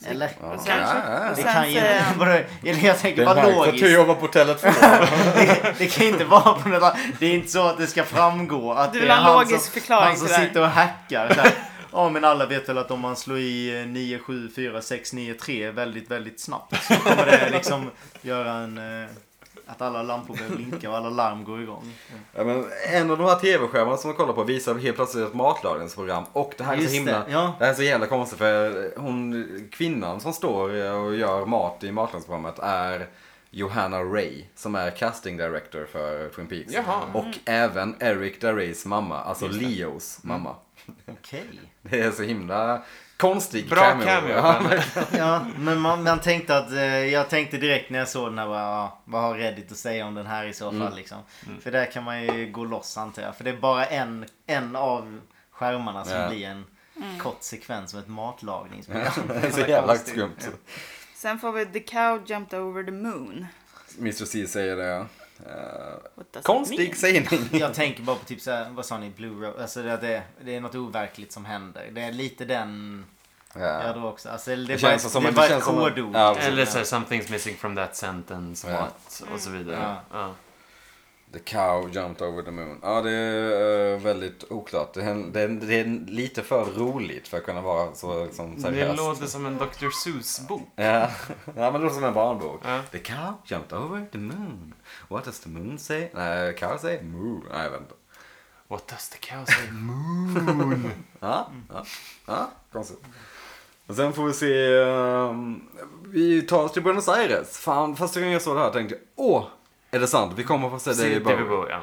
A: Eller?
C: Och
B: Ja,
C: sen, så,
B: ja, ja.
C: och
A: Det
C: sen
A: kan ju...
C: så är han-
A: Vadå? Eller jag tänker
B: Det är
A: bara
B: märkt att du
A: logiskt.
B: jobbar på hotellet för
A: Det, det kan inte vara på något annat. Det är inte så att det ska framgå att
C: Du
A: det
C: vill
A: är
C: ha en
A: han som,
C: logisk förklaring
A: han som
C: till det här.
A: sitter och hackar. Så här. Ja men alla vet väl att om man slår i eh, 9746993 väldigt, väldigt snabbt så kommer det liksom göra en... eh, Att alla lampor börjar blinka och alla larm går igång.
B: Ja, men en av de här tv-skärmarna som man kollar på visar helt plötsligt ett matlagningsprogram. Och det här är så
A: Just
B: himla...
A: det, ja.
B: Det här är så jävla konstigt för hon, kvinnan som står och gör mat i matlagningsprogrammet är Johanna Ray som är casting director för Twin Peaks.
D: Jaha.
B: Och
A: Mm.
B: även Eric Darays mamma, alltså Leos mamma.
A: Okej.
B: Det är så himla konstig
D: Bra cameo.
B: Ja, men-
A: Ja, men man, man tänkte att... eh, Jag tänkte direkt när jag såg den här bara, ja, vad har Reddit att säga om den här i så
B: Mm.
A: fall liksom. För där kan man ju gå loss antar jag. För det är bara en, en av skärmarna som
B: Ja.
A: blir en kort sekvens som ett matlagningsprogram. Alltså,
B: det är så jävla skumt.
C: sen får vi The Cow Jumped Over the Moon.
B: Mr C säger det. ja. Eh,
C: What does it mean?
B: konstig sägning.
A: Jag tänker bara på typ såhär, vad sa ni, Blue Road? Alltså det, det, det är något overkligt som händer. Det är lite den
B: Ja.
A: jag då också. Alltså det,
B: Det
A: är bara
B: känns
A: ett,
B: som
A: det är
B: att-
A: bara
B: det
A: ett
B: känns som att-
A: kodord.
B: ja,
D: Eller så här, something's missing from that sentence.
B: Ja.
D: What? Och så vidare.
A: Ja.
D: Ja.
B: The cow jumped over the moon. Ja, det är eh, väldigt oklart. Det är, det, är, det är lite för roligt för att kunna vara så liksom,
D: Det
B: seriöst.
D: låter som en Dr. Seuss-bok.
B: Ja. ja, men det låter som en barnbok.
D: Ja.
B: The cow jumped over the moon. What does the moon say? Nej, cow say? Moo. Nej, jag vet inte.
D: What does the cow say? Mm.
B: Ja, ja, ja, konstigt. Och sen får vi se. ehm, vi tar oss till Buenos Aires. Fan, första gången jag såg det här tänkte jag, åh, är det sant? Vi kommer få se
D: David
B: David Bowie.
D: Bowie, ja.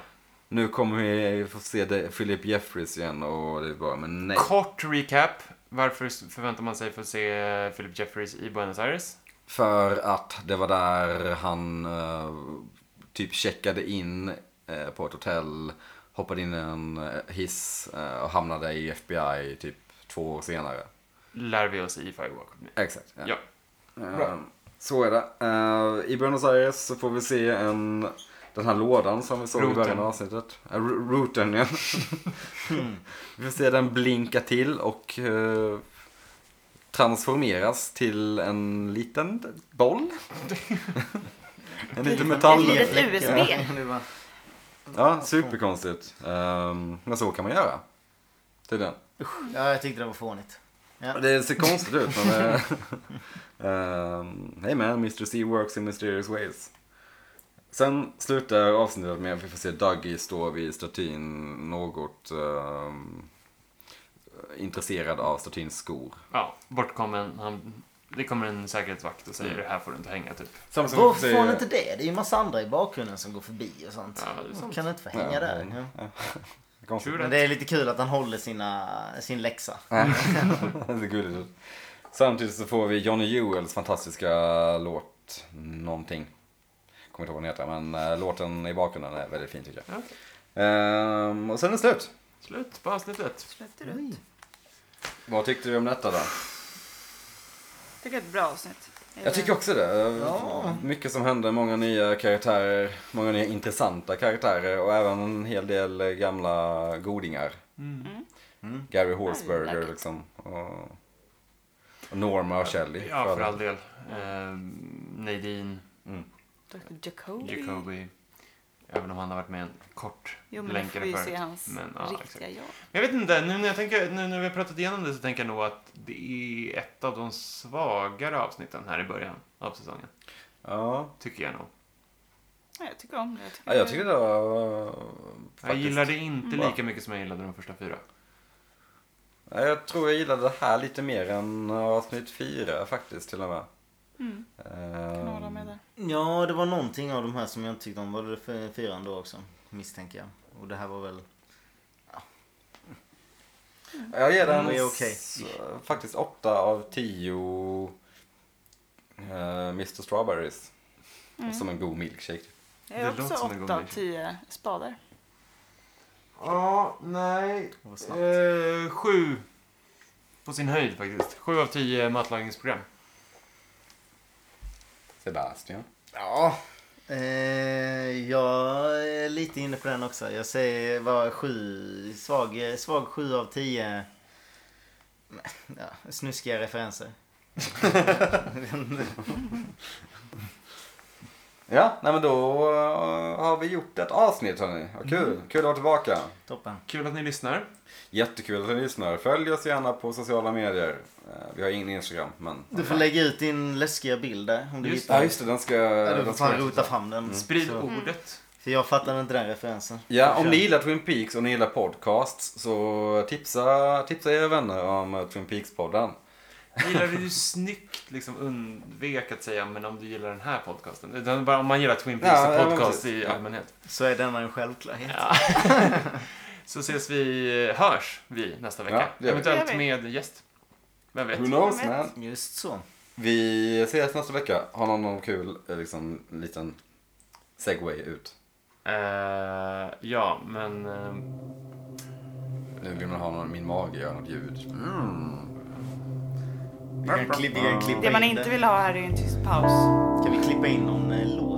B: Nu kommer vi få se det- Philip Jeffries igen och David Bowie, men nej.
D: Kort recap. Varför förväntar man sig få se Philip Jeffries i Buenos Aires?
B: För att det var där han eh, typ checkade in eh, på ett hotell, hoppade in i en eh, hiss eh, och hamnade i FBI typ två år senare.
D: Lär vi oss i Five Walk With Me.
B: Exakt. ja.
D: Ja.
B: Eh, så är det. Eh, I Buenos Aires så får vi se en, den här lådan som vi såg i
D: Routen.
B: början av avsnittet. Uh, routen, ja. Hmm. vi får se den blinka till och eh, transformeras till en liten boll. en liten metall.
C: Ett litet USB.
A: Det var-
B: Ja, superkonstigt. Ehm, men så kan man göra. Tydligen.
A: Ja, jag tyckte det var fånigt. Ja.
B: Det ser konstigt ut men... eh, ehm, hey man, Mr. C works in mysterious ways. Sen slutar avsnittet med att vi får se Dougie stå vid statyn något ehm, intresserad av statyns skor.
D: Ja, bortkommen. Han, det kommer en säkerhetsvakt och
B: Mm.
D: säger det här får du inte hänga, typ.
B: Samma som vi får
A: Varför
B: se-
A: får ni inte det? Det är ju massa andra i bakgrunden som går förbi och sånt.
D: Ja, det är sant.
A: kan inte få hänga där. Ja.
B: Konstigt.
D: Tror
A: Men det är lite kul att han håller sina, sin läxa.
B: det ser gulligt ut. Samtidigt så får vi Johnny Jewels fantastiska låt, någonting. Kommer inte ihåg vad den heter, men eh, låten i bakgrunden är väldigt fin tycker jag.
D: Ja.
B: Ehm, och sen är det slut.
D: Slut på avsnittet.
C: Släppte du ut?
B: Vad tyckte du om detta då?
C: Tycker det är ett bra avsnitt.
B: Jag tycker också det. Mycket som hände, många nya karaktärer, många nya intressanta karaktärer och även en hel del eh, gamla godingar.
D: Mm.
B: Gary
C: I
B: Horsberger
C: like it.
B: liksom. Och och Norma och Shelley.
D: Ja, för all del. Ehm, Nadine,
C: Dr. Jacobi.
D: Jacobi. Även om han har varit med en kort
C: Jo, men då får vi ju se hans
D: Men, ja,
C: riktiga
D: exakt.
C: jag.
D: Jag vet inte, nu när, jag tänker, nu när vi har pratat igenom det så tänker jag nog att det är ett av de svagare avsnitten här i början av säsongen.
B: Ja.
D: Tycker jag nog.
C: Ja, jag tycker om det. Jag tycker,
B: Ja, jag tycker det var... eh,
D: Jag
B: faktiskt-
D: gillade inte
C: Mm.
B: bra.
D: lika mycket som jag gillade de första fyra.
B: Ja, Jag tror jag gillade det här lite mer än avsnitt fyra faktiskt till och med. Ehm,
C: Mm, kan hålla med där.
A: Ja, det var någonting av de här som jag inte tyckte om. Var det för fyran då också? Misstänker jag. Och det här var väl...
B: Jag ger den eh,
A: Det är okej.
B: s- faktiskt 8 av 10 eh, Mr Strawberries. Som en god milkshake. typ.
C: Jag är
D: Det
C: också
D: låter som en god
C: 8 av
D: match.
C: 10 spadar.
D: Ja, nej.
A: Vad snabbt.
D: Eh, sju. På sin höjd faktiskt. Sju av tio matlagningsprogram.
B: Sebastian.
A: Ja. Eh, jag är lite inne på den också. Jag säger var sju, svag, svag sju av tio. Ja, snuskiga referenser.
B: Ja, nej men då eh, har vi gjort ett avsnitt hörni. Vad kul.
A: Mm.
B: Kul att vara tillbaka.
A: Toppen.
D: Kul att ni lyssnar.
B: Jättekul att ni lyssnar. Följ oss gärna på sociala medier. Eh, Vi har ingen Instagram men...
A: Du får lägga ut din läskiga bild där om du
D: Just
B: Ja
A: hittar.
B: just det, den ska...
A: Ja, du får
B: den ska
A: fan rota fram den.
D: Sprid
A: Så-
D: ordet.
A: För jag fattar inte den referensen.
B: Ja, om ni gillar Twin Peaks och ni gillar podcasts så tipsa, tipsa era vänner om eh, Twin Peaks-podden.
D: Jag gillar hur du snyggt liksom undvek att säga men om du gillar den här podcasten. Utan bara om man gillar Twin Peaks
B: Ja, ja,
D: och
B: men
D: podcast
B: precis.
D: i
B: Ja.
D: allmänhet.
A: Så är denna en självklarhet.
D: Så ses vi, hörs vi nästa
B: Ja,
D: vecka.
B: det gör vi.
C: Det
D: Eventuellt
C: gör
D: med gäst. Vem vet?
B: Who knows
C: Vem vet?
B: man?
A: Just så.
B: Vi ses nästa vecka. Har någon någon kul eh, liksom, liten segway ut?
D: Eh, ja, men... eh,
B: Nu vill man ha någon, min mage gör något ljud. Mm.
A: Vi kan, kli- vi kan klippa
C: Det man
A: in
C: inte
A: den.
C: vill ha här är ju en tyst paus.
A: Kan vi klippa in någon eh, låt?